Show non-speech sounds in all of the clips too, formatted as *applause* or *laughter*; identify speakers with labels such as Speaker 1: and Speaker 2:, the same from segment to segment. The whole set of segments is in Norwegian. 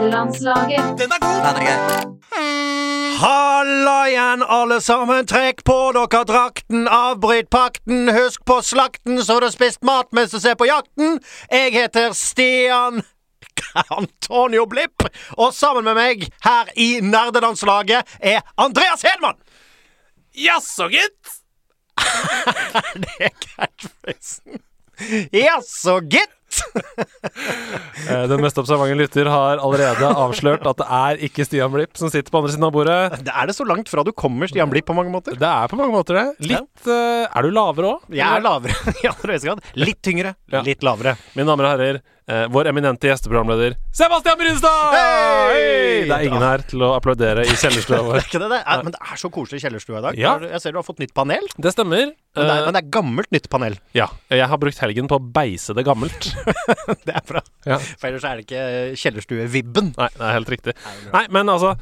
Speaker 1: Nordlandslaget.
Speaker 2: Den er god!
Speaker 3: Den er gøy.
Speaker 4: Halla igjen, alle sammen. Trekk på dere drakten, avbryt pakten. Husk på slakten, så du har spist mat mens du ser på Jakten. Jeg heter Stian *laughs* Antonio Blipp, og sammen med meg her i Nerdelandslaget er Andreas Hedman.
Speaker 2: Jaså, gitt!
Speaker 4: *laughs* Det er catchphrasen. Jaså, gitt.
Speaker 5: Eh, Den mest observante lytter har allerede avslørt at det er ikke Stian Blipp som sitter på andre siden av bordet.
Speaker 4: Det er det så langt fra du kommer, Stian Blipp, på mange måter.
Speaker 5: Det er på mange måter det. Litt eh, Er du lavere òg?
Speaker 4: Jeg er lavere i aller høyeste grad. Litt tyngre,
Speaker 5: Ja.
Speaker 4: litt lavere.
Speaker 5: Mine damer og herrer, eh, vår eminente gjesteprogramleder Sebastian Brynstad!
Speaker 4: Hei!
Speaker 5: Hei! Det er ingen her til å applaudere i kjellerstua
Speaker 4: Det er
Speaker 5: vår.
Speaker 4: ikke det, det er, men det er så koselig kjellerstua i dag.
Speaker 5: Ja.
Speaker 4: Jeg ser du har fått nytt panel.
Speaker 5: *laughs* Det stemmer.
Speaker 4: Men det, er,
Speaker 5: Eh,
Speaker 4: men det er gammelt nytt
Speaker 5: *laughs*
Speaker 4: panel.
Speaker 5: ja, jeg har brukt helgen på å beise det *laughs* gammelt.
Speaker 4: Det er bra.
Speaker 5: Ja.
Speaker 4: For ellers er det ikke kjellerstue-vibben.
Speaker 5: Nei, det er helt riktig. Nei, men altså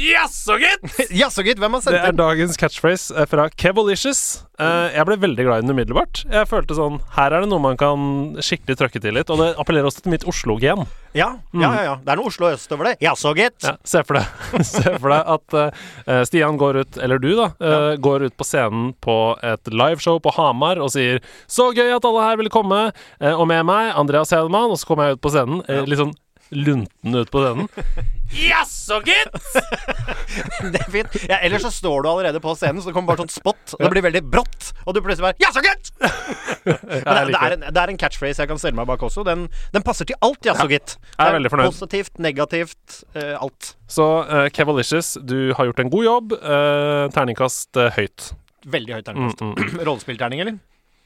Speaker 2: Jaså, gitt!
Speaker 4: Jaså, gitt. Hvem har
Speaker 5: Det
Speaker 4: sendt
Speaker 5: er
Speaker 4: den?
Speaker 5: dagens catchphrase eh, fra Kevolicious. Eh, jeg ble veldig glad i den umiddelbart. Jeg følte sånn Her er det noe man kan skikkelig trøkke til litt. Og det appellerer også til mitt Oslo-gen.
Speaker 4: Ja, ja, ja, ja. Det er noe Oslo øst over det. Jaså, gitt.
Speaker 5: Mm. Ja, se for deg *laughs* Se for deg at eh, Stian går ut, eller du, da, eh, går ut på scenen på et liveshow på Hamar og sier 'Så gøy at alle her ville komme', eh, og med meg Andreas Hedemann, og så kommer jeg ut på scenen, eh, litt sånn lunten ut på
Speaker 4: *laughs*
Speaker 5: scenen.
Speaker 2: Jaså, gitt!
Speaker 4: *laughs* Det er fint. Ja, ellers så står du allerede på scenen, så det kommer bare sånn spot. Og det blir veldig brått, og du plutselig bare Jaså, gitt!
Speaker 5: Jeg
Speaker 4: Men det, det,
Speaker 5: liker
Speaker 4: er en, det er en catchphrase jeg kan stelle meg bak også. Den, den passer til alt, jaså, gitt.
Speaker 5: jeg er veldig fornøyd.
Speaker 4: Positivt, negativt, eh, alt.
Speaker 5: Så uh, Kevalicious, du har gjort en god jobb. Eh, terningkast eh, høyt.
Speaker 4: Veldig høyt terningkast.
Speaker 5: Mm,
Speaker 4: *clears throat* Rollespillterning, eller?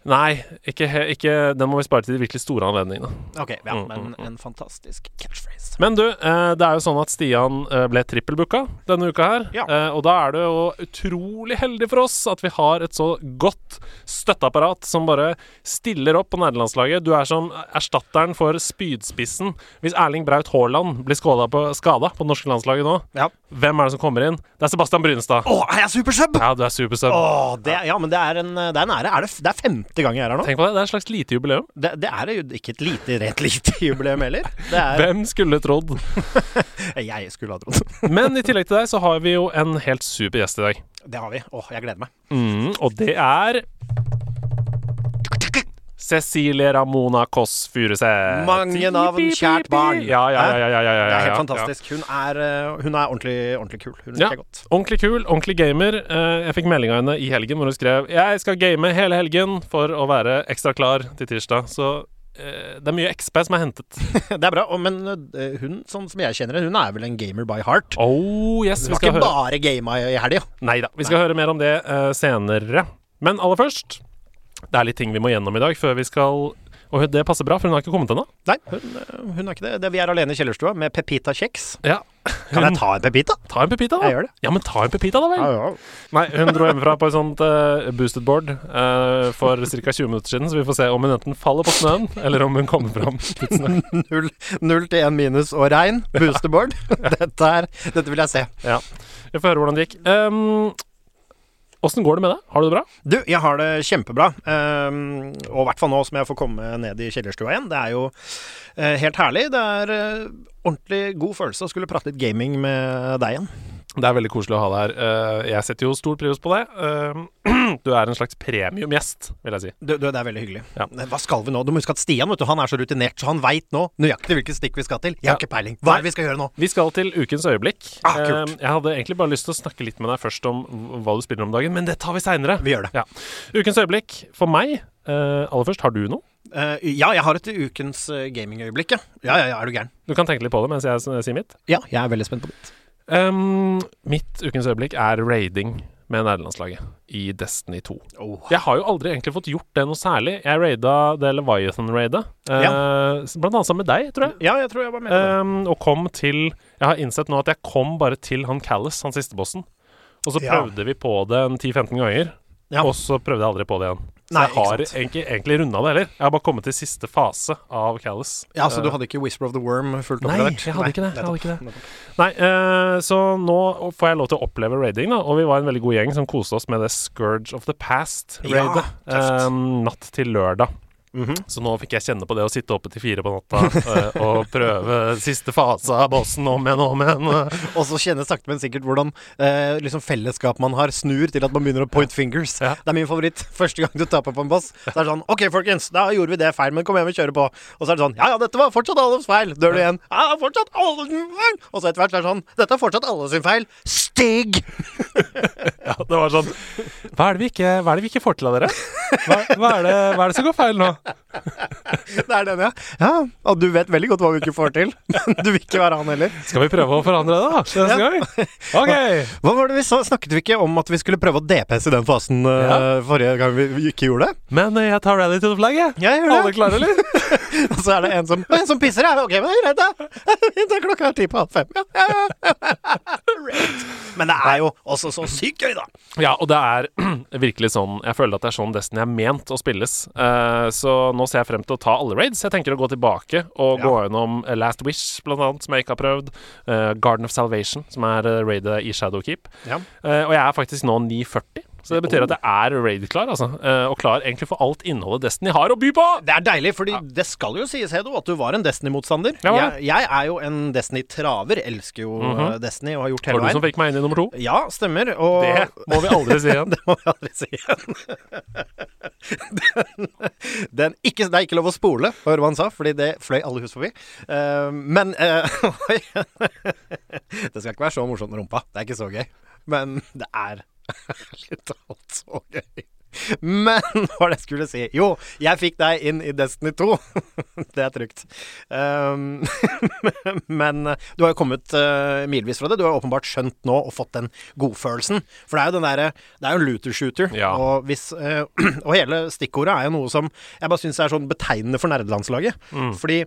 Speaker 5: Nei, ikke, he- ikke, den må vi spare til de virkelig store anledningene.
Speaker 4: Ok, ja,
Speaker 5: Mm,
Speaker 4: men
Speaker 5: mm, mm.
Speaker 4: en fantastisk catchphrase.
Speaker 5: Men du, eh, det er jo sånn at Stian eh, ble trippelbooka denne uka her.
Speaker 4: Ja.
Speaker 5: Eh, og da er det jo utrolig heldig for oss at vi har et så godt støtteapparat som bare stiller opp på nederlandslaget. Du er som erstatteren for spydspissen. Hvis Erling Braut Haaland blir skada på, skada på det norske landslaget nå,
Speaker 4: Ja.
Speaker 5: hvem er det som kommer inn? Det er Sebastian Brynestad.
Speaker 4: Å, er jeg supersub?
Speaker 5: Ja, du er supersub.
Speaker 4: Åh, det, ja, men det er en, eh, det er en ære. Er det, f- det er femte gang jeg er her nå.
Speaker 5: Tenk på det, det er et slags lite jubileum.
Speaker 4: Det, det er jo ikke et lite, rent *laughs* lite jubileum heller. Det er
Speaker 5: Hvem skulle trodd? *laughs*
Speaker 4: Jeg skulle ha trodd.
Speaker 5: Men i tillegg til deg så har vi jo en helt super gjest i dag.
Speaker 4: Det har vi. Åh, jeg gleder meg.
Speaker 5: Mm, og det er Cecilie Ramona Kåss Furuseth.
Speaker 4: Mange navn, kjært barn.
Speaker 5: Ja, ja, ja, ja, ja, ja, ja,
Speaker 4: Det er helt
Speaker 5: ja.
Speaker 4: fantastisk. Hun er, eh, hun er ordentlig, ordentlig kul. Hun liker
Speaker 5: Ja.
Speaker 4: jeg godt. *laughs*
Speaker 5: Ordentlig kul, ordentlig gamer. Eh, Jeg fikk melding av henne i helgen hvor hun skrev Jeg skal game hele helgen for å være ekstra klar til tirsdag. Så eh, det er mye XP som er hentet.
Speaker 4: Det er bra. Og, men eh, hun, sånn som jeg kjenner henne, hun er vel en gamer by heart.
Speaker 5: Oh, yes,
Speaker 4: Hun
Speaker 5: vi
Speaker 4: har
Speaker 5: skal
Speaker 4: ikke
Speaker 5: høre
Speaker 4: bare gama i i helga.
Speaker 5: Nei da. Vi skal høre mer om det eh, senere. Men aller først, det er litt ting vi må gjennom i dag før vi skal Og det passer bra, for hun har ikke kommet ennå.
Speaker 4: Nei, hun, eh, hun er ikke det. det. Vi er alene i kjellerstua med Pepita-kjeks.
Speaker 5: Ja.
Speaker 4: Kan jeg ta en Pepita?
Speaker 5: Ta en pepita, da.
Speaker 4: Jeg gjør det.
Speaker 5: Ja, men ta en pepita, da vel. Nei, hun dro hjemmefra på et sånt eh, boosted board eh, for ca. 20 minutter siden, så vi får se om hun enten faller på snøen, eller om hun kommer *laughs* fram. tidsnok.
Speaker 4: Null, null til én minus og regn. *laughs* Boosterboard. Dette, er, dette vil jeg se.
Speaker 5: Ja. Vi får høre hvordan det gikk. Um, Åssen går det med deg? Har du det bra?
Speaker 4: Du, jeg har det kjempebra. Ehm, og i hvert fall nå som jeg får komme ned i kjellerstua igjen. Det er jo eh, helt herlig. Det er eh, ordentlig god følelse å skulle prate litt gaming med deg igjen.
Speaker 5: Det er veldig koselig å ha deg her. Eh, jeg setter jo stor pris på det. Eh, *clears throat* du er en slags premiumgjest, vil jeg si.
Speaker 4: Du, du, det er veldig hyggelig.
Speaker 5: Ja.
Speaker 4: Men Hva skal vi nå? Du må huske at Stian vet du, han er så rutinert, så han veit nå nøyaktig hvilke stikk vi skal til. Jeg har
Speaker 5: Ja.
Speaker 4: ikke peiling. Hva er det vi skal gjøre nå?
Speaker 5: Vi skal til ukens øyeblikk.
Speaker 4: Ah, kult.
Speaker 5: Eh, Jeg hadde egentlig bare lyst til å snakke litt med deg først om hva du spiller om dagen, men det tar vi seinere.
Speaker 4: Vi gjør det.
Speaker 5: Ja. Ukens øyeblikk for meg. eh, aller først, har du noe?
Speaker 4: Eh, ja, jeg har et ukens eh, gamingøyeblikk, ja. Ja, ja, ja, er du gæren?
Speaker 5: Du kan tenke litt på det mens jeg s- sier mitt.
Speaker 4: Ja, jeg er veldig spent på ditt.
Speaker 5: Um, mitt ukens øyeblikk er raiding med nederlandslaget i Destiny 2.
Speaker 4: Oh.
Speaker 5: Jeg har jo aldri egentlig fått gjort det noe særlig. Jeg raida det Leviathan-raidet, eh, blant annet sammen med deg, tror jeg.
Speaker 4: Ja, jeg tror jeg var med på det.
Speaker 5: Um, og kom til Jeg har innsett nå at jeg kom bare til han Callis, han siste bossen. Og så
Speaker 4: Ja.
Speaker 5: prøvde vi på det en 10-15 ganger,
Speaker 4: Ja.
Speaker 5: og så prøvde jeg aldri på det igjen. Så
Speaker 4: Nei,
Speaker 5: jeg har
Speaker 4: ikke sant.
Speaker 5: egentlig, egentlig runda det heller. Jeg har bare kommet til siste fase av Callis.
Speaker 4: Ja, Så du hadde ikke Whisper of the Worm fullt
Speaker 5: Nei,
Speaker 4: oppgradert?
Speaker 5: jeg hadde ikke det, jeg hadde ikke
Speaker 4: nettopp, nettopp.
Speaker 5: Nei, eh, så nå får jeg lov til å oppleve raiding, da. Og vi var en veldig god gjeng som koste oss med det Scourge of the Past-raidet.
Speaker 4: Ja, tøft.
Speaker 5: natt eh, til lørdag. Så nå fikk jeg kjenne på det å sitte oppe til fire på natta eh, *laughs* og prøve siste fase av bossen om igjen og om igjen. eh.
Speaker 4: Og så kjenne sakte, men sikkert hvordan eh, liksom fellesskap man har, snur til at man begynner å point fingers.
Speaker 5: Ja.
Speaker 4: Det er min favoritt. *laughs* Første gang du taper på en boss, så er det sånn OK, folkens, da gjorde vi det feil, men kom igjen, vi kjører på. Og så er det sånn Ja, ja, dette var fortsatt alles feil. Dør du igjen? Ja, det er fortsatt alle sin feil. Og så etter hvert så er det sånn Dette er fortsatt alle sin feil. *laughs* Stig!
Speaker 5: *laughs* Ja, det var sånn Hva er det vi ikke, hva er det vi ikke får til av dere? Hva, hva, er det, hva er det som går feil nå?
Speaker 4: Det er den, ja. Ja, og du vet veldig godt hva vi ikke får til. *laughs* Men du vil ikke være han heller.
Speaker 5: Skal vi prøve å forandre det, da? til Neste
Speaker 4: Ja.
Speaker 5: gang? *laughs* OK.
Speaker 4: Hva var det vi sa? Snakket vi ikke om at vi skulle prøve å DPS i den fasen eh,
Speaker 5: Ja.
Speaker 4: forrige gang vi ikke gjorde det?
Speaker 5: Men eh, jeg tar rally to the flag, jeg.
Speaker 4: Jeg gjør det.
Speaker 5: Alle klare, eller?
Speaker 4: Og *laughs* så er det en som En som pisser, ja. Ok, men det er greit, da. *laughs* Det er klokka er ti på halv fem. Ja, ja, ja. Right. *laughs* Men det er jo også så sykt gøy, da.
Speaker 5: Ja, og det er *clears throat* virkelig sånn Jeg føler at det er sånn Destiny er ment å spilles. Eh, så nå ser jeg frem til å ta alle raids. Jeg tenker å gå tilbake og gå gjennom eh, Last Wish, blant annet, som jeg ikke har prøvd. eh, Garden of Salvation, som er eh, raidet i Shadowkeep.
Speaker 4: Ja.
Speaker 5: Eh, og jeg er faktisk nå 940. Så det betyr at jeg er raid-klar, altså. eh, og klar egentlig for alt innholdet Destiny har å by på!
Speaker 4: Det er deilig, fordi det skal jo sies, Hedo, at du var en Destiny-motstander.
Speaker 5: Jeg var
Speaker 4: Jeg, jeg er jo en Destiny-traver. Elsker jo eh, Destiny og har gjort
Speaker 5: Det
Speaker 4: hele
Speaker 5: var du som
Speaker 4: veien.
Speaker 5: fikk meg inn i nummer to.
Speaker 4: Ja, stemmer. Og
Speaker 5: Det må vi aldri si igjen.
Speaker 4: *laughs* Det må vi aldri si igjen. *laughs* Den, den ikke, det er ikke lov å spole, hør hva han sa, fordi det fløy alle hus forbi. Eh, men eh, *laughs* oi. Det skal ikke være så morsomt med rumpa. Det er ikke så gøy. Men det er *laughs* ærlig talt så gøy. Men *laughs* hva var det jeg skulle si? Jo, jeg fikk deg inn i Destiny 2. *laughs* Det er trygt. Um, *laughs* men eh, du har jo kommet eh, milevis fra det. Du har jo åpenbart skjønt nå og fått den godfølelsen. For det er jo den derre Det er jo en looter shooter.
Speaker 5: Ja.
Speaker 4: Og, hvis, eh, *clears throat* og hele stikkordet er jo noe som jeg bare syns er sånn betegnende for nerdelandslaget.
Speaker 5: Mm.
Speaker 4: Fordi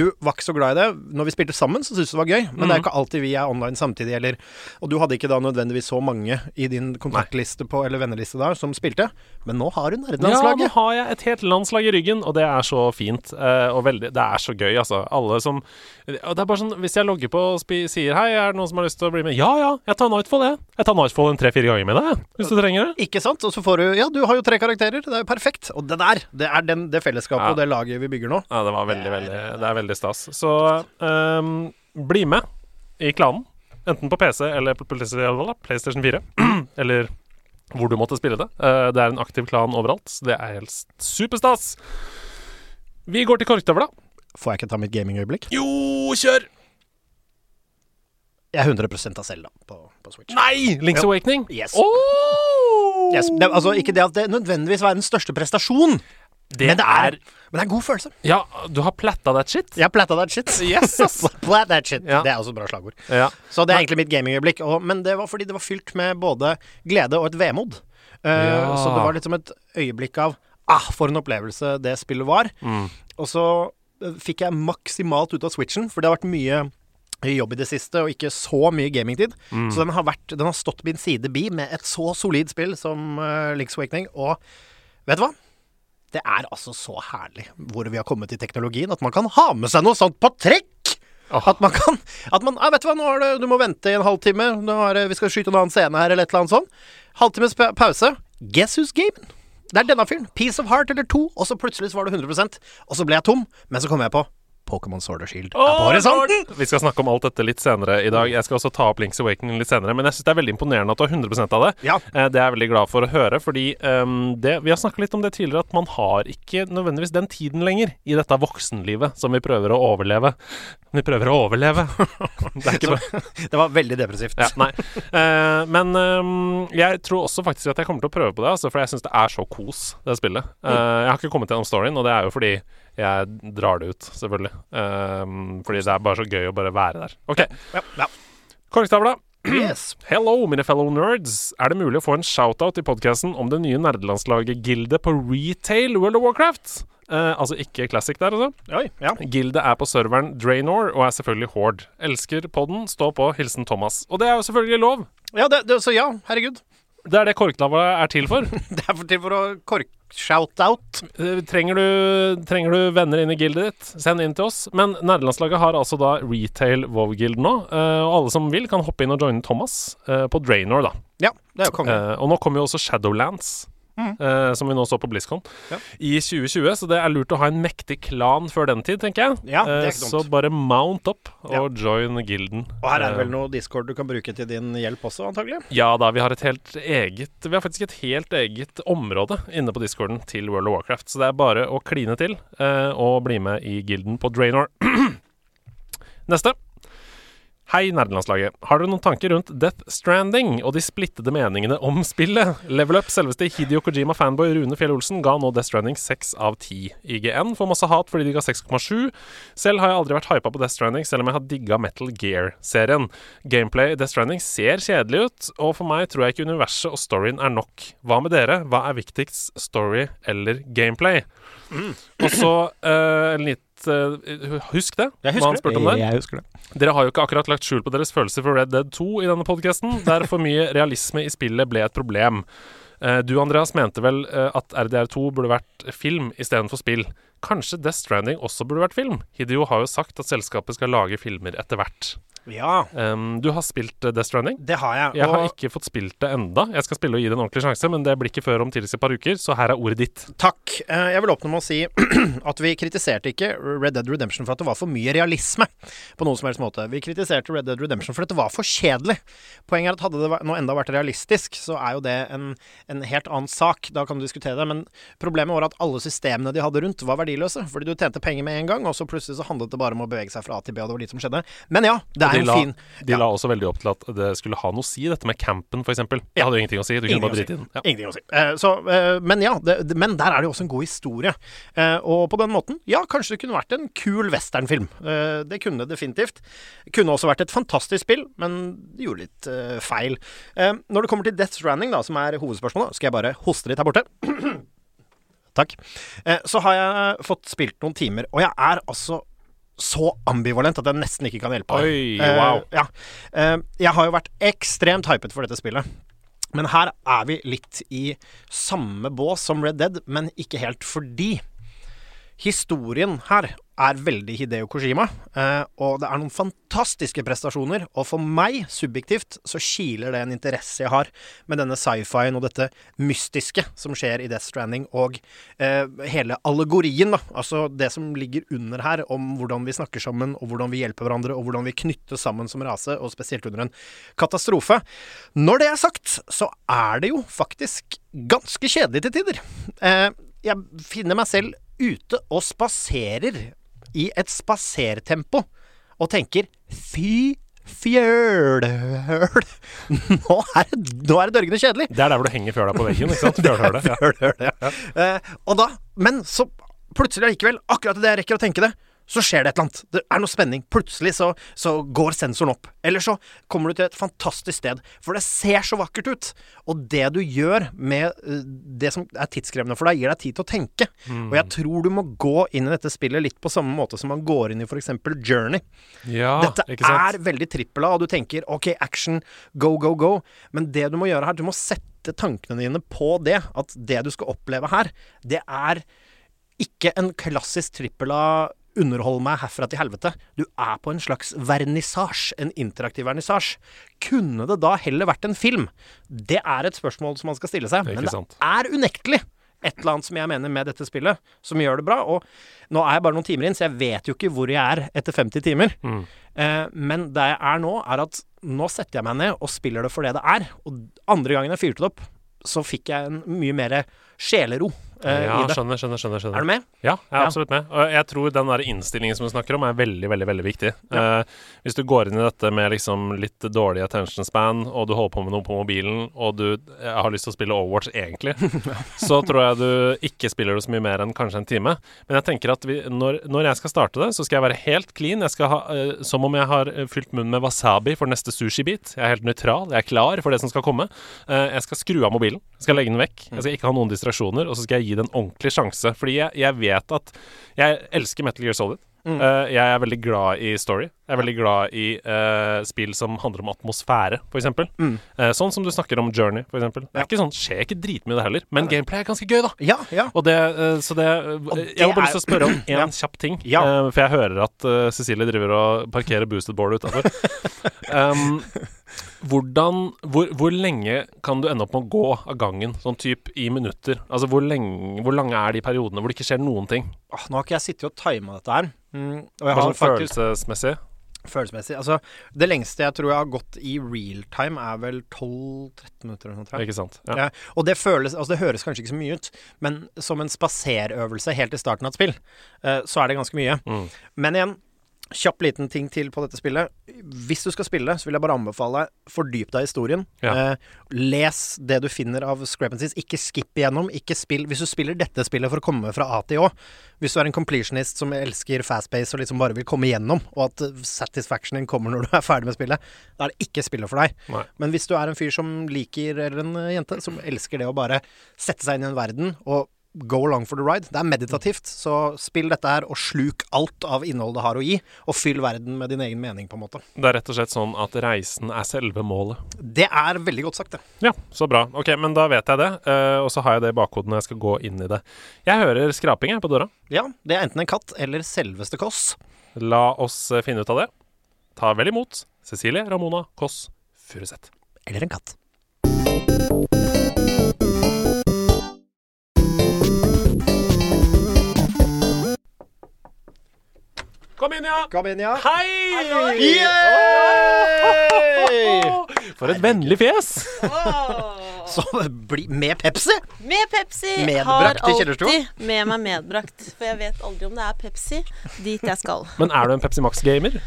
Speaker 4: du var ikke så glad i det. Når vi spilte sammen, så syntes du det var gøy. Men
Speaker 5: Mm.
Speaker 4: det er ikke alltid vi er online samtidig, eller Og du hadde ikke da nødvendigvis så mange i din kontaktliste på, eller venneliste da, som spilte. Men nå har du nerdelandslaget.
Speaker 5: Ja, nå har jeg et helt landslag i ryggen, og det er så fint. eh, og veldig, det er så gøy, altså. Alle som og det er bare sånn, Hvis jeg logger på og spi, sier hei, er det noen som har lyst til å bli med? Ja ja, jeg tar Nightfall, jeg. Jeg tar Nightfall en tre-fire ganger med deg, jeg, hvis du trenger det.
Speaker 4: Ikke sant? Og så får du Ja, du har jo tre karakterer. Det er jo perfekt. Og det der, det er den, det fellesskapet
Speaker 5: Ja.
Speaker 4: og det laget vi bygger nå.
Speaker 5: Ja, det var veldig, veldig Det er veldig stas. Så ehm, bli med i klanen. Enten på PC eller på PlayStation 4. *clears throat* eller hvor du måtte spille det. Eh, det er en aktiv klan overalt. Så det er helt s- superstas. Vi går til korktavla.
Speaker 4: Får jeg ikke ta mitt gamingøyeblikk?
Speaker 2: Jo, kjør!
Speaker 4: Jeg er 100 av selv, da, på, på Switch.
Speaker 5: Nei! Links
Speaker 4: Ja.
Speaker 5: Awakening. Oh!
Speaker 4: Yes.
Speaker 5: Åh!
Speaker 4: Yes, det, altså, ikke det at det nødvendigvis er den største prestasjonen,
Speaker 5: Det
Speaker 4: men det er, men det er en god følelse.
Speaker 5: Ja, du har platta that shit?
Speaker 4: Jeg platta that shit.
Speaker 5: *laughs* Yes, ass.
Speaker 4: Plat that shit.
Speaker 5: Ja.
Speaker 4: Det er også et bra slagord.
Speaker 5: Ja.
Speaker 4: Så det er egentlig mitt gamingøyeblikk. og- Men det var fordi det var fylt med både glede og et vemod. Eh,
Speaker 5: Ja.
Speaker 4: Så det var liksom et øyeblikk av Ah, for en opplevelse det spillet var.
Speaker 5: Mm.
Speaker 4: Og så eh, fikk jeg maksimalt ut av switchen, for det har vært mye jobb i det siste, og ikke så mye gamingtid.
Speaker 5: Mm.
Speaker 4: Så den har, vært, den har stått min side bi med et så solid spill som uh, Links Awakening. Og vet du hva? Det er altså så herlig hvor vi har kommet i teknologien, at man kan ha med seg noe sånt på trekk!
Speaker 5: Åh.
Speaker 4: At man kan at man, ja, 'Vet du hva, nå er det, du må vente i en halvtime. Nå er det, vi skal skyte en annen scene her', eller et eller annet sånt. Halvtimes pa- pause. Guess who's gaming? Det er denne fyren. Piece of heart eller to, og så plutselig så var det 100 Og så ble jeg tom, men så kom jeg på Pokémon Sword og Shield. er på horisonten!
Speaker 5: sånn. Vi skal snakke om alt dette litt senere i dag. Jeg skal også ta opp Links Awakening litt senere, men jeg syns det er veldig imponerende at du har 100 av det.
Speaker 4: Ja.
Speaker 5: Eh, Det er jeg veldig glad for å høre, fordi ehm, det, vi har snakka litt om det tidligere, at man har ikke nødvendigvis den tiden lenger i dette voksenlivet som vi prøver å overleve. Vi prøver å overleve. *laughs* Det er ikke
Speaker 4: *laughs*
Speaker 5: bare
Speaker 4: Det var veldig depressivt.
Speaker 5: Ja, nei. Eh, men ehm, jeg tror også faktisk at jeg kommer til å prøve på det, altså, for jeg syns det er så kos, det spillet. Eh, jeg har ikke kommet gjennom storyen, og det er jo fordi jeg drar det ut, selvfølgelig. Ehm, fordi det er bare så gøy å bare være der. OK.
Speaker 4: Ja, ja.
Speaker 5: Korktavla.
Speaker 4: Yes.
Speaker 5: Hello, mine fellow nerds. Er det mulig å få en shout-out i podkasten om det nye nerdelandslaget-gildet på retail World of Warcraft? Eh, altså ikke Classic der, altså.
Speaker 4: Oi, ja.
Speaker 5: Gildet er på serveren Draenor og er selvfølgelig Horde. Elsker podden, stå på. Hilsen Thomas. Og det er jo selvfølgelig lov.
Speaker 4: ja det, det, så ja, herregud. *laughs*
Speaker 5: Det er det korklava er til for.
Speaker 4: Det er for til for å kork-shout-out.
Speaker 5: Eh, Trenger du, trenger du venner inn i gildet ditt, send inn til oss. Men nerdelandslaget har altså da retail Vov-gild nå, eh, og alle som vil, kan hoppe inn og joine Thomas eh, på Draenor, da.
Speaker 4: Ja, det er jo konge. Mm.
Speaker 5: Eh, Og nå kommer jo også Shadowlands eh, som vi nå så på BlizzCon,
Speaker 4: Ja.
Speaker 5: i 2020. Så det er lurt å ha en mektig klan før den tid, tenker jeg.
Speaker 4: Ja, det er
Speaker 5: Eh,
Speaker 4: ikke dumt.
Speaker 5: så bare mount opp og join gilden.
Speaker 4: Og her er det
Speaker 5: Eh,
Speaker 4: vel noe Discord du kan bruke til din hjelp også, antagelig?
Speaker 5: ja da, vi har et helt eget Vi har faktisk et helt eget område inne på discorden til World of Warcraft. Så det er bare å kline til eh, og bli med i gilden på Draenor. Neste. Hei, nerdelandslaget. Har dere noen tanker rundt Death Stranding og de splittede meningene om spillet? Level Up, selveste Hidio Kojima-fanboy Rune Fjell Olsen, ga nå Death Stranding 6 av 10. IGN får masse hat fordi de ga 6,7. Selv har jeg aldri vært hypa på Death Stranding, selv om jeg har digga Metal Gear-serien. Gameplay i Death Stranding ser kjedelig ut, og for meg tror jeg ikke universet og storyen er nok. Hva med dere? Hva er viktigst, story eller gameplay?
Speaker 4: Mm.
Speaker 5: Og så eh, en litt eh, Husk det,
Speaker 4: Jeg husker
Speaker 5: hva han
Speaker 4: det.
Speaker 5: spurte om der.
Speaker 1: Jeg husker det.
Speaker 5: Dere har jo ikke akkurat lagt skjul på deres følelser for Red Dead 2 i denne podkasten, der for mye realisme i spillet ble et problem. Eh, Du, Andreas, mente vel eh, at RDR2 burde vært film istedenfor spill. Kanskje Death Stranding også burde vært film? Hideo har jo sagt at selskapet skal lage filmer etter hvert.
Speaker 4: Ja,
Speaker 5: Em, du har spilt eh, Death Stranding?
Speaker 4: det har jeg.
Speaker 5: Jeg har
Speaker 4: og
Speaker 5: ikke fått spilt det enda. Jeg skal spille og gi det en ordentlig sjanse, men det blir ikke før om tidligst et par uker, så her er ordet ditt.
Speaker 4: takk. Eh, Jeg vil åpne med å si *clears throat* at vi kritiserte ikke Red Dead Redemption for at det var for mye realisme på noen som helst måte. Vi kritiserte Red Dead Redemption for at det var for kjedelig. Poenget er at hadde det væ- nå enda vært realistisk, så er jo det en, en helt annen sak. Da kan du diskutere det. Men problemet var at alle systemene de hadde rundt, var verdiløse. Fordi du tjente penger med en gang, og så plutselig så handlet det bare om å bevege seg fra A til B, og det var lite som skjedde. Men ja, det
Speaker 5: de
Speaker 4: er en
Speaker 5: la-
Speaker 4: fin
Speaker 5: De la også veldig opp til at det skulle ha noe å si, dette med campen, f.eks. Det hadde jo ingenting å si. Du kunne
Speaker 4: Ingenting
Speaker 5: bare
Speaker 4: å si.
Speaker 5: drite i den. Ja.
Speaker 4: Ingenting å si. Eh, så, eh, men ja, det, det, men der er det jo også en god historie. Eh, og på den måten, ja, kanskje det kunne vært en kul westernfilm. Eh, det kunne det definitivt. Kunne også vært et fantastisk spill, men det gjorde litt eh, feil. Eh, når det kommer til Death Stranding, da, som er hovedspørsmålet, skal jeg bare hoste litt her borte. Takk. Eh, så har jeg fått spilt noen timer, og jeg er altså så ambivalent at jeg nesten ikke kan hjelpe.
Speaker 5: Oi,
Speaker 4: Eh,
Speaker 5: wow.
Speaker 4: ja. Eh, jeg har jo vært ekstremt hypet for dette spillet. Men her er vi litt i samme bås som Red Dead, men ikke helt fordi. Historien her er veldig Hideo Kojima, eh, og det er noen fantastiske prestasjoner. Og for meg, subjektivt, så kiler det en interesse jeg har med denne sci-fien og dette mystiske som skjer i Death Stranding, og eh, hele allegorien, da. Altså det som ligger under her, om hvordan vi snakker sammen, og hvordan vi hjelper hverandre, og hvordan vi knyttes sammen som rase, og spesielt under en katastrofe. Når det er sagt, så er det jo faktisk ganske kjedelig til tider. Eh, jeg finner meg selv ute og spaserer i et spasertempo og tenker fy fjøl *laughs* Nå er det, nå er det dørgende kjedelig.
Speaker 5: Det er der hvor du henger fjøla på veggen.
Speaker 4: *laughs*
Speaker 5: ikke sant? Fjølhølet, ja.
Speaker 4: Eh, og da, men så plutselig allikevel, akkurat idet jeg rekker å tenke det, så skjer det et eller annet. Det er noe spenning. Plutselig så, så går sensoren opp. Eller så kommer du til et fantastisk sted, for det ser så vakkert ut. Og det du gjør med eh, det som er tidskrevende for deg, gir deg tid til å tenke. Og jeg tror du må gå inn i dette spillet litt på samme måte som man går inn i f.eks. Journey.
Speaker 5: ja
Speaker 4: Dette
Speaker 5: ikke sant?
Speaker 4: er veldig trippel A, og du tenker OK, action, go, go, go. Men det du må gjøre her, du må sette tankene dine på det. At det du skal oppleve her, det er ikke en klassisk trippel A underhold meg herfra til helvete. Du er på en slags vernissasje, en interaktiv vernissasje. Kunne det da heller vært en film? Det er et spørsmål som man skal stille seg,
Speaker 5: Ikke
Speaker 4: men det
Speaker 5: sant.
Speaker 4: er unektelig et eller annet som jeg mener med dette spillet, som gjør det bra. Og nå er jeg bare noen timer inn, så jeg vet jo ikke hvor jeg er etter 50 timer.
Speaker 5: Mm.
Speaker 4: Eh, men det jeg er nå, er at nå setter jeg meg ned og spiller det for det det er. Og andre gangen jeg fyrte det opp, så fikk jeg en mye mer sjelero eh,
Speaker 5: ja,
Speaker 4: i det.
Speaker 5: skjønner, skjønner, skjønner, skjønner.
Speaker 4: Er du med?
Speaker 5: Ja, jeg er
Speaker 4: Ja.
Speaker 5: absolutt med. Og jeg tror den der innstillingen som du snakker om, er veldig, veldig veldig viktig. Eh, hvis du går inn i dette med liksom litt dårlig attention span, og du holder på med noe på mobilen, og du eh, har lyst til å spille Overwatch egentlig, så tror jeg du ikke spiller det så mye mer enn kanskje en time. Men jeg tenker at vi, når, når jeg skal starte det, så skal jeg være helt clean. Jeg skal ha, eh, Som om jeg har eh, fylt munnen med wasabi for neste sushibit. Jeg er helt nøytral, jeg er klar for det som skal komme. Eh, jeg skal skru av mobilen, jeg skal legge den vekk. Jeg skal ikke ha noen distraksjoner, og så skal jeg gi det en ordentlig sjanse. Fordi jeg, jeg vet at Jeg elsker Metal Gear Solid. Eh, jeg er veldig glad i story. Jeg er veldig glad i eh, spill som handler om atmosfære, f.eks. Mm. sånn som du snakker om Journey, f.eks. eksempel Det er ikke sånn, skjer ikke dritmye, det heller, men gameplay er ganske gøy, da.
Speaker 4: Ja, ja.
Speaker 5: Og det, eh, så det, eh,
Speaker 4: det
Speaker 5: Jeg har bare
Speaker 4: er-
Speaker 5: lyst til å spørre om én
Speaker 4: *clears throat* Ja.
Speaker 5: kjapp ting.
Speaker 4: Ja. *laughs*
Speaker 5: eh, for jeg hører at eh, Cecilie driver og parkerer boosted board utafor. um, Hvordan, hvor, hvor lenge kan du ende opp med å gå av gangen, sånn typ i minutter? Altså, hvor, lenge, hvor lange er de periodene hvor det ikke skjer noen ting?
Speaker 4: Åh, nå har ikke jeg sittet og tima dette her. Mm, og jeg
Speaker 5: Bare
Speaker 4: har
Speaker 5: sånn
Speaker 4: faktisk
Speaker 5: følelsesmessig?
Speaker 4: følelsesmessig Altså, det lengste jeg tror jeg har gått i real time, er vel 12-13 minutter eller noe sånt. tror jeg.
Speaker 5: Ikke sant? Ja.
Speaker 4: Ja. Og det føles Altså, det høres kanskje ikke så mye ut, men som en spaserøvelse helt i starten av et spill, eh, så er det ganske mye.
Speaker 5: Mm.
Speaker 4: Men igjen, kjapp liten ting til på dette spillet. Hvis du skal spille, så vil jeg bare anbefale fordyp deg i historien.
Speaker 5: Ja.
Speaker 4: Eh, les det du finner av discrepancies. Ikke skipp igjennom. Ikke spill Hvis du spiller dette spillet for å komme fra A til Å, hvis du er en completionist som elsker fast-pace og liksom bare vil komme igjennom, og at eh, satisfactionen din kommer når du er ferdig med spillet, da er det ikke spillet for deg.
Speaker 5: Nei.
Speaker 4: Men hvis du er en fyr som liker, eller en eh, jente, som elsker det å bare sette seg inn i en verden og go along for the ride, det er meditativt, så spill dette her og sluk alt av innholdet det har å gi, og fyll verden med din egen mening, på en måte.
Speaker 5: Det er rett og slett sånn at reisen er selve målet.
Speaker 4: Det er veldig godt sagt, det.
Speaker 5: Ja, så bra. Ok, men da vet jeg det. eh, og så har jeg det i bakhodet når jeg skal gå inn i det. Jeg hører skraping her på døra.
Speaker 4: Ja, det er enten en katt eller selveste Kåss.
Speaker 5: La oss eh, finne ut av det. Ta vel imot Cecilie Ramona Kåss Furuseth.
Speaker 4: Eller en katt.
Speaker 5: Kom inn, ja!
Speaker 4: Kom inn, ja.
Speaker 5: Hei!
Speaker 4: Yeah!
Speaker 5: Åh, For et vennlig fjes!
Speaker 4: Så bli med Pepsi!
Speaker 1: Med Pepsi
Speaker 4: Medbrakt i
Speaker 1: har
Speaker 4: kjellerstua?
Speaker 1: alltid med meg medbrakt. For jeg vet aldri om det er Pepsi dit jeg skal.
Speaker 5: Men er du en Pepsi Max-gamer?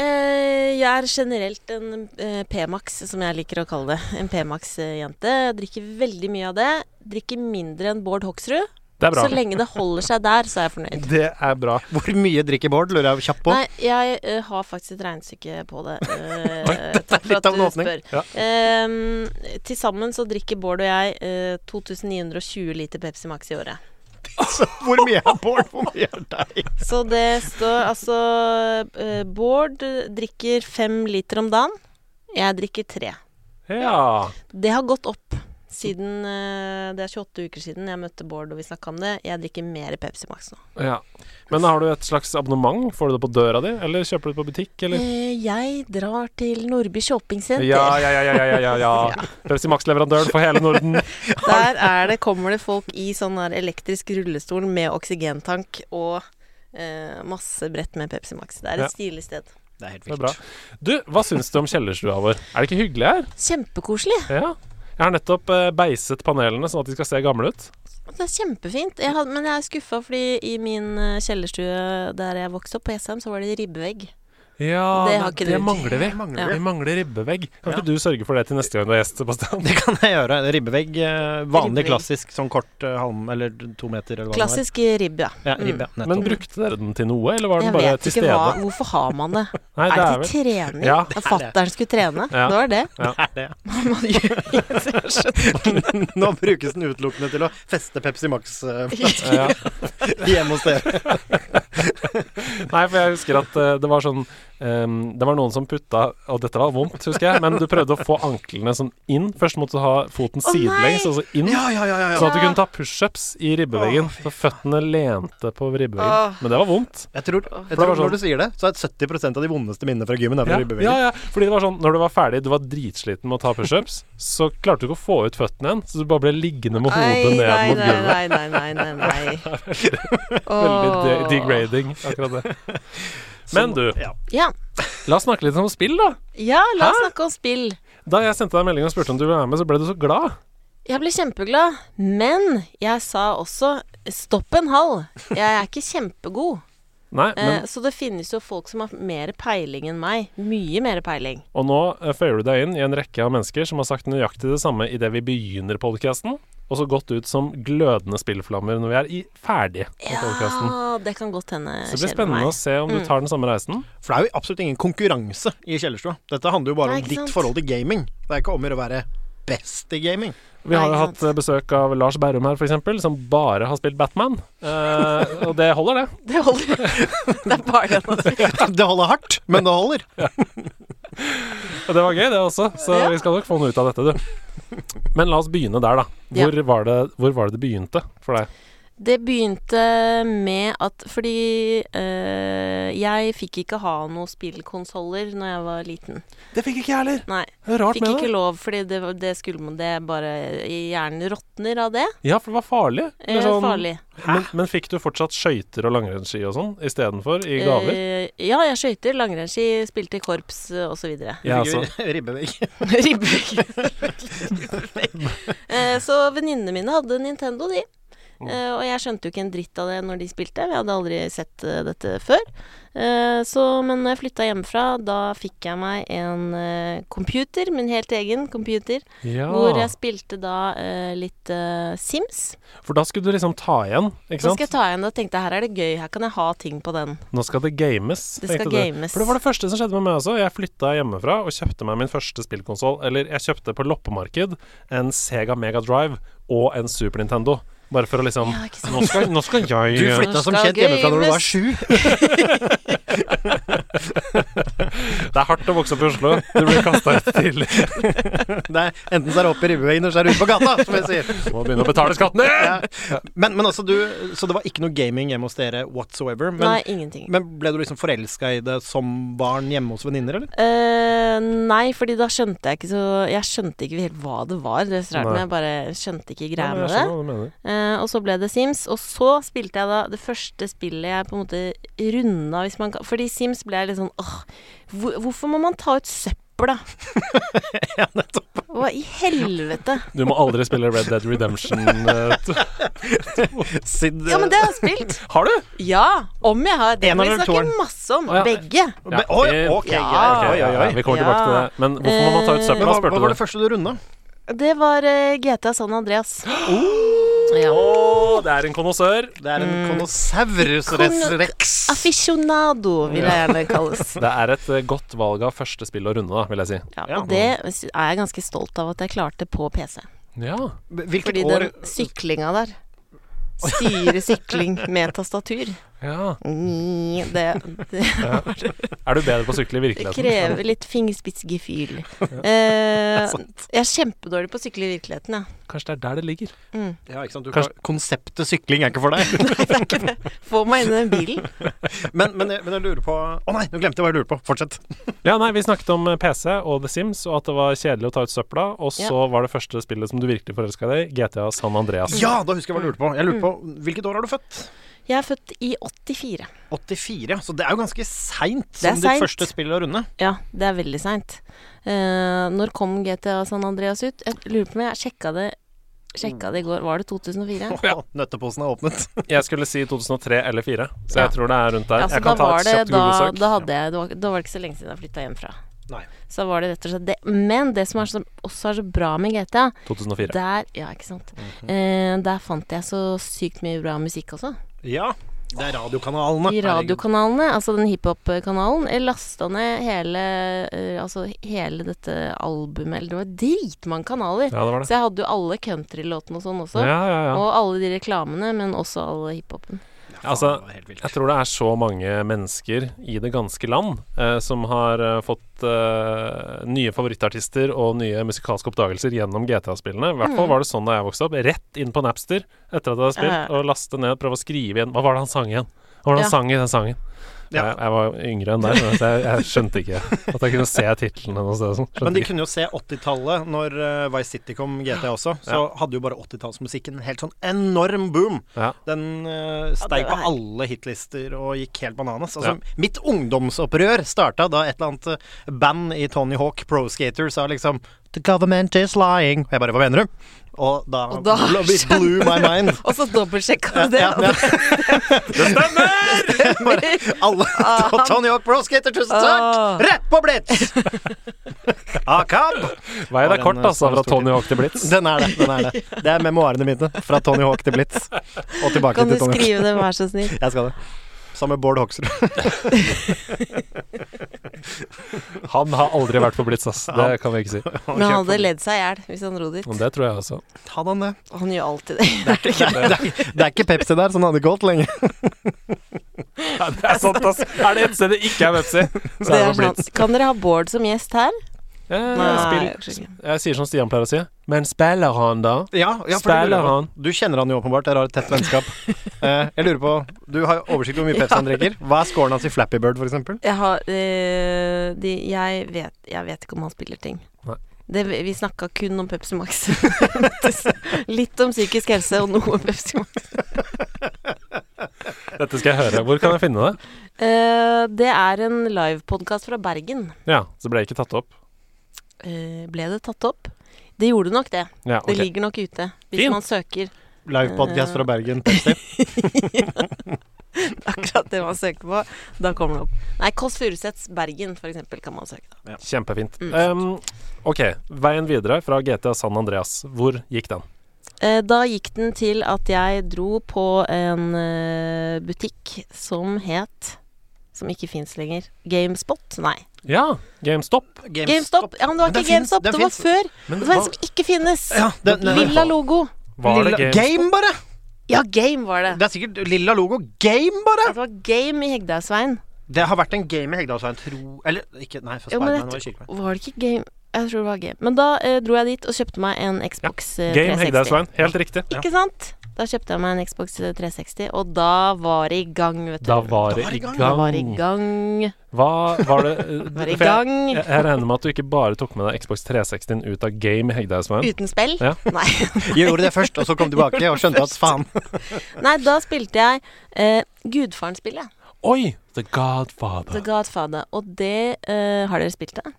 Speaker 1: Eh, jeg er generelt en eh, P-Max, som jeg liker å kalle det. En P-Max-jente. Jeg Drikker veldig mye av det. Drikker mindre enn Bård Hoksrud.
Speaker 5: Det er bra.
Speaker 1: Så lenge det holder seg der, så er jeg fornøyd.
Speaker 5: Det er bra.
Speaker 4: Hvor mye drikker Bård, lurer jeg kjapt på.
Speaker 1: Nei, jeg eh, har faktisk et regnestykke på det.
Speaker 4: *laughs*
Speaker 1: eh,
Speaker 4: dette er
Speaker 1: takk for
Speaker 4: litt
Speaker 1: at
Speaker 4: av en
Speaker 1: du
Speaker 4: åpning.
Speaker 1: spør.
Speaker 5: Ja.
Speaker 1: Eh, Til sammen så drikker Bård og jeg eh, 2920 liter Pepsi Max i året.
Speaker 4: Så *laughs* hvor mye er Bård, hvor mye er deg?
Speaker 1: Så det står altså eh, Bård drikker fem liter om dagen. Jeg drikker tre.
Speaker 5: Ja.
Speaker 1: Det har gått opp siden eh, Det er 28 uker siden jeg møtte Bård og vi snakka om det. Jeg drikker mer Pepsi Max nå.
Speaker 5: ja. Men har du et slags abonnement? Får du det på døra di, eller kjøper du det på butikk, eller?
Speaker 1: Eh, Jeg drar til Nordby shoppingsenter.
Speaker 5: Ja, ja, ja, ja, ja, ja, ja. Pepsi Max-leverandøren for hele Norden.
Speaker 1: Der er det, kommer det folk i sånn der elektrisk rullestol med oksygentank og eh, masse brett med Pepsi Max. Det er et
Speaker 5: Ja.
Speaker 1: stilig sted.
Speaker 4: Det er helt
Speaker 5: Det er
Speaker 4: vilt.
Speaker 5: bra. Du, hva syns du om kjellerstua vår? Er det ikke hyggelig her?
Speaker 1: Kjempekoselig.
Speaker 5: Ja. Jeg har nettopp eh, beiset panelene sånn at de skal se gamle ut.
Speaker 1: Det er kjempefint. Jeg hadde, men jeg er skuffa, fordi i min eh, kjellerstue der jeg vokste opp, på Jessheim, så var det ribbevegg.
Speaker 5: Ja,
Speaker 1: Det har ikke
Speaker 5: det
Speaker 1: du.
Speaker 5: mangler vi.
Speaker 4: Det mangler
Speaker 1: Ja.
Speaker 5: Vi mangler ribbevegg. Kan ikke du sørge for det til neste gang du er gjest, Sebastian?
Speaker 4: Det kan jeg gjøre. Ribbevegg. eh, Vanlig
Speaker 1: Ribbevegg.
Speaker 4: klassisk sånn kort eh, halm Eller to meter, eller hva det
Speaker 1: Klassisk ribbe, ja. Mm.
Speaker 4: var. Ja, ribbe, ja,
Speaker 5: Men
Speaker 4: nettopp. *laughs*
Speaker 5: brukte dere den til noe, eller var den
Speaker 1: Jeg
Speaker 5: bare
Speaker 1: vet
Speaker 5: til
Speaker 1: ikke
Speaker 5: stede?
Speaker 1: hva, hvorfor har man det?
Speaker 5: *laughs* Nei,
Speaker 1: Er
Speaker 5: det
Speaker 1: det
Speaker 5: er vel
Speaker 1: til trening?
Speaker 5: Ja.
Speaker 1: At Fatteren skulle trene?
Speaker 5: Ja.
Speaker 1: Det var det.
Speaker 4: *laughs* Nå brukes den utelukkende til å feste Pepsi Max *laughs* eh,
Speaker 5: ja.
Speaker 4: hjemme hos dere.
Speaker 5: Nei, for jeg husker at eh, det var sånn ehm, Det var noen som putta Og dette var vondt, husker jeg, men du prøvde å få anklene sånn inn. Først måtte du ha foten
Speaker 1: Å, nei!
Speaker 5: sidelengs, og så inn.
Speaker 4: Ja, ja, ja. ja, ja.
Speaker 5: Sånn at du kunne ta pushups i ribbeveggen. Så føttene lente på ribbeveggen. Men det var vondt.
Speaker 4: Jeg tror, jeg
Speaker 5: var
Speaker 4: tror
Speaker 5: sånn-
Speaker 4: når du sier det, så er 70 av de vondeste minnene fra gymmen er fra
Speaker 5: Ja,
Speaker 4: ribbeveggen.
Speaker 5: ja, ja, fordi det var sånn Når du var ferdig, du var dritsliten med å ta pushups, så klarte du ikke å få ut føttene igjen, så du bare ble liggende med hodet ned
Speaker 1: nei,
Speaker 5: mot
Speaker 1: nei,
Speaker 5: gulvet.
Speaker 1: nei, nei, nei, nei,
Speaker 5: *laughs*
Speaker 1: nei.
Speaker 5: Veldig
Speaker 1: Åh.
Speaker 5: de degrading, akkurat det.
Speaker 1: *laughs*
Speaker 5: Men du,
Speaker 4: Ja.
Speaker 1: Ja.
Speaker 5: la oss snakke litt om spill, da.
Speaker 1: ja, la oss
Speaker 5: Hæ?
Speaker 1: snakke om spill.
Speaker 5: Da jeg sendte deg melding og spurte om du ville være med, så ble du så glad.
Speaker 1: Jeg ble kjempeglad, men jeg sa også stopp en halv. Jeg er ikke kjempegod.
Speaker 5: Nei,
Speaker 1: Eh,
Speaker 5: men,
Speaker 1: så det finnes jo folk som har mer peiling enn meg. Mye mer peiling.
Speaker 5: Og nå eh, føyer du deg inn i en rekke av mennesker som har sagt nøyaktig det samme idet vi begynner podkasten, og så gått ut som glødende spillflammer når vi er i ferdig med podkasten.
Speaker 1: Ja, det kan godt hende
Speaker 5: Så det blir
Speaker 1: skjer med
Speaker 5: spennende å
Speaker 1: meg. Mm.
Speaker 5: se om du tar den samme reisen.
Speaker 4: For det er jo absolutt ingen konkurranse i kjellerstua. Dette handler jo bare om
Speaker 1: Nei, ikke
Speaker 4: ditt
Speaker 1: sant?
Speaker 4: forhold til gaming. Det er ikke om å gjøre å være best i
Speaker 1: *laughs*
Speaker 4: gaming.
Speaker 5: Vi har jo
Speaker 1: Nei, ikke
Speaker 5: hatt eh, besøk av Lars Berrum her, f.eks., som bare har spilt Batman. Eh, og det holder, det.
Speaker 1: *laughs* Det holder. det er bare det. nå.
Speaker 4: Det holder hardt, men det holder.
Speaker 5: Og det var gøy, det også. Så
Speaker 1: Ja.
Speaker 5: vi skal nok få noe ut av dette, du. Men la oss begynne der, da. Hvor, var, det, hvor var det det begynte for deg?
Speaker 1: Det begynte med at Fordi eh, jeg fikk ikke ha noen spillkonsoller når jeg var liten.
Speaker 5: Det fikk ikke jeg heller.
Speaker 1: Nei.
Speaker 5: Det er Rart
Speaker 1: Fikk
Speaker 5: med
Speaker 1: ikke
Speaker 5: det.
Speaker 1: lov, fordi det, var- det skulle man det bare Hjernen råtner av det.
Speaker 5: Ja, for det var farlig.
Speaker 1: Eh,
Speaker 5: Eller sånn-
Speaker 1: farlig.
Speaker 5: Men, men fikk du fortsatt skøyter og langrennsski og sånn istedenfor i gaver?
Speaker 1: Eh, ja, jeg skøyter, langrennsski, spilte i korps eh, og så videre.
Speaker 5: Ja,
Speaker 4: Fikk
Speaker 5: altså.
Speaker 4: *laughs* Ribbevegg.
Speaker 1: *laughs* Ribbevegg. Eh, så venninnene mine hadde Nintendo, de.
Speaker 5: Mm.
Speaker 1: Eh, og jeg skjønte jo ikke en dritt av det når de spilte. Vi hadde aldri sett eh, dette før. Eh, så, men når jeg flytta hjemmefra, da fikk jeg meg en eh, computer, min helt egen computer,
Speaker 5: Ja.
Speaker 1: hvor jeg spilte da eh, litt eh, Sims.
Speaker 5: For da skulle du liksom ta igjen, ikke
Speaker 1: Så
Speaker 5: sant?
Speaker 1: skal jeg ta igjen det og tenkte her er det gøy, her kan jeg ha ting på den.
Speaker 5: Nå skal det games.
Speaker 1: Det skal
Speaker 5: tenkte du.
Speaker 1: games.
Speaker 5: For det var det første som skjedde med meg også. Jeg flytta hjemmefra og kjøpte meg min første spillkonsoll. Eller jeg kjøpte på loppemarked en Sega Mega Drive og en Super Nintendo. Bare for å liksom
Speaker 1: Ja, ikke sant?
Speaker 5: nå, skal, nå *laughs* skal jeg eh,
Speaker 4: Du flytta som
Speaker 1: skal
Speaker 4: kjent hjemmefra når du var
Speaker 1: games.
Speaker 4: sju. *laughs*
Speaker 5: Det er hardt å vokse opp i Oslo. Du blir kasta ut tidlig.
Speaker 4: Det er, enten så er det opp i ribbeveggen, eller så er det ute på gata, som jeg sier.
Speaker 5: Må begynne å betale skattene!
Speaker 4: Ja. Men, men altså, du Så det var ikke noe gaming hjemme hos dere whatsoever. Men,
Speaker 1: Nei, ingenting.
Speaker 4: men ble du liksom forelska i det som barn hjemme hos venninner, eller?
Speaker 1: Eh, nei, fordi da skjønte jeg ikke så Jeg skjønte ikke helt hva det var. Det er så rart,
Speaker 5: Nei.
Speaker 1: men jeg bare skjønte ikke
Speaker 5: Ja,
Speaker 1: greia
Speaker 5: men
Speaker 1: med
Speaker 5: jeg
Speaker 1: det.
Speaker 5: skjønner hva du mener.
Speaker 1: Eh, og så ble det Sims, og så spilte jeg da det første spillet jeg på en måte runda hvis man kan Fordi Sims ble jeg litt sånn åh, hvor, hvorfor må man ta ut søppel, da? *laughs* Hva i helvete?
Speaker 5: Du må aldri spille Red Dead Redemption. eh, t-
Speaker 4: Sid,
Speaker 1: Ja, men det har jeg spilt.
Speaker 5: Har du?
Speaker 1: *laughs* Ja, om jeg har. Det
Speaker 4: En
Speaker 1: kan vi
Speaker 4: eller
Speaker 1: snakke
Speaker 4: toeren?
Speaker 1: masse om.
Speaker 5: Å, ja.
Speaker 1: Begge.
Speaker 4: Be- Oi, ok,
Speaker 1: eh, Ja.
Speaker 4: greit.
Speaker 5: Ok,
Speaker 4: Oi, oi, oi.
Speaker 5: Vi kommer tilbake til
Speaker 1: Ja.
Speaker 5: det. Men hvorfor må man ta ut
Speaker 1: Eh,
Speaker 4: Men
Speaker 5: søpla,
Speaker 4: hva, hva
Speaker 5: spurte
Speaker 4: var det
Speaker 5: du.
Speaker 4: første du runda?
Speaker 1: Det var eh, GTA San *gasps* Andreas. Ja.
Speaker 5: Å, det er en konnoissør.
Speaker 4: Det er en
Speaker 1: Mm.
Speaker 4: konosaurus
Speaker 1: Kon-
Speaker 4: rex.
Speaker 1: Aficionado, vil jeg gjerne kalles.
Speaker 5: Det er et eh, godt valg av første spill å runde, da, vil jeg si.
Speaker 1: *laughs* Ja,
Speaker 4: Ja.
Speaker 1: og det er jeg ganske stolt av at jeg klarte på PC.
Speaker 5: Ja.
Speaker 4: Hvilket
Speaker 1: Fordi
Speaker 4: år
Speaker 1: den syklinga der *laughs* Styresykling med tastatur.
Speaker 5: ja.
Speaker 1: Ni, *laughs* Det, sånn. det
Speaker 5: Er du bedre på å sykle i virkeligheten?
Speaker 1: krever litt *laughs* fingerspitzgefühl. Eh, jeg er kjempedårlig på å sykle i virkeligheten, jeg.
Speaker 5: Kanskje det er der det ligger.
Speaker 4: ja, ikke sant? Du,
Speaker 5: Kanskje-
Speaker 4: Konseptet sykling er ikke for deg. *laughs*
Speaker 1: Få meg inn i den bilen.
Speaker 4: men, men, jeg, men jeg lurer på Å nei, nå glemte jeg hva jeg lurer på. Fortsett.
Speaker 5: Ja, nei, Vi snakket om eh, PC og The Sims, og at det var kjedelig å ta ut søpla. Og så var det første spillet som du virkelig forelska deg i, GTA San Andreas.
Speaker 4: Ja, da husker jeg hva jeg lurte på. Jeg
Speaker 1: Mm.
Speaker 4: lurte på, Hvilket år er du født?
Speaker 1: *laughs* Jeg er født i 84.
Speaker 4: 84, ja. Så det er jo ganske seint
Speaker 1: Det er
Speaker 4: som
Speaker 1: seint.
Speaker 4: ditt første spill å runde.
Speaker 1: Ja, det er veldig seint. Eh, når kom GTA San Andreas ut? Jeg lurer på om jeg sjekka det Sjekka det i går. Var det 2004?
Speaker 4: Ja. Nøtteposen er åpnet. *laughs*
Speaker 5: Jeg skulle si 2003 eller 2004, så
Speaker 1: Ja.
Speaker 5: jeg tror det er rundt der.
Speaker 1: Ja, så
Speaker 5: jeg kan
Speaker 1: da
Speaker 5: ta
Speaker 1: var
Speaker 5: et
Speaker 1: det,
Speaker 5: kjapt
Speaker 1: da, da,
Speaker 5: Google-søk.
Speaker 1: hadde jeg, det var, da var det ikke så lenge siden jeg flytta hjemmefra.
Speaker 4: Nei.
Speaker 1: Så var det rett og slett det. Men det som er så, også er så bra med GTA,
Speaker 5: 2004.
Speaker 1: der Ja, ikke sant. eh, der fant jeg så sykt mye bra musikk også.
Speaker 4: Ja. Det er radiokanalene.
Speaker 1: I
Speaker 4: Herregud.
Speaker 1: radiokanalene, altså den hiphop-kanalen. Jeg lasta ned hele eh, Altså hele dette albumet Eller det var dritmange kanaler.
Speaker 5: Ja, det var det.
Speaker 1: Så jeg hadde jo alle countrylåtene og sånn også.
Speaker 5: Ja, ja, ja.
Speaker 1: Og alle de reklamene, men også alle hiphopen.
Speaker 4: Faen,
Speaker 5: Altså,
Speaker 4: det var helt vilt.
Speaker 5: Jeg tror det er så mange mennesker i det ganske land eh, som har eh, fått eh, nye favorittartister og nye musikalske oppdagelser gjennom GTA-spillene. I hvert
Speaker 1: Mm.
Speaker 5: fall var det sånn da jeg vokste opp. Rett inn på Napster etter at jeg hadde spilt,
Speaker 1: Ja.
Speaker 5: og laste ned, prøve å skrive igjen Hva var det han sang igjen? Hva var det han
Speaker 1: Ja.
Speaker 5: sang i den sangen?
Speaker 4: Ja.
Speaker 5: Jeg, jeg var yngre enn deg, så jeg, jeg skjønte ikke at jeg kunne se titlene noe sted. og sånn.
Speaker 4: Men
Speaker 5: Skjønte
Speaker 4: de
Speaker 5: ikke.
Speaker 4: kunne jo se 80-tallet, når eh, Vice City kom GTA også. Så hadde jo bare 80-tallsmusikken en helt sånn enorm boom.
Speaker 5: Ja.
Speaker 4: Den uh,
Speaker 1: det
Speaker 4: steig på
Speaker 1: var-
Speaker 4: alle hitlister og gikk helt bananas.
Speaker 5: Ja.
Speaker 4: Altså, Mitt ungdomsopprør starta da et eller annet eh, band i Tony Hawk Pro Skater sa liksom The government is lying. Og jeg bare Hva mener du? Og da,
Speaker 1: Og da
Speaker 4: bl- it blew my
Speaker 1: *laughs*
Speaker 4: mind.
Speaker 1: *laughs* Og så *laughs* dobbeltsjekka du det.
Speaker 4: Ja, ja. *laughs* Bare
Speaker 1: *laughs*
Speaker 4: alle Tony Hawk Pro Skater, tusen
Speaker 1: Ah.
Speaker 4: takk! Rett på
Speaker 1: *laughs*
Speaker 4: blitz! Akab!
Speaker 5: Veien
Speaker 4: var
Speaker 5: er
Speaker 4: en,
Speaker 5: kort,
Speaker 4: eh,
Speaker 5: altså,
Speaker 4: stor
Speaker 5: fra
Speaker 4: stor
Speaker 5: Tony Hawk til Blitz.
Speaker 4: *laughs* Den er det. den er Det Det er memoarene mine. Fra Tony Hawk til Blitz. Og tilbake
Speaker 1: Kan du
Speaker 4: til Tony Hawk.
Speaker 1: skrive det, vær
Speaker 5: *laughs*
Speaker 1: så snill?
Speaker 4: Jeg skal det. Sammen med Bård Hoksrud.
Speaker 5: Han har aldri vært på Blitz, ass. Det kan vi ikke si.
Speaker 1: Men han hadde ledd seg i hjel hvis han dro dit.
Speaker 5: Men det tror jeg også.
Speaker 4: Hadde *laughs* han det?
Speaker 1: Han gjør alltid det.
Speaker 4: Det er, det, er, det er ikke Pepsi der, så den hadde ikke holdt lenge.
Speaker 5: Ja,
Speaker 1: *laughs*
Speaker 5: det er sant, ass. Er det et sted det ikke er Vepsi, så
Speaker 1: Det
Speaker 5: er det
Speaker 1: er sånn
Speaker 5: på Blitz.
Speaker 1: sant. Kan dere ha Bård som gjest her?
Speaker 5: Eh,
Speaker 1: Nei,
Speaker 5: spill.
Speaker 1: jeg orker ikke.
Speaker 5: Jeg sier som Stian pleier å si. Men spiller han, da?
Speaker 4: *laughs* Ja, ja for det lurer jeg
Speaker 5: Spiller
Speaker 4: på.
Speaker 5: han?
Speaker 4: Du kjenner han jo åpenbart, dere har et tett *laughs* vennskap. Eh, jeg lurer på, Du har jo oversikt over hvor mye Pepsi han drikker. Hva er scoren hans i Flappy Bird, for eksempel?
Speaker 1: Jeg har eh, de, jeg, vet, jeg vet ikke om han spiller ting.
Speaker 5: Nei.
Speaker 1: Det, vi snakka kun om Pepsi Max. *laughs* Litt om psykisk helse og noe om Pepsi Max.
Speaker 5: Dette skal jeg høre. Hvor kan jeg finne det?
Speaker 1: Eh, det er en livepodkast fra Bergen.
Speaker 5: Ja, så ble jeg ikke tatt opp.
Speaker 1: Eh, ble det tatt opp? Det gjorde nok det.
Speaker 5: Ja,
Speaker 1: Det
Speaker 5: ok.
Speaker 1: ligger nok ute hvis
Speaker 5: Fint.
Speaker 1: man søker *laughs*
Speaker 4: Live podcast fra Bergen. Pepsi. *laughs*
Speaker 1: akkurat det man søker på. Da kommer det opp. Nei, Kåss Furuseths Bergen, for eksempel, kan man søke. da.
Speaker 5: Kjempefint.
Speaker 1: Mm.
Speaker 5: Ehm, ok, veien videre fra GTA San Andreas. Hvor gikk den?
Speaker 1: Eh, Da gikk den til at jeg dro på en eh, butikk som het Som ikke fins lenger. GameSpot? Nei.
Speaker 5: Ja, GameStop.
Speaker 1: GameStop! Ja, men det var
Speaker 4: Men den finnes-
Speaker 1: ikke GameStop,
Speaker 4: den
Speaker 1: det var
Speaker 4: finnes.
Speaker 1: før.
Speaker 5: Men
Speaker 1: Det var en som ikke finnes.
Speaker 4: Ja, den- den-
Speaker 1: Lilla logo.
Speaker 5: Var det
Speaker 4: Lilla-
Speaker 5: GameStop?
Speaker 4: Game, bare!
Speaker 1: Ja, Game var det.
Speaker 4: Det er sikkert lilla logo. Game, bare!
Speaker 1: Det var Game i Hegdehaugsveien.
Speaker 4: Det har vært en game i Hegdalsveien, tro Eller ikke, nei, for
Speaker 1: Jo, men
Speaker 4: Spiderman var i
Speaker 1: jeg,
Speaker 4: Kirkeveien.
Speaker 1: var det ikke Game Jeg tror det var Game. Men da eh, dro jeg dit og kjøpte meg en Xbox eh,
Speaker 5: Game
Speaker 1: 360.
Speaker 5: Hegdehaugsveien. Helt riktig.
Speaker 1: Ikke sant? Da kjøpte jeg meg en Xbox 360, og da var det i gang, vet du.
Speaker 5: Da var det i
Speaker 4: Da var det i gang.
Speaker 1: Da var det i
Speaker 5: gang.
Speaker 1: gang.
Speaker 5: Hva var det
Speaker 1: Var det i
Speaker 5: for jeg-
Speaker 1: gang.
Speaker 5: Jeg, jeg regner med at du ikke bare tok med deg Xbox 360 ut av Game i Hegdehaugsveien.
Speaker 1: Uten spill?
Speaker 5: Ja.
Speaker 1: *laughs* Nei.
Speaker 4: Gjorde det først, og så kom tilbake og skjønte at faen.
Speaker 1: Nei, da spilte jeg eh, Gudfaren-spillet.
Speaker 5: Oi! The
Speaker 1: The
Speaker 5: Godfather.
Speaker 1: Godfather. Og det eh, Har dere spilt det?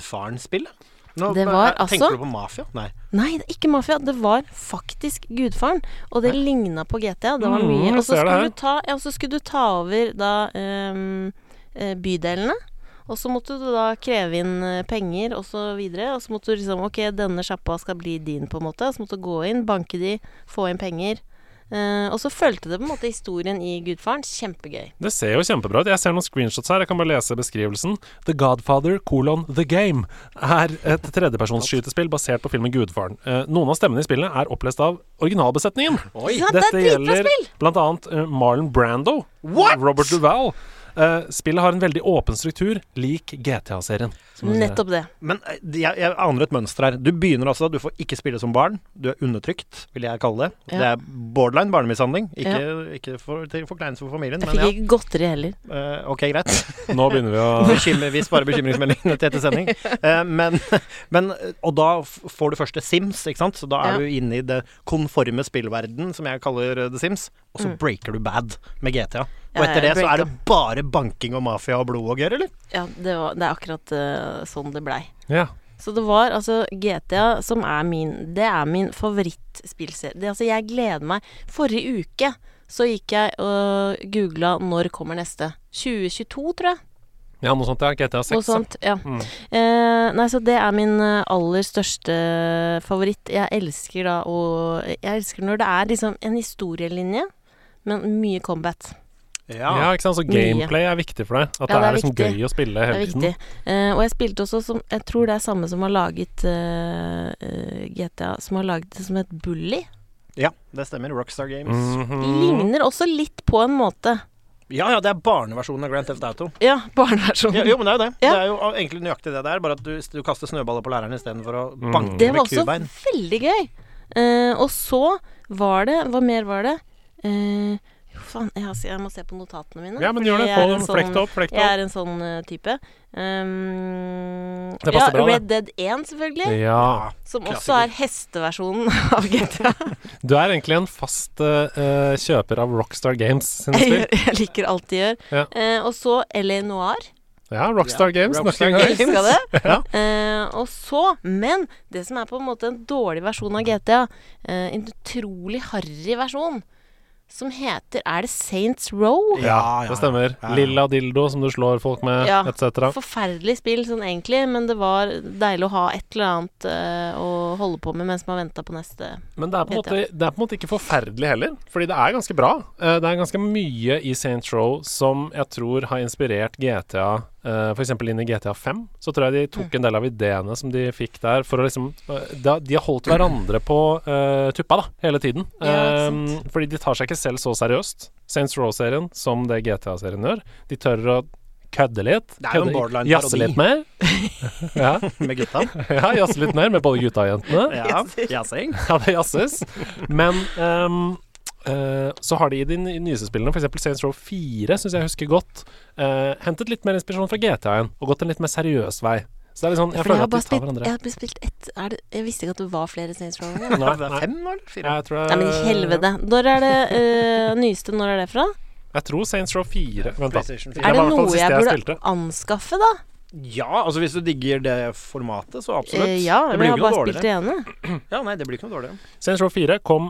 Speaker 4: Gudfaren-spillet? Nå
Speaker 1: Det var
Speaker 4: eh,
Speaker 1: altså-
Speaker 4: Tenker du på mafia? Nei.
Speaker 1: Nei, det er ikke Mafia. Det var faktisk Gudfaren. Og det ligna på GTA. Det var
Speaker 5: Mm,
Speaker 1: mye.
Speaker 5: jeg
Speaker 1: Og så
Speaker 5: ser det her.
Speaker 1: skulle, du ta- ja, og så skulle du ta over da ehm, eh, bydelene. Og så måtte du da kreve inn eh, penger og så videre. Og så måtte du liksom Ok, denne sjappa skal bli din, på en måte. Og så måtte du gå inn, banke de, få inn penger. Eh, og så fulgte det på en måte historien i Gudfaren. Kjempegøy.
Speaker 5: Det ser jo kjempebra ut. Jeg ser noen screenshots her. Jeg kan bare lese beskrivelsen. The Godfather colon The Game er et tredjepersonsskytespill basert på filmen Gudfaren. Eh, Noen av stemmene i spillet er opplest av originalbesetningen.
Speaker 1: Ikke sant? Det er et dritbra spill!
Speaker 5: blant annet eh, Marlon Brando.
Speaker 4: What?!
Speaker 5: Robert Duval. Eh, spillet har en veldig åpen struktur, lik GTA-serien. som du sier.
Speaker 1: Nettopp det.
Speaker 4: Men eh, jeg, jeg aner et mønster her. Du begynner altså at du får ikke spille som barn. Du er undertrykt, vil jeg kalle det.
Speaker 1: Ja.
Speaker 4: Det er borderline barnemishandling. Ikke, ikke for, til forkleinelse for familien,
Speaker 1: Jeg
Speaker 4: men
Speaker 1: fikk
Speaker 4: ja.
Speaker 1: ikke godteri heller.
Speaker 4: Eh, ok, greit.
Speaker 5: Nå begynner vi å
Speaker 4: Bekymre, vi sparer bekymringsmeldingene til etter
Speaker 1: *laughs*
Speaker 4: sending. Eh, men, men, og da f- får du først The Sims, ikke sant? så da er
Speaker 1: Ja.
Speaker 4: du inne i det konforme spillverden, som jeg kaller eh, The Sims, og så breaker du bad med GTA. Og
Speaker 1: Mm. Ja,
Speaker 4: etter det
Speaker 1: jeg
Speaker 4: så er
Speaker 1: breaka.
Speaker 4: det bare banking og mafia og blod og gørr, eller?
Speaker 1: Ja, det, var, det er akkurat eh, sånn det blei.
Speaker 5: *laughs* Ja.
Speaker 1: Så det var altså GTA som er min Det er min favorittspillserie. Det- Altså, jeg gleder meg. Forrige uke så gikk jeg og googla 'når kommer neste'? 2022, tror jeg.
Speaker 5: ja, noe sånt. Ja. GTA 6.
Speaker 1: Noe sånt. Ja. Eh, nei, så det er min eh, aller største favoritt. Jeg elsker da å Jeg elsker når det er liksom en historielinje, men mye combat.
Speaker 5: Ja, ikke sant? Så gameplay er viktig for deg. At
Speaker 1: Ja,
Speaker 5: det
Speaker 1: det
Speaker 5: er
Speaker 1: er
Speaker 5: liksom
Speaker 1: viktig.
Speaker 5: gøy å spille
Speaker 1: Det er
Speaker 5: hele tiden.
Speaker 1: viktig. Eh, og jeg spilte også som Jeg tror det er samme som har laget eh, eh, GTA, som har laget det som et bully.
Speaker 4: ja, det stemmer. Rockstar Games.
Speaker 5: Mhm.
Speaker 1: Ligner også litt på en måte.
Speaker 4: Ja, ja, det er barneversjonen av Grand Theft Auto.
Speaker 1: Ja, barneversjonen.
Speaker 4: Ja, jo, men det er jo det.
Speaker 1: Ja.
Speaker 4: Det er jo egentlig nøyaktig det der, bare at du, du kaster snøballer på læreren istedenfor å banke
Speaker 1: det
Speaker 4: med
Speaker 1: var også
Speaker 4: kubein.
Speaker 1: veldig gøy. Eh, og så var det Hva mer var det? Eh, jo, faen, jeg, har- jeg må se på notatene mine.
Speaker 5: Ja, men
Speaker 1: fordi
Speaker 5: gjør det.
Speaker 1: jeg
Speaker 5: Få
Speaker 1: er en
Speaker 5: den flekk det opp. Flekk det
Speaker 1: Jeg
Speaker 5: opp.
Speaker 1: er en sånn eh, type. Um,
Speaker 5: Det passer
Speaker 1: ja,
Speaker 5: bra, det.
Speaker 1: Red Dead 1, selvfølgelig.
Speaker 5: Ja.
Speaker 1: Som også
Speaker 4: klassiker.
Speaker 1: er hesteversjonen av GTA.
Speaker 5: Du er egentlig en fast eh, eh, kjøper av Rockstar Games
Speaker 1: *laughs*
Speaker 5: sine
Speaker 1: jeg,
Speaker 5: spill.
Speaker 1: gjør- jeg liker alt de gjør.
Speaker 5: Ja.
Speaker 1: Eh, og så L.A. Noir.
Speaker 5: Ja, Rockstar
Speaker 4: Ja,
Speaker 5: Games.
Speaker 4: Rockstar
Speaker 5: Rockstar
Speaker 4: Games.
Speaker 5: Games.
Speaker 1: Elska det.
Speaker 4: Ja.
Speaker 1: Eh, og så, men det som er på en måte en dårlig versjon av GTA, eh, en utrolig harry versjon, som heter Er det Saints Row?
Speaker 4: Ja, ja,
Speaker 5: det stemmer.
Speaker 4: ja, ja.
Speaker 5: Lilla dildo som du slår folk med,
Speaker 1: Ja.
Speaker 5: etc.
Speaker 1: Forferdelig spill sånn egentlig, men det var deilig å ha et eller annet eh, å holde på med mens man venta på neste.
Speaker 5: Men det er, på en
Speaker 1: Helt
Speaker 5: måte, det er på en måte ikke forferdelig heller, fordi det er ganske bra. Eh, Det er ganske mye i Saint Row som jeg tror har inspirert GTA, eh, for eksempel inn i GTA 5. Så tror jeg de tok
Speaker 1: Mm.
Speaker 5: en del av ideene som de fikk der, for å liksom eh, da- De har holdt hverandre på eh, tuppa, da, hele tiden.
Speaker 1: Ja,
Speaker 5: Eh,
Speaker 1: ikke
Speaker 5: fordi de tar seg ikke selv så seriøst, Saints Row-serien, som det GTA-serien gjør. De tør å kødde litt.
Speaker 4: Det er jo en
Speaker 5: Kødde-
Speaker 4: borderline
Speaker 5: Jazze
Speaker 4: parodi.
Speaker 5: litt mer. *laughs* ja,
Speaker 4: med
Speaker 1: *laughs*
Speaker 4: gutta.
Speaker 5: ja jazze litt mer med både gutta og jentene.
Speaker 4: Ja, jazzing.
Speaker 5: *laughs* Ja, det jazzes. Men ehm, eh, så har de i de ny- nyeste spillene, f.eks. Saints Row 4, syns jeg husker godt, eh, hentet litt mer inspirasjon fra GTA-en og gått en litt mer seriøs vei. Så det er litt sånn, jeg
Speaker 1: For jeg
Speaker 5: føler
Speaker 1: har
Speaker 5: at de
Speaker 1: bare
Speaker 5: tar
Speaker 1: spilt, jeg
Speaker 5: hverandre.
Speaker 1: har bare spilt ett er det, Jeg visste ikke at det var flere Saints Row.
Speaker 5: Nei,
Speaker 4: Var det
Speaker 5: nei.
Speaker 4: fem eller fire?
Speaker 5: Jeg tror
Speaker 1: Nei, men i helvete. Når er det eh, nyeste? Når er det fra?
Speaker 5: Jeg tror Saints Row 4 Vent, da.
Speaker 4: PlayStation
Speaker 5: Det
Speaker 1: Er
Speaker 5: var
Speaker 4: 4.
Speaker 1: det
Speaker 5: i hvert fall
Speaker 1: noe
Speaker 5: siste
Speaker 1: jeg
Speaker 5: jeg
Speaker 1: burde
Speaker 5: spilte.
Speaker 1: anskaffe, da?
Speaker 4: Ja, altså hvis du digger det formatet, så absolutt.
Speaker 1: Eh, ja,
Speaker 4: det
Speaker 1: men
Speaker 4: blir jo ikke
Speaker 1: jeg har
Speaker 4: noe
Speaker 1: bare spilt
Speaker 4: dårligere.
Speaker 1: det ene.
Speaker 4: Ja, nei, det blir ikke noe dårligere.
Speaker 5: Saints Row 4 kom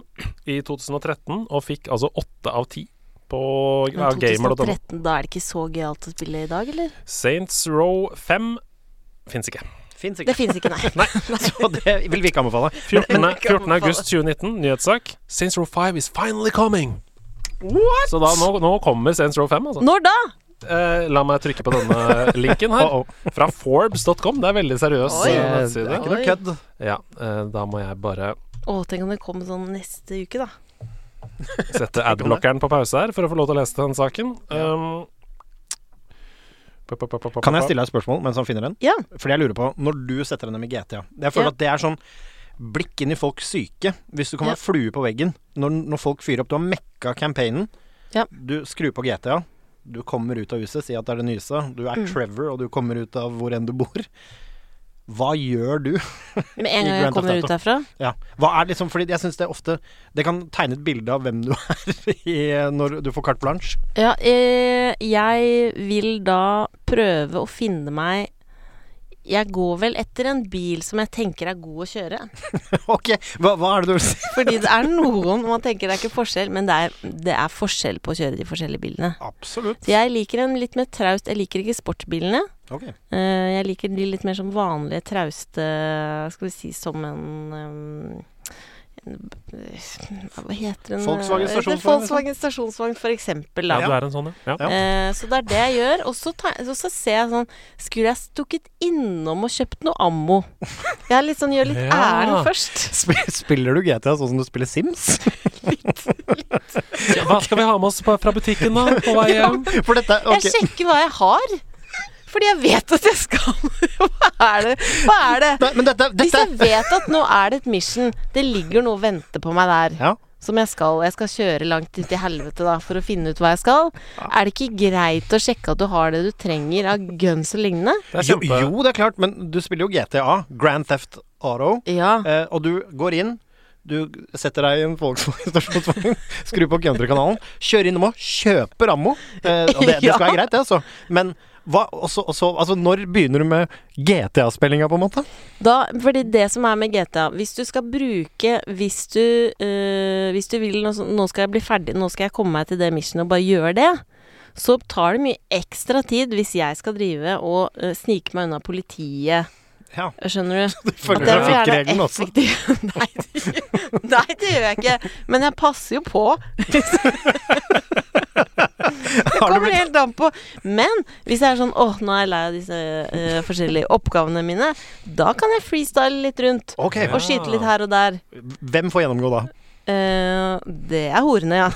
Speaker 5: i 2013 og fikk altså 8 av 10 på ja,
Speaker 1: Men
Speaker 5: gamer.no.
Speaker 1: 2013, da er det ikke så gøyalt å spille i dag, eller?
Speaker 5: Saints Row 5 fins
Speaker 1: *laughs*
Speaker 5: ikke.
Speaker 4: Fins
Speaker 1: Det
Speaker 4: ikke.
Speaker 1: fins ikke, *laughs* nei.
Speaker 4: Så det vil vi ikke anbefale.
Speaker 5: 14.
Speaker 1: Men-
Speaker 5: 14. august 2019, nyhetssak. Saints Row 5 is finally coming!
Speaker 4: What?!
Speaker 5: Så da, nå, nå kommer Saints Row 5, altså.
Speaker 1: Når da?
Speaker 5: Eh, la meg trykke på denne linken her.
Speaker 4: Oh, oh.
Speaker 5: Fra Forbes.com. Det er veldig seriøs
Speaker 1: Oi.
Speaker 5: eh,
Speaker 4: Eh, Det er
Speaker 5: nettside.
Speaker 4: ikke noe
Speaker 1: Oi.
Speaker 4: kødd.
Speaker 5: Ja, eh, da må jeg bare
Speaker 1: Å, tenk om det kom sånn neste uke, da.
Speaker 5: sette adblockeren på pause her for å få lov til å lese den saken. Um,
Speaker 4: Kan jeg stille deg et spørsmål mens han finner den?
Speaker 1: Ja.
Speaker 4: Fordi jeg lurer på, når du setter deg ned med GTA Jeg føler
Speaker 1: Ja.
Speaker 4: at det er sånn blikk inn i folks syke. Hvis du kan
Speaker 1: Ja.
Speaker 4: være flue på veggen når, når folk fyrer opp Du har mekka campaignen,
Speaker 1: Ja.
Speaker 4: du skrur på GTA. Du kommer ut av huset, si at det er det nyeste. Du er
Speaker 1: Mm.
Speaker 4: Trevor, og du kommer ut av hvor enn du bor. Hva gjør du? *laughs*
Speaker 1: Med en
Speaker 4: I
Speaker 1: gang jeg
Speaker 4: Grand Theft
Speaker 1: kommer
Speaker 4: Auto.
Speaker 1: ut derfra.
Speaker 4: Ja. Hva er liksom Fordi jeg syns det ofte Det kan tegne et bilde av hvem du *laughs* er i, når du får carte blanche. *laughs*
Speaker 1: Ja, eh, jeg vil da prøve å finne meg Jeg går vel etter en bil som jeg tenker er god å kjøre.
Speaker 4: ok, hva, hva er det du vil si?
Speaker 1: Fordi det er noen man tenker det er ikke forskjell, men det er, det er forskjell på å kjøre de forskjellige bilene.
Speaker 4: Absolutt.
Speaker 1: Så jeg liker en litt mer traust Jeg liker ikke sportsbilene.
Speaker 4: Ok.
Speaker 1: Eh, jeg liker de litt mer som vanlige, trauste Skal vi si som en um, en, eh, hva heter den
Speaker 4: Volkswagen
Speaker 1: Eh, det er
Speaker 4: stasjonsvogn,
Speaker 1: Volkswagen stasjonsvogn, for eksempel. Da.
Speaker 5: Ja, du er en sånn, ja. ja.
Speaker 4: Ja.
Speaker 1: Eh, så det er det jeg gjør. Og så, ta, og så ser jeg sånn Skulle jeg stukket innom og kjøpt noe ammo? Jeg er litt sånn, gjør litt
Speaker 5: Ja.
Speaker 1: ærend først.
Speaker 4: Sp- Spiller du GTA sånn som du spiller Sims?
Speaker 5: Hva skal vi ha med oss på, fra butikken, da? På vei hjem?
Speaker 4: *laughs* For dette ok.
Speaker 1: Jeg sjekker hva jeg har. Fordi jeg vet at jeg skal *laughs* Hva er det? Hva er det?
Speaker 4: Nei, men dette,
Speaker 1: Hvis
Speaker 4: dette
Speaker 1: jeg vet at nå er det et mission, det ligger noe og venter på meg der,
Speaker 4: Ja.
Speaker 1: som jeg skal Jeg skal kjøre langt ut i helvete da for å finne ut hva jeg skal. Er det ikke greit å sjekke at du har det du trenger av guns og lignende?
Speaker 5: Det er
Speaker 4: jo,
Speaker 5: kjempe...
Speaker 4: jo, det er klart, men du spiller jo GTA, Grand Theft Auto,
Speaker 1: Ja.
Speaker 4: eh, og du går inn du setter deg i en Volkswagen *laughs* stasjonsvogn, skrur på countrykanalen, kjører innom og kjøper ammo. Eh, og
Speaker 1: *laughs*
Speaker 4: det, det skal være greit, det, altså. Men hva, også, også, altså, når begynner du med GTA-spillinga, på en måte?
Speaker 1: Da, fordi det som er med GTA Hvis du skal bruke Hvis du, øh, hvis du vil nå, nå skal jeg bli ferdig, nå skal jeg komme meg til det missionet og bare gjøre det Så tar det mye ekstra tid hvis jeg skal drive og øh, snike meg unna politiet
Speaker 4: Ja.
Speaker 1: Skjønner du?
Speaker 4: følger
Speaker 1: At jeg vil
Speaker 4: trafikkreglene
Speaker 1: gjerne
Speaker 4: også.
Speaker 1: effektiv- *laughs* Nei, det- nei, det gjør jeg ikke Men jeg passer jo på
Speaker 4: Har du
Speaker 1: kommer
Speaker 4: blitt,
Speaker 1: helt an på. Men hvis jeg er sånn åh, nå er jeg lei av disse øh, forskjellige oppgavene mine, da kan jeg freestyle litt rundt.
Speaker 4: ok,
Speaker 1: Og skyte litt her og der.
Speaker 4: hvem får gjennomgå da?
Speaker 1: Eh, det er horene, ja.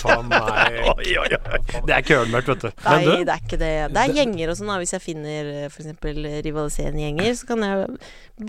Speaker 5: Faen meg.
Speaker 4: Oi, oi, oi. Det er kølmørkt, vet du.
Speaker 1: Nei,
Speaker 5: Men du?
Speaker 1: det er ikke det. Det er gjenger og sånn. da. Hvis jeg finner f.eks. rivaliserende gjenger, så kan jeg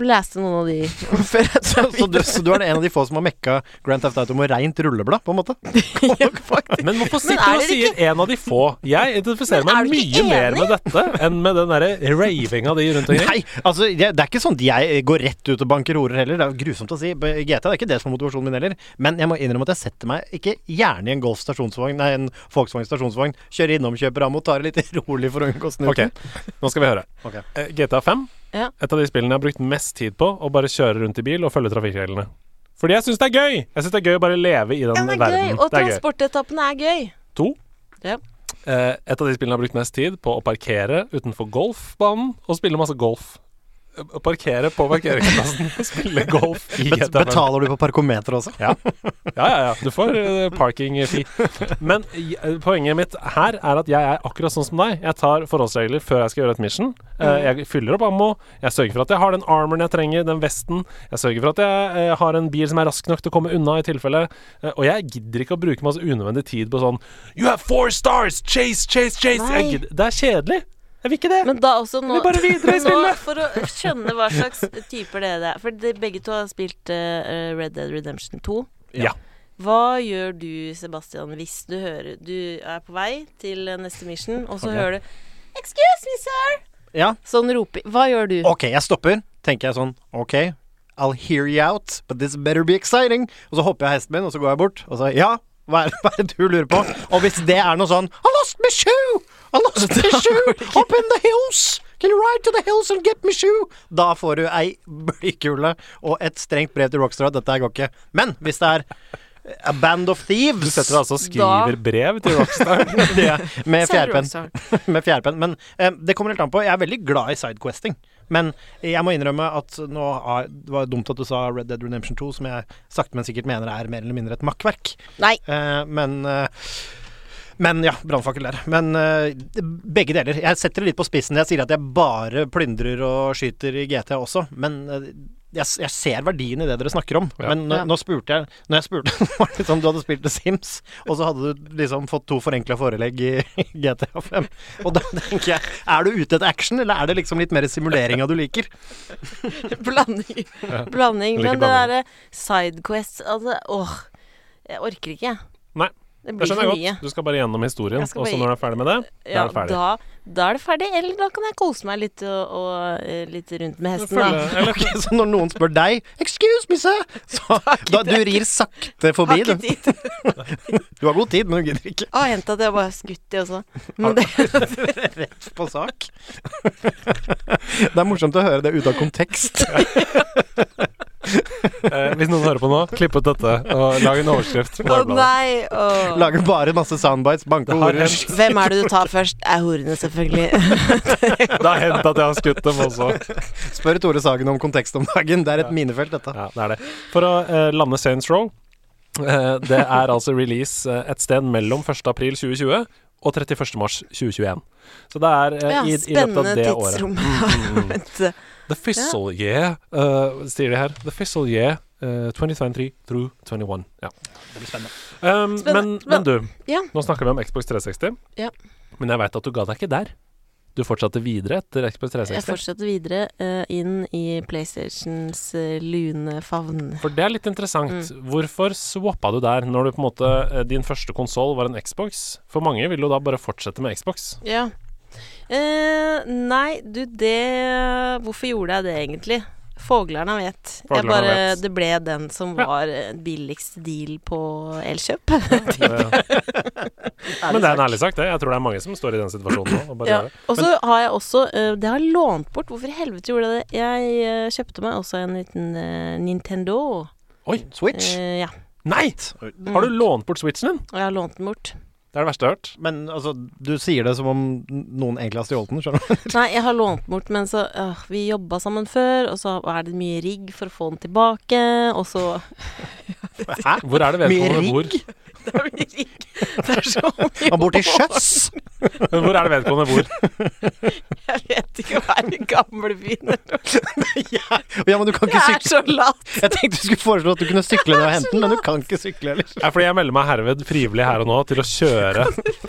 Speaker 1: blaste noen av de. før
Speaker 4: *laughs*
Speaker 1: jeg
Speaker 4: Så,
Speaker 1: tar
Speaker 4: så, du, så du er det en av de få som har mekka Grand Theft Auto med reint rulleblad, på
Speaker 5: *laughs*
Speaker 4: en måte?
Speaker 5: Men hvorfor
Speaker 1: Men
Speaker 5: sitter du
Speaker 1: er
Speaker 5: og
Speaker 1: dere
Speaker 5: sier en av de få? Jeg identifiserer
Speaker 1: Men er
Speaker 5: meg
Speaker 1: du
Speaker 5: mye
Speaker 1: ikke
Speaker 5: mer med dette enn med den derre ravinga di rundt omkring.
Speaker 4: Nei, altså jeg, det er ikke sånn at jeg går rett ut og banker horer heller. Det er jo grusomt å si. På GTA det er ikke det som er motivasjonen min heller. Men jeg må innrømme at jeg setter meg ikke gjerne i en Golf stasjonsvogn, nei, en Volkswagen stasjonsvogn, kjører innom, kjøper ammo, tar det litt *laughs* rolig for å unngå snuten.
Speaker 5: Ok, nå skal vi høre.
Speaker 4: Ok.
Speaker 5: Eh, GTA 5,
Speaker 1: Ja.
Speaker 5: et av de spillene jeg har brukt mest tid på å bare kjøre rundt i bil og følge trafikkreglene. Fordi jeg syns det er gøy! Jeg syns det er gøy å bare leve i den
Speaker 1: Ja, det er gøy.
Speaker 5: verden.
Speaker 1: Og
Speaker 5: det er gøy.
Speaker 1: transportetappene er gøy.
Speaker 5: To.
Speaker 1: Ja.
Speaker 5: Eh, et av de spillene jeg har brukt mest tid på å parkere utenfor golfbanen og spille masse golf. parkere på parkeringsplassen og spille golf i
Speaker 4: Bet-
Speaker 5: GTA 5.
Speaker 4: Betaler du på parkometer også?
Speaker 5: Ja. ja, ja, ja. Du får eh, parking-fee. Men j- eh, poenget mitt her er at jeg er akkurat sånn som deg. Jeg tar forholdsregler før jeg skal gjøre et mission.
Speaker 1: Mm.
Speaker 5: Eh, Jeg fyller opp ammo. Jeg sørger for at jeg har den armoren jeg trenger, den vesten. Jeg sørger for at jeg eh, har en bil som er rask nok til å komme unna i tilfelle. Eh, Og jeg gidder ikke å bruke masse unødvendig tid på sånn You have four stars! Chase, chase, chase!
Speaker 1: Nei.
Speaker 5: Jeg gidder. Det er kjedelig. Jeg vil ikke det.
Speaker 1: Men da også nå,
Speaker 5: Vi bare videre i
Speaker 1: *laughs* nå
Speaker 5: spillet.
Speaker 1: For å skjønne hva slags typer det er. For de, begge to har spilt eh, Red Dead Redemption 2.
Speaker 5: Ja.
Speaker 1: Hva gjør du, Sebastian, hvis du hører Du er på vei til eh, neste mission, og så
Speaker 5: Ok.
Speaker 1: hører du Excuse me, sir!
Speaker 4: Ja.
Speaker 1: Sånn roper Hva gjør du?
Speaker 4: Ok, jeg stopper. Tenker jeg sånn OK, I'll hear you out, but this better be exciting. Og så hopper jeg av hesten min, og så går jeg bort, og så Ja, hva er, *laughs* hva er det du lurer på? Og hvis det er noe sånn I lost my shoe! I
Speaker 5: *laughs*
Speaker 4: lost my shoe! Up in the hills! Can you ride to the hills and get me shoe? Da får du ei blikkule og et strengt brev til Rockstar at dette her går ikke. Men hvis det er A Band of Thieves
Speaker 5: Du setter deg altså og
Speaker 4: *laughs*
Speaker 5: skriver brev til Rockstar.
Speaker 4: det er, med
Speaker 1: Sorry,
Speaker 4: fjærpenn.
Speaker 1: Rockstar.
Speaker 4: *laughs* med fjærpenn. Men eh, det kommer helt an på. Jeg er veldig glad i sidequesting. Men jeg må innrømme at nå har, det var dumt at du sa Red Dead Redemption 2, som jeg sakte, men sikkert mener er mer eller mindre et makkverk.
Speaker 1: Nei.
Speaker 4: Eh, men eh, men ja, brannfakkel der. Men eh, begge deler. Jeg setter det litt på spissen. Jeg sier at jeg bare plyndrer og skyter i GT også, men eh, jeg, s- jeg ser verdien i det dere snakker om.
Speaker 5: Ja.
Speaker 4: Men nå,
Speaker 1: Ja.
Speaker 4: nå spurte jeg Når jeg spurte *laughs* det var litt sånn, Du hadde spilt The Sims, og så hadde du liksom fått to forenkla forelegg i GTA 5. Og da tenker jeg Er du ute etter action, eller er det liksom litt mer simuleringa du liker?
Speaker 1: *laughs* Blanding.
Speaker 5: Jeg
Speaker 1: Blanding.
Speaker 5: liker
Speaker 1: Men det
Speaker 5: blanding.
Speaker 1: derre sidequest Altså, åh. Jeg orker ikke, jeg.
Speaker 5: Nei,
Speaker 1: Det
Speaker 5: Det
Speaker 1: blir
Speaker 5: skjønner
Speaker 1: for
Speaker 5: jeg
Speaker 1: mye.
Speaker 5: godt. Du skal bare gjennom historien,
Speaker 1: Jeg skal
Speaker 5: og så
Speaker 1: bare-
Speaker 5: når du er ferdig med det, da
Speaker 1: Ja,
Speaker 5: er det ferdig.
Speaker 1: da, da er det ferdig. Eller da kan jeg kose meg litt og, og eh, litt rundt med hesten, da.
Speaker 5: Følge, eller
Speaker 4: *laughs* Ok, så når noen spør deg 'Excuse me, sir', så da, Du rir sakte forbi,
Speaker 1: Har
Speaker 4: du.
Speaker 1: ikke tid.
Speaker 4: Du har god tid, men du gidder ikke.
Speaker 1: Å, hendte at jeg bare skutt de også. Men det,
Speaker 4: Rett på sak. det er morsomt å høre det ute av kontekst.
Speaker 5: Eh, hvis noen hører på nå, klipp ut dette og lag en overskrift. på
Speaker 1: å
Speaker 5: Dagbladet.
Speaker 1: nei! å.
Speaker 4: Lager bare masse soundbites, banke
Speaker 5: Det har
Speaker 4: horer.
Speaker 5: hendt.
Speaker 1: Hvem er det du tar først? Er horene, selvfølgelig.
Speaker 5: Det har hendt at jeg har skutt dem også.
Speaker 4: Spør Tore Sagen om kontekst om dagen. Det er et minefelt, dette.
Speaker 5: Ja, det er det. For å eh, lande Saints Row eh, Det er altså release eh, et sted mellom 1. april 2020 og 31. mars 2021. Så det er eh,
Speaker 1: Ja,
Speaker 5: i, i løpet av
Speaker 1: spennende
Speaker 5: det året. Mm.
Speaker 1: tidsrom. Vent.
Speaker 5: *laughs* The Fizzle Yeah, eh, sier de her. The Fizzle Yeah eh, 2023 through 21. Ja. Um, men,
Speaker 1: Spennende.
Speaker 5: men du,
Speaker 1: Ja.
Speaker 5: nå snakker vi om Xbox 360.
Speaker 1: Ja.
Speaker 5: Men jeg veit at du ga deg ikke der. Du fortsatte videre etter Xbox
Speaker 1: Jeg
Speaker 5: 360.
Speaker 1: fortsetter videre eh, inn i PlayStations eh, lune favn.
Speaker 5: For det er litt interessant.
Speaker 1: Mm.
Speaker 5: Hvorfor swappa du der, når du på en måte eh, din første konsoll var en Xbox? For mange vil jo da bare fortsette med Xbox.
Speaker 1: *laughs* Ja. Eh, nei, du, det Hvorfor gjorde jeg det, egentlig? Foglerne vet.
Speaker 5: Foglerne
Speaker 1: jeg bare,
Speaker 5: vet.
Speaker 1: Det ble den som
Speaker 5: Ja.
Speaker 1: var eh, billigst deal på Elkjøp.
Speaker 5: Eh, men det er en ærlig sak, det. Jeg tror det er mange som står i den situasjonen nå. Og bare
Speaker 1: Ja.
Speaker 5: gjør det.
Speaker 1: Og så har jeg også eh, Det har jeg lånt bort. Hvorfor i helvete gjorde jeg det? Jeg eh, kjøpte meg også en liten eh, Nintendo.
Speaker 5: Oi!
Speaker 4: Switch.
Speaker 1: Eh, ja.
Speaker 5: Nei! Har du lånt bort switchen din?
Speaker 1: Og jeg har lånt
Speaker 4: *laughs*
Speaker 1: den bort.
Speaker 5: Det er det verste jeg har hørt.
Speaker 4: Men altså, du sier det som om noen egentlig har stjålet den, skjønner du.
Speaker 1: Nei, jeg har lånt den bort, men så øh, Vi jobba sammen før, og så er det mye rigg for å få den tilbake, og så *laughs*
Speaker 4: Hæ?
Speaker 5: Hvor er det vedkommende
Speaker 4: Med
Speaker 5: bor?
Speaker 1: Det er mye rigg! Det er så mye
Speaker 4: Og bort til
Speaker 1: år.
Speaker 4: sjøs! *laughs*
Speaker 5: Hvor er det vedkommende bor?
Speaker 1: Jeg vet ikke hva er i gamlebyen.
Speaker 4: ja. ja, men du kan
Speaker 1: Det
Speaker 4: ikke
Speaker 1: er
Speaker 4: sykle.
Speaker 1: så lavt.
Speaker 4: Jeg tenkte du skulle foreslå at du kunne sykle ned og hente den, men du kan ikke sykle heller.
Speaker 5: Nei, fordi jeg melder meg herved frivillig her og nå til å kjøre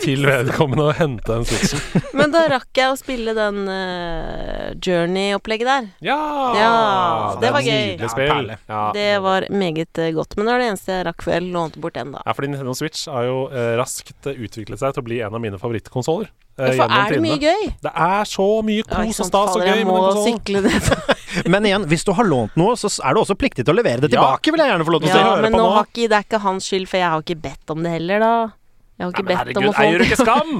Speaker 5: til vedkommende og hente den switchen.
Speaker 1: Men da rakk jeg å spille den øh, Journey-opplegget der.
Speaker 5: Ja!
Speaker 1: Ja, det
Speaker 5: er
Speaker 1: var
Speaker 5: et
Speaker 1: gøy.
Speaker 5: Nydelig
Speaker 4: Ja,
Speaker 5: spill.
Speaker 4: perle.
Speaker 5: Ja.
Speaker 1: Det var meget øh, godt. Men det var det eneste jeg rakk før jeg lånte bort den, da.
Speaker 5: Ja, fordi Nintendo Switch har jo eh, raskt eh, utviklet seg til å bli en av mine favorittkonsoller. Eh,
Speaker 1: For
Speaker 5: gjennom
Speaker 1: er det mye
Speaker 5: tidene.
Speaker 1: gøy?
Speaker 5: Det er så mye
Speaker 1: Ja, ikke
Speaker 5: kos og
Speaker 1: sant,
Speaker 5: stas og
Speaker 1: fader,
Speaker 5: gøy
Speaker 1: jeg
Speaker 5: med den
Speaker 1: må
Speaker 5: konsollen.
Speaker 1: sykle ned.
Speaker 4: Men igjen, hvis du har lånt noe, så er du også pliktig til å levere det
Speaker 5: Ja.
Speaker 4: tilbake, vil jeg gjerne få lov til å si.
Speaker 1: Ja,
Speaker 5: hører
Speaker 1: men
Speaker 5: på
Speaker 1: nå
Speaker 5: nå.
Speaker 1: har ikke, det er ikke hans skyld, for jeg har ikke bedt om det heller, da.
Speaker 5: Nei,
Speaker 1: Jeg har ikke
Speaker 5: men
Speaker 1: bedt om
Speaker 5: herregud,
Speaker 1: å få
Speaker 5: eier du
Speaker 1: *laughs*
Speaker 5: ikke skam?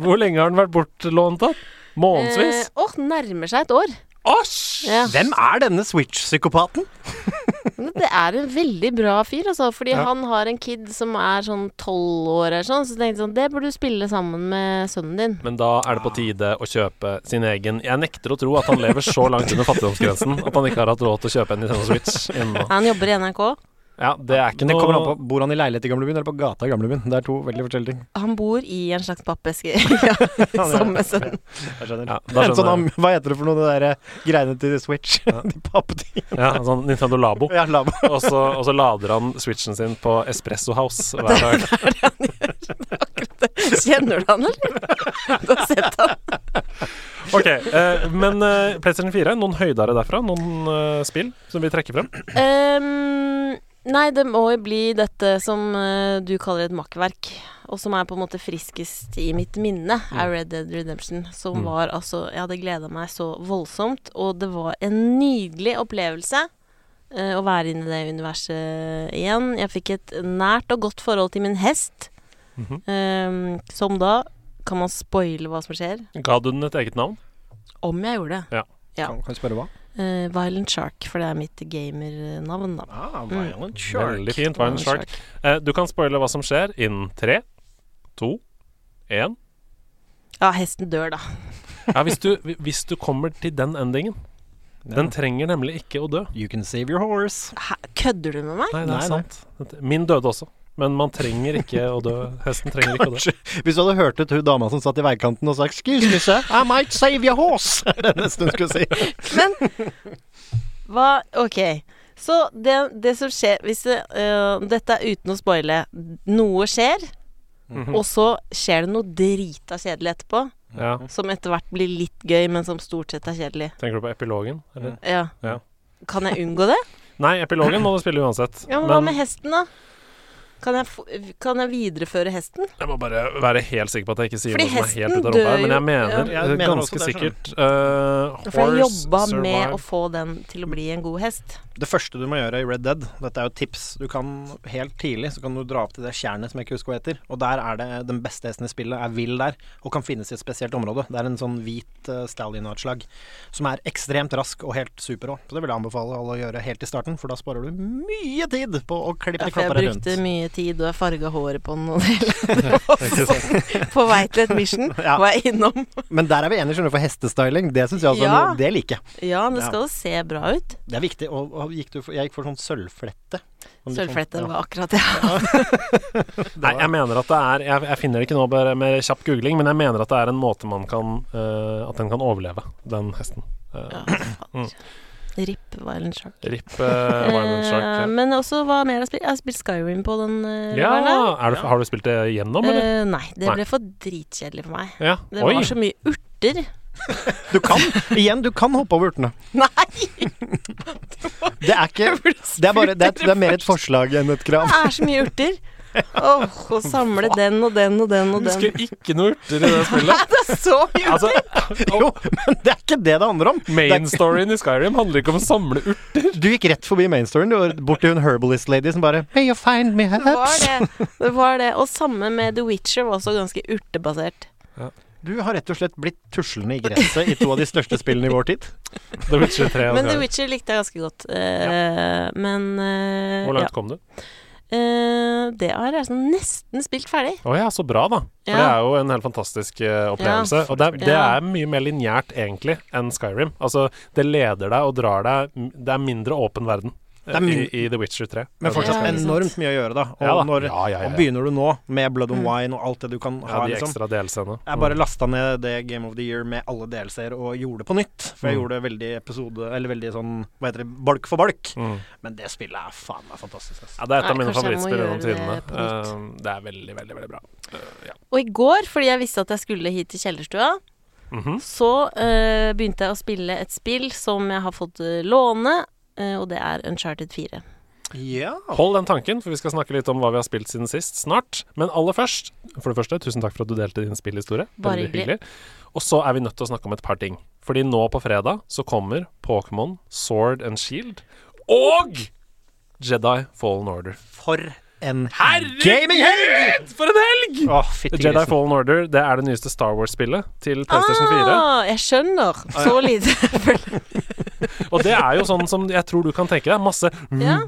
Speaker 5: Hvor lenge har den vært bortlånt da? Månedsvis?
Speaker 1: Eh, åh, nærmer seg et år.
Speaker 5: Æsj!
Speaker 1: Ja.
Speaker 4: Hvem er denne Switch-psykopaten?
Speaker 1: Men det er en veldig bra fyr, altså. Fordi
Speaker 4: Ja.
Speaker 1: han har en kid som er sånn tolv år eller sånn, så tenkte jeg sånn Det burde du spille sammen med sønnen din.
Speaker 5: Men da er det på tide å kjøpe sin egen Jeg nekter å tro at han lever så langt under fattigdomsgrensen at han ikke har hatt råd til å kjøpe en Nintendo Switch ennå.
Speaker 1: Han jobber i NRK.
Speaker 5: Ja, det er ikke
Speaker 4: Det kommer an på
Speaker 5: noe
Speaker 4: Bor han i leilighet i gamlebyen eller på gata i gamlebyen? Det er to veldig forskjellige ting.
Speaker 1: Han bor i en slags *laughs* pappeske ja, sammen med sønnen.
Speaker 4: Jeg skjønner. *laughs*
Speaker 5: Ja, da
Speaker 4: En sånn,
Speaker 5: skjønner
Speaker 4: am- hva heter det for noe, det der eh, greiene til Switch? *laughs* De pappetingene.
Speaker 5: Ja, en sånn Nintendo Labo.
Speaker 4: Ja, labo.
Speaker 5: Og så, og så lader han switchen sin på Espresso House hver dag.
Speaker 1: Kjenner du han, eller? *laughs* Du har sett han?
Speaker 5: Ok, eh, Men eh, PlayStation 4, noen høydere derfra? Noen eh, spill som vi trekker frem?
Speaker 1: Ehm, nei, det må jo bli dette som eh, du kaller et makkverk, og som er på en måte friskest i mitt minne, er Red Dead Redemption. Som
Speaker 5: Mm.
Speaker 1: var altså Jeg hadde gleda meg så voldsomt, og det var en nydelig opplevelse. eh, Å være inne i det universet igjen. Jeg fikk et nært og godt forhold til min hest.
Speaker 5: Mhm.
Speaker 1: ehm, som da Kan man spoile hva som skjer?
Speaker 5: Ga du den et eget navn?
Speaker 1: Om jeg gjorde det. Ja.
Speaker 4: Kan, kan jeg spørre hva?
Speaker 1: Eh, Violent Shark, for det er mitt gamernavn, da.
Speaker 4: Ah,
Speaker 1: Violent
Speaker 5: Veldig fint. Violent Shark. Eh, du kan spoile hva som skjer innen tre, to, én
Speaker 1: Ja, hesten dør, da.
Speaker 5: Ja, hvis du, hvis du kommer til den endingen. Den
Speaker 4: Den
Speaker 5: trenger nemlig ikke å dø.
Speaker 4: You can save your horse.
Speaker 1: Hæ, kødder du med meg?
Speaker 5: Nei, det
Speaker 4: Nei,
Speaker 5: er
Speaker 4: nei.
Speaker 5: sant. Min døde også. Men man trenger ikke å dø. Hesten trenger ikke å dø.
Speaker 4: *laughs* Hvis du hadde hørt ut hun dama som satt i veikanten og sa 'excuse me, sir, I might save your horse', *laughs* det er nesten hun skulle si.
Speaker 1: Men hva Ok. Så det, det som skjer hvis det, øh, Dette er uten å spoile. Noe skjer,
Speaker 5: Mm.
Speaker 1: og så skjer det noe drita kjedelig etterpå.
Speaker 5: Ja.
Speaker 1: Som etter hvert blir litt gøy, men som stort sett er kjedelig.
Speaker 5: Tenker du på epilogen? Eller?
Speaker 1: Ja.
Speaker 5: Ja.
Speaker 1: Kan jeg unngå det?
Speaker 5: Nei, epilogen må du spille uansett.
Speaker 1: Ja, men hva med hesten, da? Kan jeg, f- kan jeg videreføre hesten?
Speaker 5: Jeg må bare være helt sikker på at jeg ikke sier
Speaker 1: Fordi
Speaker 5: noe som er helt
Speaker 1: hesten
Speaker 5: ut av rumpa her,
Speaker 1: dør
Speaker 5: men jeg
Speaker 1: jo-
Speaker 5: mener,
Speaker 4: Ja, jeg mener også
Speaker 5: ganske
Speaker 4: det,
Speaker 5: sikkert eh,
Speaker 1: For jeg
Speaker 5: Horse
Speaker 1: jobba med
Speaker 5: survive.
Speaker 1: å få den til å bli en god hest.
Speaker 4: Det første du må gjøre i Red Dead, dette er jo et tips du kan helt tidlig, så kan du dra opp til det tjernet som jeg ikke husker hva heter, og der er det den beste hesten i spillet, er vill der, og kan finnes i et spesielt område. Det er en sånn hvit uh, stallion-artslag som er ekstremt rask og helt super òg, så det vil jeg anbefale alle å gjøre helt i starten, for da sparer du mye tid på å klippe
Speaker 1: Ja,
Speaker 4: ja,
Speaker 1: for jeg
Speaker 4: klapper rundt.
Speaker 1: brukte mye tid, og jeg farga håret på den. Og det- *laughs* på vei til et mission
Speaker 4: Ja.
Speaker 1: var jeg innom.
Speaker 4: Men der er vi enige, skjønner du, for hestestyling, det syns jeg også,
Speaker 1: Ja.
Speaker 4: det liker jeg.
Speaker 1: Ja, det
Speaker 4: Ja.
Speaker 1: skal jo se bra ut.
Speaker 4: Det er viktig. Og, og gikk du for, jeg gikk for sånn sølvflette. Sånn litt sånn-
Speaker 1: Sølvflette
Speaker 4: ja.
Speaker 1: var akkurat det.
Speaker 5: Nei, jeg mener at det er Jeg, jeg finner det ikke nå bare med kjapp googling, men jeg mener at det er en måte man kan eh, At den kan overleve, den hesten. Eh,
Speaker 1: Ja, fader. RIP Violent Shark.
Speaker 5: RIP eh, Violent Shark.
Speaker 1: Eh,
Speaker 5: ja.
Speaker 1: men også hva mer jeg har spilt? Jeg har spilt Skyrim på den. *laughs* eh,
Speaker 5: Ja,
Speaker 1: lørdagen.
Speaker 5: er det, Har du spilt det gjennom, eller?
Speaker 1: Eh, nei, det
Speaker 5: Nei.
Speaker 1: ble for dritkjedelig for meg.
Speaker 5: Ja.
Speaker 1: Det
Speaker 5: Oi!
Speaker 1: var så mye urter. *laughs*
Speaker 4: Du kan, igjen, du kan hoppe over urtene.
Speaker 1: Nei!
Speaker 4: Det er
Speaker 1: *laughs*
Speaker 4: ikke Det er, bare, det er, det er mer et forslag enn et krav.
Speaker 1: Det er så mye urter. Åh, å samle den og den og den og
Speaker 5: Jeg husker
Speaker 1: den.
Speaker 5: ikke noe urter i det
Speaker 1: *laughs*
Speaker 5: spillet.
Speaker 1: Det er så mye
Speaker 5: Altså,
Speaker 4: Jo, men det er ikke det det handler om.
Speaker 5: Main storyen i Skyrim handler ikke om å samle urter.
Speaker 4: Du gikk rett forbi mainstoryen. Du var bort til hun herbalist lady som bare May you find
Speaker 5: Altså,
Speaker 4: me
Speaker 1: Det var
Speaker 4: herbs?
Speaker 1: det. det var det. Og samme med The Witcher var også ganske urtebasert.
Speaker 4: Du har rett og slett blitt tuslende i gresset i to av de største spillene i vår tid.
Speaker 5: The Witcher altså. 3 og
Speaker 1: Men The
Speaker 5: Skyrim.
Speaker 1: Witcher likte jeg ganske godt. Eh, Men eh,
Speaker 5: Hvor
Speaker 1: ja.
Speaker 5: langt kom du?
Speaker 1: Eh, det har jeg sånn nesten spilt ferdig.
Speaker 5: Å ja, så bra, da. For
Speaker 1: Ja.
Speaker 5: det er jo en helt fantastisk eh, opplevelse. og det, er- det
Speaker 1: Ja.
Speaker 5: er mye mer lineært, egentlig, enn Skyrim. Altså, det leder deg og drar deg Det er mindre åpen verden eh,
Speaker 4: Det er min-
Speaker 5: i, i The Witcher 3.
Speaker 4: Men fortsatt
Speaker 1: Ja, ikke sant.
Speaker 4: enormt mye å gjøre, da.
Speaker 5: Ja, da.
Speaker 4: Og, når,
Speaker 5: Ja, ja, ja, ja.
Speaker 4: og begynner du nå med Blood
Speaker 1: Mm.
Speaker 4: and Wine og alt det du kan
Speaker 5: Ja,
Speaker 4: ha,
Speaker 5: de
Speaker 4: liksom.
Speaker 5: ekstra delscenene.
Speaker 4: Jeg bare lasta ned det Game of the Year med alle delseere og gjorde det på nytt. For jeg
Speaker 5: Mm.
Speaker 4: gjorde veldig episode Eller veldig sånn, hva heter det, balk for balk.
Speaker 5: Mm.
Speaker 4: Men det spillet er faen meg fantastisk. ass.
Speaker 5: Ja, det er et av
Speaker 1: Nei,
Speaker 5: mine
Speaker 1: kanskje jeg må
Speaker 5: favorittspill gjennom
Speaker 1: gjøre det
Speaker 5: tidene.
Speaker 1: på nytt.
Speaker 5: Eh, det er veldig, veldig veldig bra.
Speaker 1: Og i går, fordi jeg visste at jeg skulle hit til kjellerstua,
Speaker 5: Mhm.
Speaker 1: så eh, begynte jeg å spille et spill som jeg har fått eh, låne, eh, og det er Uncharted 4.
Speaker 4: Ja.
Speaker 5: Hold den tanken, for vi skal snakke litt om hva vi har spilt siden sist snart. Men aller først, for det første, tusen takk for at du delte din spillhistorie.
Speaker 1: Bare
Speaker 5: Veldig
Speaker 1: hyggelig.
Speaker 5: Og så er vi nødt til å snakke om et par ting. Fordi nå på fredag så kommer Pokémon Sword and Shield og Jedi Fallen Order.
Speaker 4: For en
Speaker 5: Herregud, for en helg!
Speaker 4: Å, fytti
Speaker 5: Jedi
Speaker 4: grisen.
Speaker 5: Fallen Order det er det nyeste Star Wars-spillet til PlayStation 4.
Speaker 1: Ah, jeg skjønner! Så lite. *laughs*
Speaker 5: Og det er jo sånn som jeg tror du kan tenke deg. Masse
Speaker 1: Ja.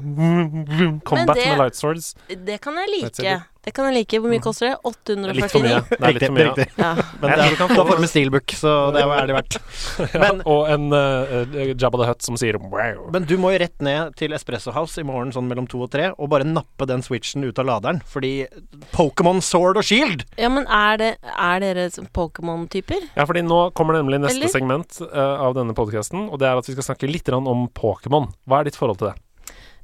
Speaker 5: *laughs* combat
Speaker 1: det-
Speaker 5: med light swords.
Speaker 1: Det kan jeg
Speaker 5: Vet jeg
Speaker 1: like. Det kan jeg like. Hvor mye koster det?
Speaker 5: Mm. Det er litt for mye.
Speaker 1: 849.
Speaker 5: Det er litt for mye.
Speaker 4: riktig.
Speaker 1: Ja.
Speaker 4: Men
Speaker 5: Jeg
Speaker 4: det
Speaker 5: tror du
Speaker 4: er,
Speaker 5: kan få
Speaker 4: da får du med steelbook, så det er det verdt. *laughs* Men,
Speaker 5: Og en eh, eh, Jabba the Hutt som sier wow.
Speaker 4: men du må jo rett ned til Espresso House i morgen sånn mellom to og tre, og bare nappe den switchen ut av laderen, fordi Pokémon Sword og Shield
Speaker 1: ja, men er, det, er dere som Pokémon-typer?
Speaker 5: Ja, fordi nå kommer nemlig neste
Speaker 1: Eller?
Speaker 5: segment eh, av denne podkasten, og det er at vi skal snakke litt grann om Pokémon. Hva er ditt forhold til det?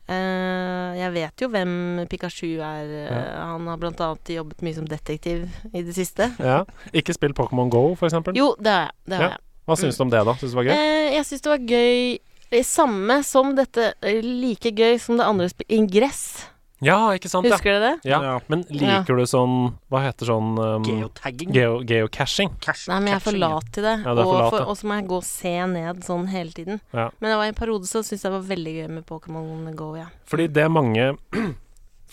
Speaker 1: Eh, jeg vet jo hvem Pikachu er. eh, Han har blant annet jobbet mye som detektiv i det siste.
Speaker 5: Ja. *laughs* Ikke spill Pokémon Go, for eksempel.
Speaker 1: Jo, det har jeg. Det har
Speaker 5: Ja.
Speaker 1: jeg.
Speaker 5: Hva syns du om det, da? Syns du det var gøy?
Speaker 1: Eh, jeg syns det var gøy eh, Samme som dette. eh, Like gøy som det andre sp- Ingress.
Speaker 5: Ja, ikke sant? Ja.
Speaker 1: Husker dere det?
Speaker 5: Ja.
Speaker 4: Ja.
Speaker 5: Men liker du sånn Hva heter sånn um,
Speaker 4: Geotagging.
Speaker 5: geo geocaching?
Speaker 4: Cash-
Speaker 1: Nei, men jeg er for
Speaker 4: catching.
Speaker 1: lat til det.
Speaker 5: Ja, du er for
Speaker 1: og,
Speaker 5: lat,
Speaker 1: for,
Speaker 5: ja.
Speaker 1: og så må jeg gå og se ned sånn hele tiden.
Speaker 5: Ja.
Speaker 1: Men det var i en periode så syntes jeg det var veldig gøy med Pokémon Go, ja.
Speaker 5: Fordi det mange *clears throat*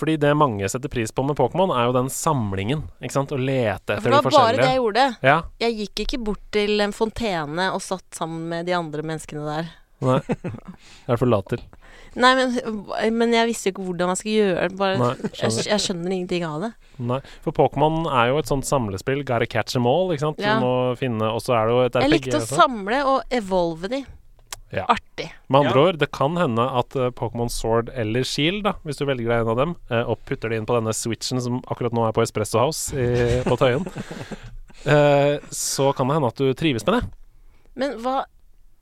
Speaker 5: fordi det mange setter pris på med Pokémon, er jo den samlingen. ikke sant? Å lete
Speaker 1: For
Speaker 5: etter
Speaker 1: det
Speaker 5: de
Speaker 1: var bare det
Speaker 5: forskjellige.
Speaker 1: jeg gjorde.
Speaker 5: Ja,
Speaker 1: Jeg gikk ikke bort til en fontene og satt sammen med de andre menneskene der.
Speaker 5: nei. Jeg er for lat til.
Speaker 1: Nei, men, men jeg visste jo ikke hvordan man skulle gjøre det. Bare,
Speaker 5: Nei,
Speaker 1: jeg,
Speaker 5: skjønner.
Speaker 1: jeg skjønner ingenting av det.
Speaker 5: nei. For Pokémon er jo et sånt samlespill. Gotta catch them all, ikke sant.
Speaker 1: Ja.
Speaker 5: Du må finne Og så er det jo et RPG.
Speaker 1: Jeg likte å
Speaker 5: også.
Speaker 1: samle og evolve de.
Speaker 5: Ja.
Speaker 1: Artig.
Speaker 5: Med andre
Speaker 4: Ja.
Speaker 5: ord, det kan hende at eh, Pokémon Sword eller Shield, da, hvis du velger deg en av dem, eh, og putter det inn på denne switchen som akkurat nå er på Espresso House i,
Speaker 1: *laughs*
Speaker 5: på Tøyen, eh, så kan det hende at du trives med det.
Speaker 1: Men hva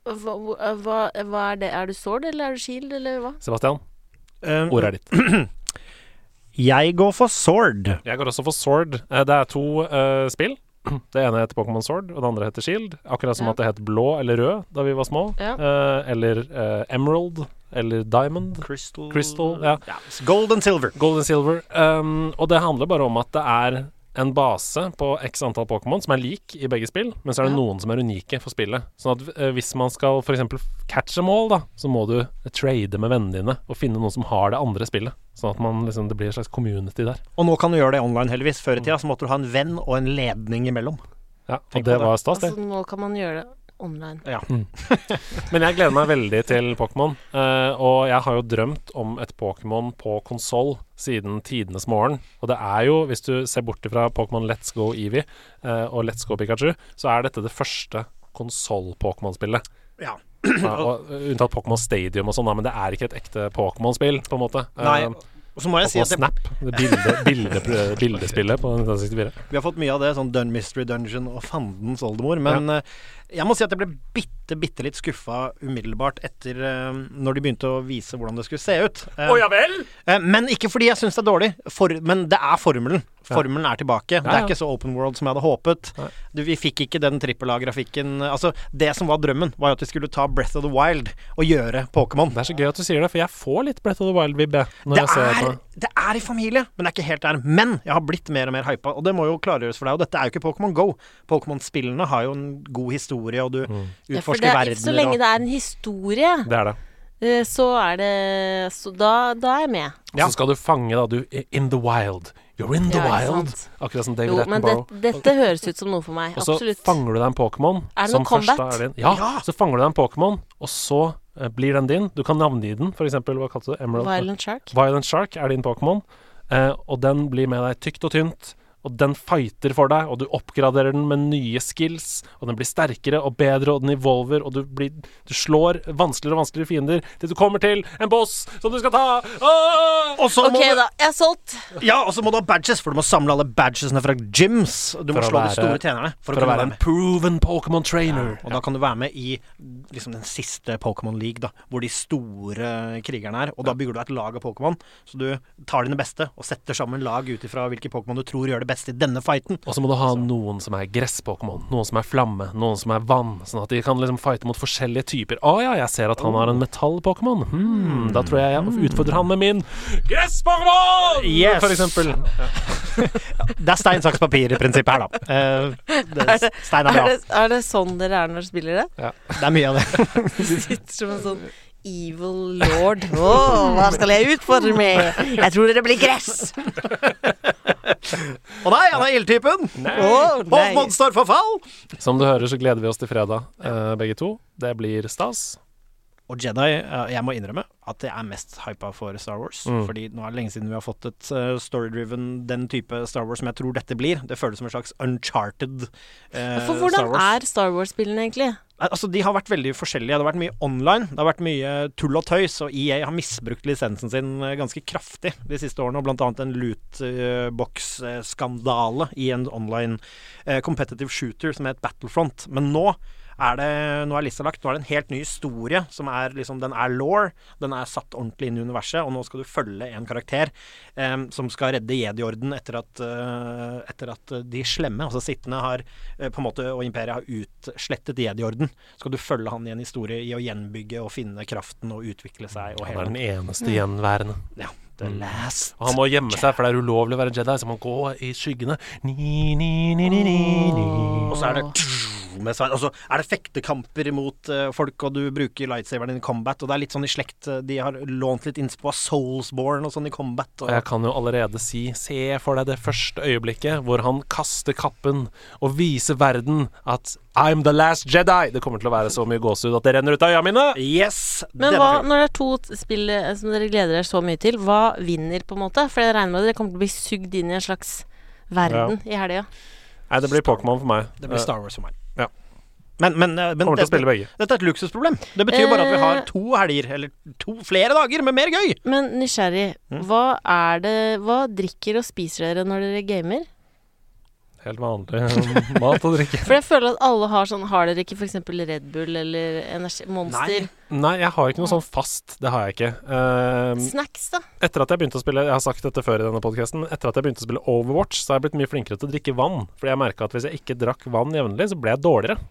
Speaker 1: hva, eh, hva, hva er det? Er du sword, eller er du shield, eller hva?
Speaker 5: Sebastian,
Speaker 4: Eh,
Speaker 5: ordet er ditt.
Speaker 4: Jeg går for Sword.
Speaker 5: Jeg går også for Sword. Eh, det er to eh, spill. *clears throat* Det ene heter Pokémon Sword, og det andre heter Shield. Akkurat som
Speaker 1: Ja.
Speaker 5: at det het blå eller rød da vi var små.
Speaker 1: Ja.
Speaker 5: Eh, eller eh, Emerald eller Diamond.
Speaker 4: Crystal,
Speaker 5: Crystal, ja.
Speaker 4: Gold and silver.
Speaker 5: Gold and silver. Um, og det handler bare om at det er en base på x antall Pokémon som er lik i begge spill, men så er det
Speaker 1: Ja.
Speaker 5: noen som er unike for spillet. Sånn at eh, hvis man skal f.eks. catch them all, da, så må du trade med vennene dine og finne noen som har det andre spillet. Sånn at man, liksom, det blir en slags community der.
Speaker 4: Og nå kan du gjøre det online, heldigvis. Før i tida så måtte du ha en venn og en ledning imellom.
Speaker 5: Ja, og
Speaker 4: Tenk
Speaker 5: det
Speaker 4: på det.
Speaker 5: var stas, det.
Speaker 1: Altså, nå kan man gjøre det online.
Speaker 5: Men jeg gleder meg veldig til Pokémon. eh, og jeg har jo drømt om et Pokémon på konsoll siden tidenes morgen. Og det er jo, hvis du ser bort fra Pokémon Let's Go Eevee eh, og Let's Go Pikachu, så er dette det første konsoll-Pokémon-spillet.
Speaker 4: Ja. *clears throat*
Speaker 5: Ja, og, eh, unntatt Pokémon Stadium og sånn, da, men det er ikke et ekte Pokémon-spill, på en måte. Eh,
Speaker 4: Nei, og så må jeg si
Speaker 5: Pokémon
Speaker 4: at det,
Speaker 5: Snap, det bilde, bilde, bildespillet på 1964.
Speaker 4: vi har fått mye av det, sånn Dun Mystery Dungeon og fandens oldemor, men eh, jeg må si at jeg ble bitte, bitte litt skuffa umiddelbart etter eh, når de begynte å vise hvordan det skulle se ut. Eh,
Speaker 2: Å ja vel?
Speaker 4: eh, men ikke fordi jeg syns det er dårlig, for, men det er formelen. Formelen er tilbake. Det
Speaker 5: ja.
Speaker 4: er ikke så open world som jeg hadde håpet.
Speaker 5: Nei.
Speaker 4: Du, vi fikk ikke den trippel A-grafikken. Altså, det som var drømmen, var jo at de skulle ta Breath of the Wild og gjøre Pokémon.
Speaker 5: Det er så gøy at du sier det, for jeg får litt Brett of the Wild-vibb jeg, når
Speaker 4: Det
Speaker 5: jeg ser
Speaker 4: er,
Speaker 5: på
Speaker 4: det er i familie, men det er ikke helt der. Men jeg har blitt mer og mer hypa, og det må jo klargjøres for deg. Og dette er jo ikke Pokémon Go. Pokémon-spillene har jo en god historie, og du
Speaker 5: Mm.
Speaker 1: Ja, for
Speaker 4: utforsker
Speaker 1: det, er-
Speaker 4: verdener
Speaker 1: så lenge
Speaker 4: og
Speaker 1: det er en historie,
Speaker 5: Det er det.
Speaker 1: eh, så er det så da, da er jeg med.
Speaker 5: Og så skal du fange, da. Du In the wild. You're in the
Speaker 1: Ja, ikke
Speaker 5: wild.
Speaker 1: sant?
Speaker 5: Akkurat som David
Speaker 1: Jo, men det,
Speaker 5: Attenborough.
Speaker 1: dette høres ut som noe for meg.
Speaker 5: Og så
Speaker 1: Absolutt.
Speaker 5: fanger du deg en Pokémon.
Speaker 1: Er det
Speaker 5: som
Speaker 1: noe
Speaker 5: først da
Speaker 1: combat?
Speaker 5: er din. Ja,
Speaker 4: Ja!
Speaker 5: så fanger du deg en Pokémon, og så eh, blir den din. Du kan navngi den, for eksempel. Hva kalte du det? Emerald?
Speaker 1: Violent Shark.
Speaker 5: Violent Shark er din Pokémon, eh, og den blir med deg tykt og tynt. Og den fighter for deg, og du oppgraderer den med nye skills. Og den blir sterkere og bedre, og den evolver, og du, blir, du slår vanskeligere og vanskeligere fiender til du kommer til en boss som du skal ta. Åh!
Speaker 4: Og så
Speaker 1: Ok,
Speaker 4: må du,
Speaker 1: da. Jeg er solgt.
Speaker 4: ja, og så må du ha badges, for du må samle alle badgesene fra gyms. Og du
Speaker 5: For
Speaker 4: må
Speaker 5: å
Speaker 4: slå
Speaker 5: være-
Speaker 4: de store tjenerne for,
Speaker 5: For å
Speaker 4: å kunne
Speaker 5: være
Speaker 4: være
Speaker 5: en
Speaker 4: med.
Speaker 5: proven Pokémon trainer.
Speaker 4: Og da kan du være med i liksom, den siste Pokémon League, da, hvor de store krigerne er. Og da bygger du et lag av Pokémon, så du tar dine beste og setter sammen lag ut ifra hvilke Pokémon du tror gjør det beste i denne fighten.
Speaker 5: Og så må du ha noen som er gress-pokémon, noen som er flamme, noen som er vann, sånn at de kan liksom fighte mot forskjellige typer. Å ja, jeg ser at han
Speaker 4: Oh.
Speaker 5: har en metall-pokémon. Hmm, da tror jeg jeg utfordrer han med min gress-pokémon!
Speaker 4: Yes!
Speaker 5: For eksempel.
Speaker 4: Det er stein, saks, papir i prinsippet her, da. Eh, det, stein er
Speaker 1: Er
Speaker 4: bra.
Speaker 1: det, er det sånn dere er når dere spiller det?
Speaker 4: Det er mye av det.
Speaker 1: Sitter som en sånn evil lord. Å, hva skal jeg utfordre med? Jeg tror dere blir gress.
Speaker 4: Å nei, han er ildtypen!
Speaker 1: Å, nei.
Speaker 4: Hovmod står for fall!
Speaker 5: Som du hører, så gleder vi oss til fredag, eh, begge to. Det blir stas.
Speaker 4: Og Jedi, eh, jeg må innrømme at jeg er mest hypa for Star Wars.
Speaker 5: Mm.
Speaker 4: Fordi nå er det lenge siden vi har fått et eh, story-driven den type Star Wars som jeg tror dette blir. Det føles som en slags uncharted eh,
Speaker 1: For
Speaker 4: Star
Speaker 1: hvordan
Speaker 4: Wars.
Speaker 1: er Star Wars-spillene
Speaker 4: Nei,
Speaker 1: egentlig?
Speaker 4: Altså, De har vært veldig forskjellige. Det har vært mye online, det har vært mye tull og tøys, og EA har misbrukt lisensen sin eh, ganske kraftig de siste årene. og Blant annet en lootbox-skandale i en online eh, competitive shooter som het Battlefront. Men nå er det, nå er lista lagt. Nå er det en helt ny historie. som er liksom, Den er law, den er satt ordentlig inn i universet, og nå skal du følge en karakter eh, som skal redde jedi-orden etter, at, eh, etter at de slemme, altså sittende, har eh, på en måte, og imperiet har utslettet jedi-orden. Skal du følge han i en historie i å gjenbygge og finne kraften og utvikle seg og
Speaker 5: Han er
Speaker 4: hele
Speaker 5: den eneste gjenværende.
Speaker 4: Ja, the last.
Speaker 5: Og han må gjemme seg, for det er ulovlig å være Jedi, så han må gå i skyggene. Ni, ni, ni, ni, ni, ni.
Speaker 4: Og så er det med sverd. Og så er det fektekamper mot eh, folk, og du bruker lightsaveren din i combat. Og det er litt sånn i slekt eh, De har lånt litt innspo av Soulsborne og sånn i combat.
Speaker 5: Og
Speaker 4: Og,
Speaker 5: jeg kan jo allerede si Se for deg det første øyeblikket hvor han kaster kappen og viser verden at I'm the last Jedi. Det kommer til å være så mye gåsehud at det renner ut av øya mine.
Speaker 4: Yes!
Speaker 1: Men
Speaker 4: denne
Speaker 1: hva,
Speaker 4: filmen.
Speaker 1: når det er to t- spill eh, som dere gleder dere så mye til, hva vinner, på en måte? For jeg regner med at dere kommer til å bli sugd inn i en slags verden i helga.
Speaker 5: Nei, det blir Pokémon for meg.
Speaker 4: Det blir Star Wars for meg.
Speaker 5: Ja.
Speaker 4: Men, men, eh, men
Speaker 5: Kommer til å
Speaker 4: dette,
Speaker 5: spille begge.
Speaker 4: dette er et luksusproblem. Det betyr jo bare at vi har
Speaker 1: Eh.
Speaker 4: to helger, eller to flere dager, med mer gøy!
Speaker 1: Men nysgjerrig,
Speaker 4: Mm.
Speaker 1: hva er det Hva drikker og spiser dere når dere
Speaker 4: *laughs*
Speaker 1: gamer?
Speaker 5: Helt vanlig *laughs* mat og drikke.
Speaker 1: For jeg føler at alle har sånn Har dere ikke f.eks. Red Bull eller energi, Monster?
Speaker 4: Nei.
Speaker 5: Nei, jeg har ikke noe sånn fast. Det har jeg ikke. Ehm,
Speaker 1: Snacks, da?
Speaker 5: etter at jeg begynte å spille Jeg har sagt dette før i denne podcasten Etter at jeg begynte å spille Overwatch, så har jeg blitt mye flinkere til å drikke vann. Fordi jeg merka at hvis jeg ikke drakk vann jevnlig, så ble jeg dårligere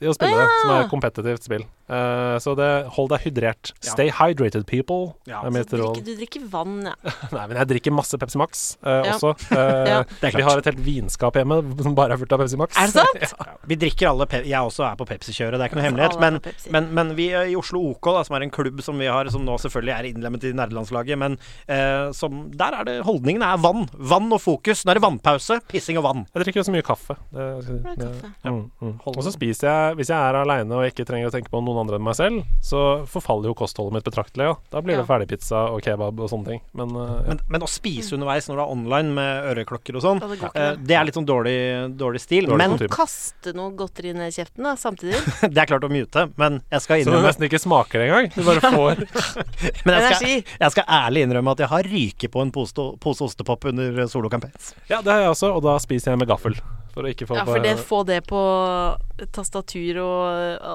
Speaker 5: i å spille
Speaker 1: Å, ja.
Speaker 5: det, som er et kompetitivt spill. Eh, så det, hold deg hydrert.
Speaker 4: Ja.
Speaker 5: Stay hydrated, people.
Speaker 4: Ja.
Speaker 5: er
Speaker 1: Så
Speaker 5: mitt råd.
Speaker 1: drikker, du drikker vann,
Speaker 4: *laughs*
Speaker 1: ja.
Speaker 5: Nei, men jeg drikker masse Pepsi Max eh,
Speaker 1: Ja. *laughs*
Speaker 5: også. Eh,
Speaker 1: Ja.
Speaker 5: Vi
Speaker 4: Det er klart.
Speaker 5: har et helt vinskap hjemme som bare er fullt av Pepsi Max.
Speaker 1: Er det
Speaker 5: *laughs*
Speaker 1: sant?
Speaker 4: Ja, Vi drikker alle pe Jeg også er på Pepsi-kjøret, det er ikke noe hemmelighet.
Speaker 1: Alle er
Speaker 4: Men,
Speaker 1: på Pepsi.
Speaker 4: men, men vi eh, i Oslo OK, da, som er en klubb som vi har, som nå selvfølgelig er innlemmet i nerdelandslaget, men eh, som Der er det Holdningen er vann. Vann og fokus. Nå er det vannpause, pissing og vann.
Speaker 5: Jeg drikker også mye kaffe. Det, det,
Speaker 1: kaffe.
Speaker 5: Mm, mm. Og så spiser jeg Hvis jeg er aleine og ikke trenger å tenke på noen andre enn meg selv, så forfaller jo kostholdet mitt betraktelig. Ja. Da blir det
Speaker 1: Ja.
Speaker 5: ferdigpizza og kebab og sånne ting. Men, eh, ja.
Speaker 4: Men, men å
Speaker 1: Mm.
Speaker 4: spise underveis når du er online med øreklokker og sånn,
Speaker 1: Ja, det går ikke,
Speaker 4: eh, det er litt sånn dårlig, dårlig stil.
Speaker 5: Dårlig
Speaker 4: men
Speaker 5: kultur. typen.
Speaker 1: Kaste noe godteri ned i kjeften da, samtidig.
Speaker 4: det er klart å mute, men jeg skal
Speaker 5: Så du
Speaker 4: innrømme
Speaker 5: nesten ikke smaker det engang. Du
Speaker 1: *laughs*
Speaker 5: bare får
Speaker 4: *laughs* men jeg skal,
Speaker 1: Energi.
Speaker 4: jeg skal ærlig innrømme at jeg har ryket på en pose, pose ostepop under eh, solokampens.
Speaker 5: Ja, det har jeg også, og da spiser jeg med gaffel. For å ikke få
Speaker 1: Ja,
Speaker 5: på
Speaker 1: for det, få det på tastatur og
Speaker 5: ja.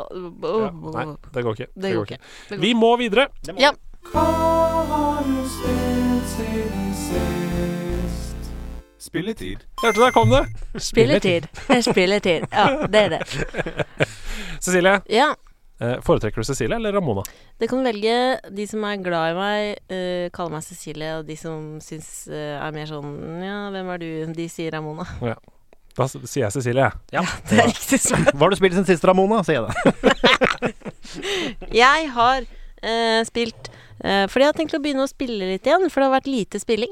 Speaker 5: Nei, det går ikke.
Speaker 1: Det går ikke. Det går
Speaker 5: Vi må videre.
Speaker 1: Ja.
Speaker 2: Spilletid.
Speaker 5: Hørte du der kom det?
Speaker 1: Spilletid. Spilletid. Ja, det er det.
Speaker 5: Cecilie.
Speaker 1: *laughs* Ja.
Speaker 5: eh, Foretrekker du Cecilie eller Ramona?
Speaker 1: Det kan velge de som er glad i meg, eh, kaller meg Cecilie, og de som syns eh, er mer sånn Ja, hvem er du? De sier Ramona. *laughs*
Speaker 5: Da s- sier jeg Cecilie, jeg.
Speaker 1: Det er riktig svar.
Speaker 4: Hva har du spilt sin siste, Ramona? sier jeg det.
Speaker 1: Jeg har eh, spilt eh, Fordi jeg har tenkt å begynne å spille litt igjen, for det har vært lite spilling.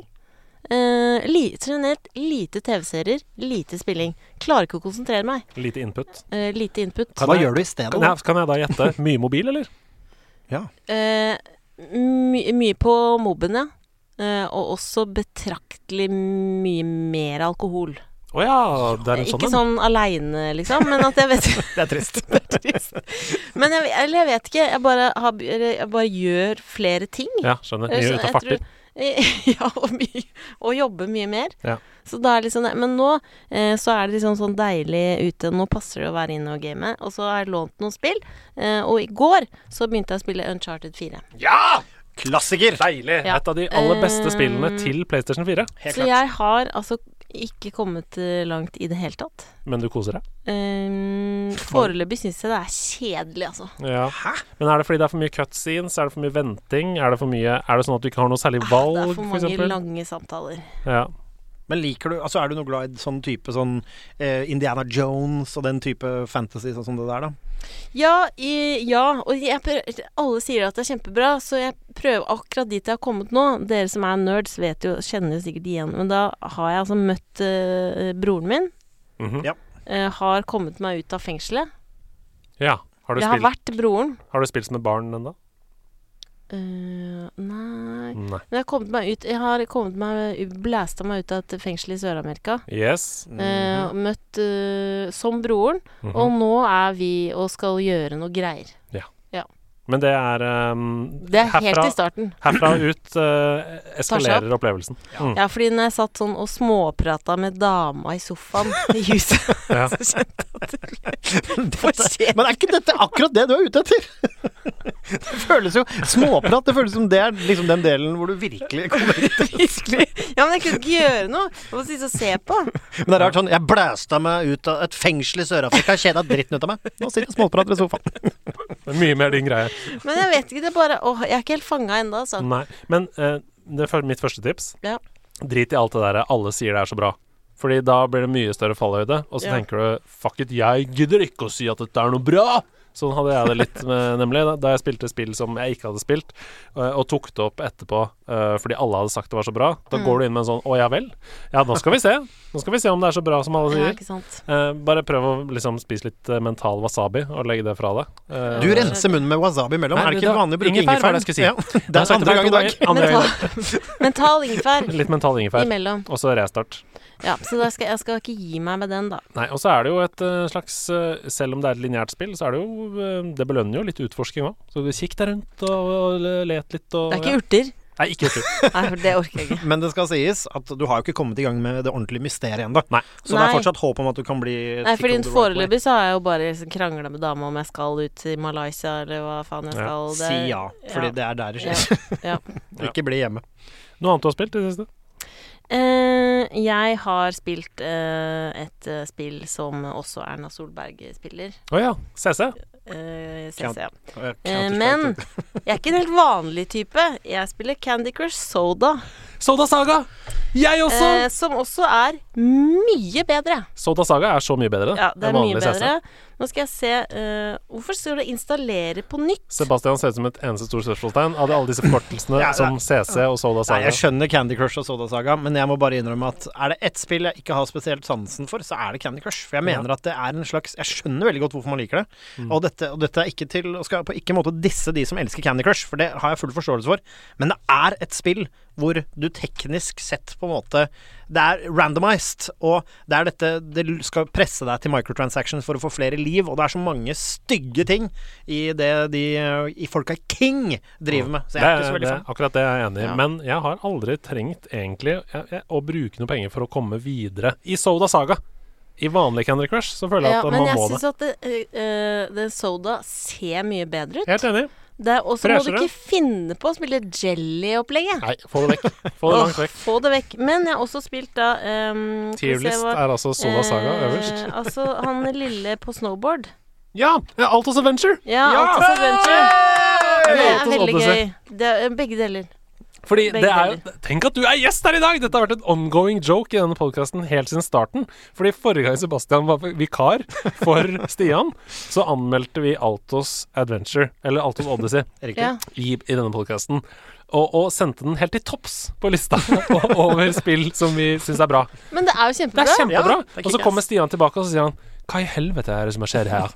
Speaker 1: Eh, li, generelt lite TV-serier, lite spilling. Klarer ikke å konsentrere meg.
Speaker 5: Lite input.
Speaker 1: Eh, lite input.
Speaker 5: Kan
Speaker 4: Hva
Speaker 5: jeg-
Speaker 4: gjør du i stedet?
Speaker 5: Kan jeg, kan jeg da gjette? Mye mobil, eller?
Speaker 4: Ja.
Speaker 1: Eh, my, mye på mobben, ja. Eh, og også betraktelig mye mer alkohol.
Speaker 5: Å ja, det er en sånn
Speaker 1: Ikke
Speaker 5: en.
Speaker 1: sånn aleine, liksom, men at jeg vet
Speaker 5: *laughs*
Speaker 4: Det er trist.
Speaker 1: Men jeg, eller jeg vet ikke. Jeg bare, har, jeg bare gjør flere ting.
Speaker 5: Ja, skjønner. Mye
Speaker 1: Jeg skjønner-
Speaker 5: ut og
Speaker 1: jeg tror-
Speaker 5: farter.
Speaker 1: *laughs* Ja, og, mye, og jobber mye mer.
Speaker 5: Ja.
Speaker 1: Så da er det liksom det. Men nå eh, så er det liksom sånn deilig ute. Nå passer det å være inne og game. Og så har jeg lånt noen spill. Eh, og i går så begynte jeg å spille Uncharted 4.
Speaker 2: Ja!
Speaker 4: *laughs* Klassiker!
Speaker 5: Deilig.
Speaker 1: Ja.
Speaker 5: Et av de aller beste
Speaker 1: Eh,
Speaker 5: spillene til PlayStation 4.
Speaker 4: Helt
Speaker 1: Så
Speaker 4: klart.
Speaker 1: jeg har altså ikke kommet eh, langt i det hele tatt.
Speaker 5: Men du koser deg.
Speaker 1: Eh, foreløpig syns jeg det er kjedelig, altså. *laughs*
Speaker 5: Ja.
Speaker 4: Hæ?
Speaker 5: Men er det fordi det er for mye cutscenes? Er det for mye venting? Er det, for mye, er det sånn at du ikke har noe særlig
Speaker 1: Ah, Det er
Speaker 5: valg,
Speaker 1: for
Speaker 5: for
Speaker 1: mange
Speaker 5: eksempel?
Speaker 1: lange samtaler.
Speaker 5: Ja.
Speaker 4: Men liker du Altså er du noe glad i sånn type sånn eh, Indiana Jones og den type fantasy sånn som det der, da?
Speaker 1: Ja, i, ja og jeg prø- alle sier at det er kjempebra, så jeg prøver akkurat dit jeg har kommet nå. Dere som er nerds, vet jo, kjenner jo sikkert igjen, men da har jeg altså møtt eh, broren min.
Speaker 5: Mhm.
Speaker 4: Ja.
Speaker 1: eh, har kommet meg ut av fengselet.
Speaker 5: ja. Har, du
Speaker 1: Jeg har
Speaker 5: spilt,
Speaker 1: vært broren.
Speaker 5: har du spilt som et barn ennå?
Speaker 1: Eh, nei
Speaker 5: Nei.
Speaker 1: Men jeg har kommet meg ut Jeg har kommet meg blæsta meg ut av et fengsel i Sør-Amerika.
Speaker 5: Yes.
Speaker 1: Eh,
Speaker 5: Mhm.
Speaker 1: møtt eh, som broren, og nå er vi og skal gjøre noe greier.
Speaker 5: Men det er um,
Speaker 1: Det er helt
Speaker 5: herfra,
Speaker 1: i starten.
Speaker 5: herfra ut uh,
Speaker 1: Tar
Speaker 5: eskalerer opplevelsen. Mm.
Speaker 1: Ja, fordi når jeg satt sånn og småprata med dama i sofaen i huset, *laughs*
Speaker 5: Ja.
Speaker 1: så kjente jeg at det
Speaker 4: Mm.
Speaker 1: *laughs*
Speaker 4: Dette-
Speaker 1: var kjedelig.
Speaker 4: Men er ikke dette akkurat det du er ute etter? *laughs* Det føles jo Småprat, det føles som det er liksom den delen hvor du virkelig kommer
Speaker 1: Virkelig. Ja, men jeg kunne ikke gjøre noe. Jeg måtte sitte og se på.
Speaker 4: Men det er rart sånn Jeg blæsta meg ut av et fengsel i Sør-Afrika, kjeda dritten ut av meg. Nå sitter jeg og småprater i sofaen.
Speaker 5: Det er mye mer din greie.
Speaker 1: Men jeg vet ikke, det er bare Åh, jeg er ikke helt fanga ennå, altså.
Speaker 5: Nei. Men eh, det er fyr- mitt første tips.
Speaker 1: Ja.
Speaker 5: Drit i alt det der alle sier det er så bra. Fordi da blir det mye større fallhøyde. Og så
Speaker 1: Ja.
Speaker 5: tenker du 'fuck it, jeg gidder ikke å si at dette er noe bra'. Sånn hadde jeg det litt med, *laughs* nemlig. da- Da jeg spilte spill som jeg ikke hadde spilt, eh, og tok det opp etterpå eh, fordi alle hadde sagt det var så bra. Da
Speaker 1: Mm.
Speaker 5: går du inn med en sånn 'å ja vel'. Ja, nå skal vi se. Nå skal vi se om det er så bra som alle
Speaker 1: Ja,
Speaker 5: sier.
Speaker 1: ikke sant.
Speaker 5: Eh, bare prøv å liksom spise litt eh, mental wasabi og legge det fra deg. Eh,
Speaker 4: Du renser munnen med wasabi imellom.
Speaker 5: Nei,
Speaker 4: Er det ikke
Speaker 5: da-
Speaker 4: vanlig å bruke
Speaker 5: ingefær, var det
Speaker 4: ingefær?
Speaker 5: jeg skulle si.
Speaker 4: Ja, det
Speaker 5: Jeg har
Speaker 4: er
Speaker 5: sagt
Speaker 4: andre
Speaker 5: det
Speaker 4: gang i dag.
Speaker 5: to ganger.
Speaker 1: *laughs*
Speaker 5: Andre gang i dag.
Speaker 1: Mental, mental ingefær
Speaker 5: Litt mental ingefær.
Speaker 1: imellom.
Speaker 5: Og så restart.
Speaker 1: Ja, så da skal, jeg skal ikke gi meg med den, da.
Speaker 5: Nei, og så er det jo et eh, slags eh, Selv om det er et lineært spill, så er det jo eh, Det belønner jo litt utforsking òg. Så kikk deg rundt og, og let litt og
Speaker 1: Det er ikke urter.
Speaker 5: ja. Nei, ikke urter.
Speaker 1: Nei, for det orker jeg ikke.
Speaker 4: Men det skal sies at du har jo ikke kommet i gang med det ordentlige mysteriet ennå.
Speaker 5: Nei.
Speaker 4: Så det er
Speaker 1: Nei.
Speaker 4: fortsatt håp om at du kan bli
Speaker 1: Nei,
Speaker 4: tick
Speaker 1: fordi
Speaker 4: on the right way.
Speaker 1: foreløpig så har jeg jo bare liksom krangla med dama om jeg skal ut til Malaysia, eller hva faen jeg
Speaker 5: Ja,
Speaker 1: skal. Det-
Speaker 4: Si ja, fordi det er der det skjer.
Speaker 1: Ja,
Speaker 4: *laughs*
Speaker 1: ja.
Speaker 4: Ikke bli hjemme.
Speaker 5: Noe annet du har spilt i det siste?
Speaker 1: *laughs* Eh, jeg har spilt eh, et eh, spill som også Erna Solberg spiller.
Speaker 5: Å ja. CC.
Speaker 1: Eh,
Speaker 4: Count-
Speaker 1: CC. ja. Eh,
Speaker 4: Counter-Strike,
Speaker 1: men
Speaker 4: vet
Speaker 1: jeg er ikke en helt vanlig type. Jeg spiller Candy Crush Soda,
Speaker 5: Soda Saga! Jeg også!
Speaker 1: eh, som også er mye bedre.
Speaker 5: Soda Saga er så mye bedre
Speaker 1: Ja, det er
Speaker 5: enn
Speaker 1: mye
Speaker 5: vanlig CC.
Speaker 1: bedre. Nå skal jeg se eh, Hvorfor står det 'installere på nytt'?
Speaker 5: Sebastian ser ut som et eneste stort spørsmålstegn av de- alle disse forkortelsene
Speaker 4: Ja,
Speaker 5: som
Speaker 4: nei.
Speaker 5: CC og Soda
Speaker 4: du. Nei,
Speaker 5: Saga.
Speaker 4: jeg skjønner Candy Crush og Soda Saga, men jeg må bare innrømme at er det ett spill jeg ikke har spesielt sansen for, så er det Candy Crush. For jeg mener at det er en slags Jeg skjønner veldig godt hvorfor man liker det.
Speaker 5: Mm.
Speaker 4: Og, dette, og dette er ikke til og skal på ikke måte disse de som elsker Candy Crush, for det har jeg full forståelse for. Men det er et spill hvor du teknisk sett på en måte Det er randomized, og det er dette Det skal presse deg til microtransactions for å få flere liv, og det er så mange stygge ting i det de i folka i King driver med. Så jeg er ikke så
Speaker 5: det,
Speaker 4: veldig
Speaker 5: det,
Speaker 4: fan.
Speaker 5: akkurat det er jeg enig i.
Speaker 4: Ja.
Speaker 5: Men jeg har aldri trengt egentlig jeg, jeg, å bruke noe penger for å komme videre i Soda Saga. I vanlig Candy Crush så føler jeg
Speaker 1: Ja,
Speaker 5: at
Speaker 1: men
Speaker 5: man
Speaker 1: jeg
Speaker 5: må det.
Speaker 1: syns at det, eh, eh, det Soda ser mye bedre ut.
Speaker 5: Helt enig.
Speaker 1: Det er også må du
Speaker 5: Freshere.
Speaker 1: ikke finne på å spille jelly-opplegget.
Speaker 5: Nei, få det vekk. Få det
Speaker 1: Åh,
Speaker 5: langt vekk.
Speaker 1: få det vekk. Men jeg har også spilt da ehm, skal vi se
Speaker 5: Tierlist
Speaker 1: hva-
Speaker 5: er altså Soda Saga
Speaker 1: Eh,
Speaker 5: øverst.
Speaker 1: altså han lille på snowboard.
Speaker 5: Ja! Altos Adventure!
Speaker 1: Ja, Altos Adventure. Det er
Speaker 5: Altos
Speaker 1: veldig
Speaker 5: Odyssey.
Speaker 1: gøy. Det er eh, begge deler.
Speaker 5: Fordi
Speaker 1: Begge
Speaker 5: det er jo Tenk at du er gjest her i dag! Dette har vært en ongoing joke i denne podkasten helt siden starten. Fordi forrige gang Sebastian var vikar for Stian, så anmeldte vi Altos Adventure, eller Altos Odyssey,
Speaker 4: Riktig.
Speaker 1: Ja.
Speaker 5: i, i denne podkasten. Og, og sendte den helt til topps på lista *laughs* over spill som vi syns er bra.
Speaker 1: Men det er jo
Speaker 5: Det
Speaker 1: kjempebra.
Speaker 5: er kjempebra!
Speaker 4: Ja, det er
Speaker 5: og så
Speaker 4: kickass.
Speaker 5: kommer Stian tilbake og så sier han Hva i helvete er det som har skjedd
Speaker 4: *laughs*
Speaker 5: her?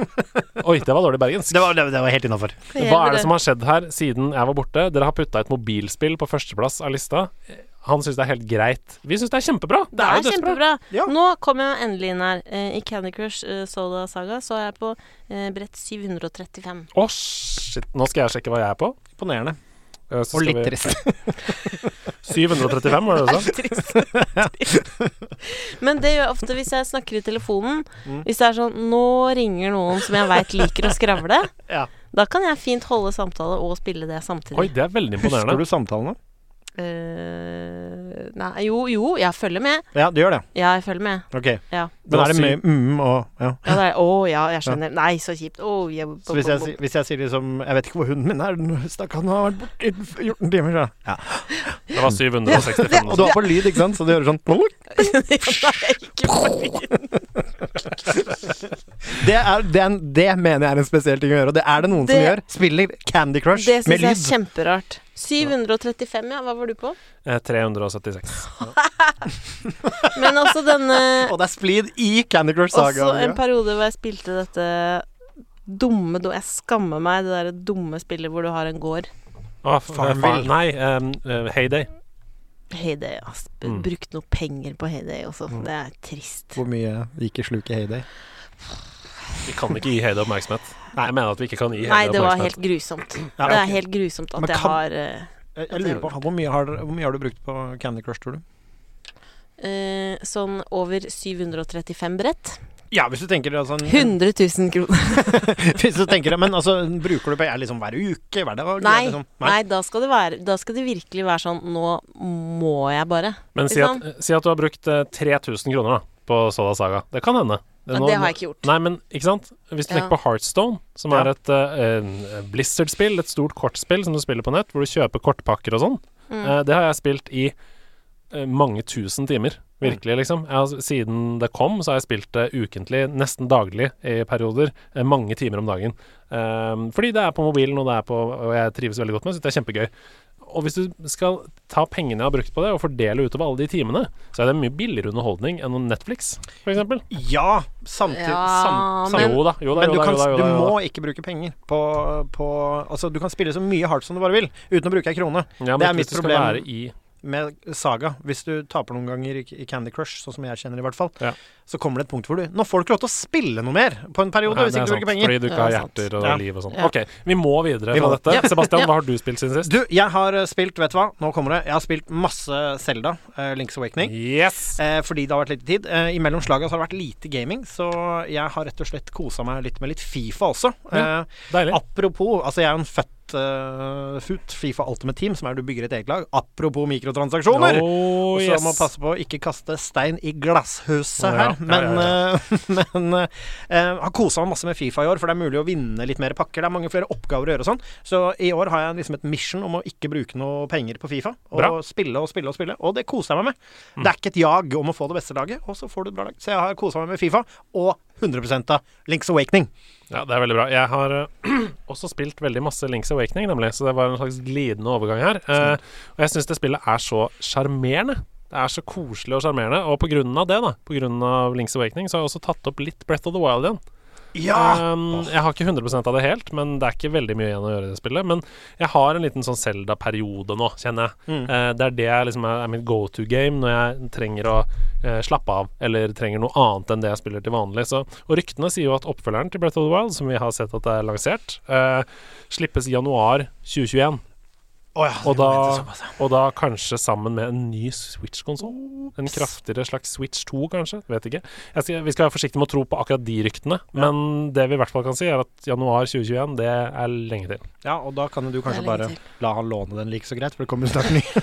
Speaker 5: Oi, det var dårlig bergensk.
Speaker 4: Det var, det, det var helt innafor.
Speaker 5: Hva er det som har skjedd her siden jeg var borte? Dere har putta et mobilspill på førsteplass av lista. Han syns det er helt greit. Vi syns det er kjempebra. Det, er jo dødsbra.
Speaker 1: kjempebra.
Speaker 4: Ja.
Speaker 1: Nå kommer jeg endelig inn her. Eh, I Candy Crush eh, Soda Saga så er jeg på eh, brett 735.
Speaker 5: Å, shit. Nå skal jeg sjekke hva jeg er på.
Speaker 4: Imponerende.
Speaker 5: Eh, så
Speaker 4: Og
Speaker 5: skal
Speaker 4: litt
Speaker 5: vi-
Speaker 4: trist.
Speaker 5: 735, var det du sa?
Speaker 4: *laughs*
Speaker 1: *laughs* Trist. *laughs* Men det gjør jeg ofte hvis jeg snakker i telefonen.
Speaker 4: Mm.
Speaker 1: Hvis det er sånn Nå ringer noen som jeg veit liker å skravle.
Speaker 4: *laughs* Ja.
Speaker 1: Da kan jeg fint holde samtale og spille det samtidig.
Speaker 5: Oi, det er veldig
Speaker 4: Husker
Speaker 5: imponerende.
Speaker 4: du samtalene?
Speaker 1: Eh, nei, jo, jo, jeg følger med.
Speaker 4: Ja, du gjør det.
Speaker 1: Ja, jeg følger med.
Speaker 4: Ok.
Speaker 1: Ja.
Speaker 4: Men er det mye mm og ja.
Speaker 1: ja, det er, å ja, jeg skjønner. Nei, så kjipt. Å, jeg,
Speaker 4: Så hvis jeg,
Speaker 1: *laughs*
Speaker 4: si- hvis jeg sier liksom Jeg vet ikke hvor hunden min er, den stakk han har vært borte i 14 timer, så ja.
Speaker 5: Det var 765.
Speaker 4: Og du har på lyd, ikke sant, så du hører sånn
Speaker 1: Nei, ikke fordi-
Speaker 4: Det, er, det, er en, det mener jeg er en spesiell ting å gjøre, og det er det noen som
Speaker 1: Det-
Speaker 4: gjør. Spiller Candy Crush
Speaker 1: det syns
Speaker 4: med
Speaker 1: jeg
Speaker 4: lyd.
Speaker 1: er kjemperart. 735, ja. Hva var du
Speaker 4: *laughs*
Speaker 1: på?
Speaker 5: Eh, 376.
Speaker 1: Men også denne
Speaker 4: Og det er splid i Candy Crush Saga.
Speaker 1: Også en periode hvor jeg spilte dette dumme do- Jeg skammer meg, det derre dumme spillet hvor du har en gård.
Speaker 5: Å Ah, f- fa-
Speaker 4: Farmville.
Speaker 5: Nei, em, eh, Heyday.
Speaker 1: Heyday, ass. B-
Speaker 5: Mm.
Speaker 1: Brukt noe penger på Heyday også.
Speaker 4: Mm.
Speaker 1: Det er trist.
Speaker 4: Hvor mye gikk i sluket Heyday?
Speaker 5: Vi kan ikke gi Heyday oppmerksomhet. Nei, jeg mener at vi ikke kan gi Heyday
Speaker 1: Nei, det var
Speaker 5: oppmerksomhet.
Speaker 1: helt grusomt.
Speaker 4: Ja,
Speaker 1: Det
Speaker 4: ok.
Speaker 1: er helt grusomt at
Speaker 4: Men
Speaker 1: jeg
Speaker 4: kan-
Speaker 1: har eh,
Speaker 4: Jeg, jeg lurer på, hvor mye, har, dere- hvor mye har du brukt på Candy Crush, tror du?
Speaker 1: eh, sånn over 735 brett.
Speaker 4: Ja, hvis du tenker det altså, en-
Speaker 1: 100 000 kroner.
Speaker 4: *laughs* Hvis du tenker det, Men altså, bruker du penger liksom hver uke? Hver dag?
Speaker 1: Nei,
Speaker 4: Liksom?
Speaker 1: nei da, skal det være, da skal det virkelig være sånn Nå må jeg bare.
Speaker 5: Men si at, si at du har brukt eh, 3000 kroner da, på Soda Saga. Det kan hende.
Speaker 1: Men det har jeg ikke gjort.
Speaker 5: Nei, men ikke sant? Hvis du
Speaker 1: Ja.
Speaker 5: tenker på Heartstone, som
Speaker 4: Ja.
Speaker 5: er et eh, en Blizzard-spill, et stort kortspill som du spiller på nett, hvor du kjøper kortpakker og sånn,
Speaker 4: Mm.
Speaker 1: Mm.
Speaker 5: eh, det har jeg spilt i eh, mange tusen timer.
Speaker 4: Mm.
Speaker 5: Virkelig, liksom. Jeg har, siden det kom, så har jeg spilt det ukentlig, nesten daglig i perioder. eh, mange timer om dagen. Eh, fordi det er på mobilen, og, det er på, og jeg trives veldig godt med det. Det er kjempegøy. Og hvis du skal ta pengene jeg har brukt på det, og fordele utover alle de timene, så er det mye billigere underholdning enn Netflix, f.eks.
Speaker 4: Ja, samtidig
Speaker 1: Ja,
Speaker 4: sam, sam,
Speaker 1: Men-
Speaker 5: Jo da, jo da,
Speaker 4: Men
Speaker 5: jo
Speaker 4: du,
Speaker 5: da,
Speaker 4: kan,
Speaker 5: jo da, jo
Speaker 4: du
Speaker 5: da, jo da.
Speaker 4: må ikke bruke penger på, på Altså, du kan spille så mye hardt som du bare vil, uten å bruke ei krone.
Speaker 5: Ja, men
Speaker 4: Det er
Speaker 5: hvis
Speaker 4: mitt
Speaker 5: du skal
Speaker 4: problem.
Speaker 5: være I,
Speaker 4: Med Saga, hvis du taper noen ganger i, i Candy Crush, sånn som jeg kjenner i hvert fall,
Speaker 5: Ja.
Speaker 4: så kommer det et punkt hvor du Nå får du ikke lov til å spille noe mer på en periode,
Speaker 5: Nei,
Speaker 4: hvis
Speaker 5: det
Speaker 4: ikke
Speaker 5: er
Speaker 4: du bruker
Speaker 5: sant,
Speaker 4: penger.
Speaker 5: Fordi du ikke
Speaker 1: Ja,
Speaker 5: har
Speaker 1: sant.
Speaker 5: hjerter og
Speaker 4: Ja.
Speaker 5: liv og sånn.
Speaker 1: Ja.
Speaker 5: Ok, vi må videre
Speaker 4: Vi
Speaker 5: fra
Speaker 4: må
Speaker 5: dette. Sebastian, hva har du spilt siden sist?
Speaker 4: Du, jeg har eh, spilt, vet du hva, nå kommer det, jeg har spilt masse Selda, Links Awakening.
Speaker 5: Yes!
Speaker 4: Eh, fordi det har vært litt tid. Eh, Imellom slaga så har det vært lite gaming, så jeg har rett og slett kosa meg litt med litt Fifa også.
Speaker 5: Ja.
Speaker 4: Eh,
Speaker 5: Deilig.
Speaker 4: Apropos, altså jeg er jo en født eh, fut, Fifa Ultimate Team, som er du bygger et eget lag. Apropos mikrotransaksjoner!
Speaker 5: Oh,
Speaker 4: så
Speaker 5: yes.
Speaker 4: jeg må passe på å ikke kaste stein i glasshuset
Speaker 5: Å, ja.
Speaker 4: her.
Speaker 5: Ja,
Speaker 4: Men,
Speaker 5: ja,
Speaker 4: eh, *laughs* men eh, eh, har kosa meg masse med Fifa i år, for det er mulig å vinne litt mer pakker. Det er mange flere oppgaver å gjøre og sånn. Så i år har jeg liksom et mission om å ikke bruke noe penger på Fifa. Og
Speaker 5: Bra. Mm.
Speaker 4: spille og spille og spille. Og det koser jeg meg med. Det er ikke et jag om å få det beste laget, og så får du et bra lag. Så jeg har kosa meg med Fifa, og 100 av Links Awakening.
Speaker 5: Ja, det er veldig bra. Jeg har eh, *clears throat* også spilt veldig masse Links Awakening, nemlig, så det var en slags glidende overgang her. Eh, og jeg syns det spillet er så sjarmerende. Det er så koselig og sjarmerende. Og på grunn av det, da, på grunn av Links Awakening, så har jeg også tatt opp litt Breath of the Wild igjen.
Speaker 4: Eh,
Speaker 5: Um, jeg har ikke 100 av det helt, men det er ikke veldig mye igjen å gjøre i det spillet. Men jeg har en liten sånn Selda-periode nå, kjenner jeg.
Speaker 4: Mm.
Speaker 5: Eh, det er det jeg liksom er, er mitt go to game når jeg trenger å eh, slappe av, eller trenger noe annet enn det jeg spiller til vanlig. Så, og ryktene sier jo at oppfølgeren til Breath of the Wild, som vi har sett at er lansert, eh, slippes i januar 2021.
Speaker 4: Å ja,
Speaker 5: Og
Speaker 4: det var
Speaker 5: da-
Speaker 4: nettopp såpass, ja.
Speaker 5: Og da kanskje sammen med en ny Switch-konsoll? En kraftigere slags Switch 2, kanskje? Vet ikke. Jeg skal, vi skal være forsiktige med å tro på akkurat de ryktene, men det vi i hvert fall kan si, er at januar 2021, det er lenge til.
Speaker 4: ja, og da kan jo du kanskje
Speaker 1: Det er
Speaker 4: bare
Speaker 1: lenge
Speaker 4: la han låne den like så greit, for det kommer jo snart ny. *laughs*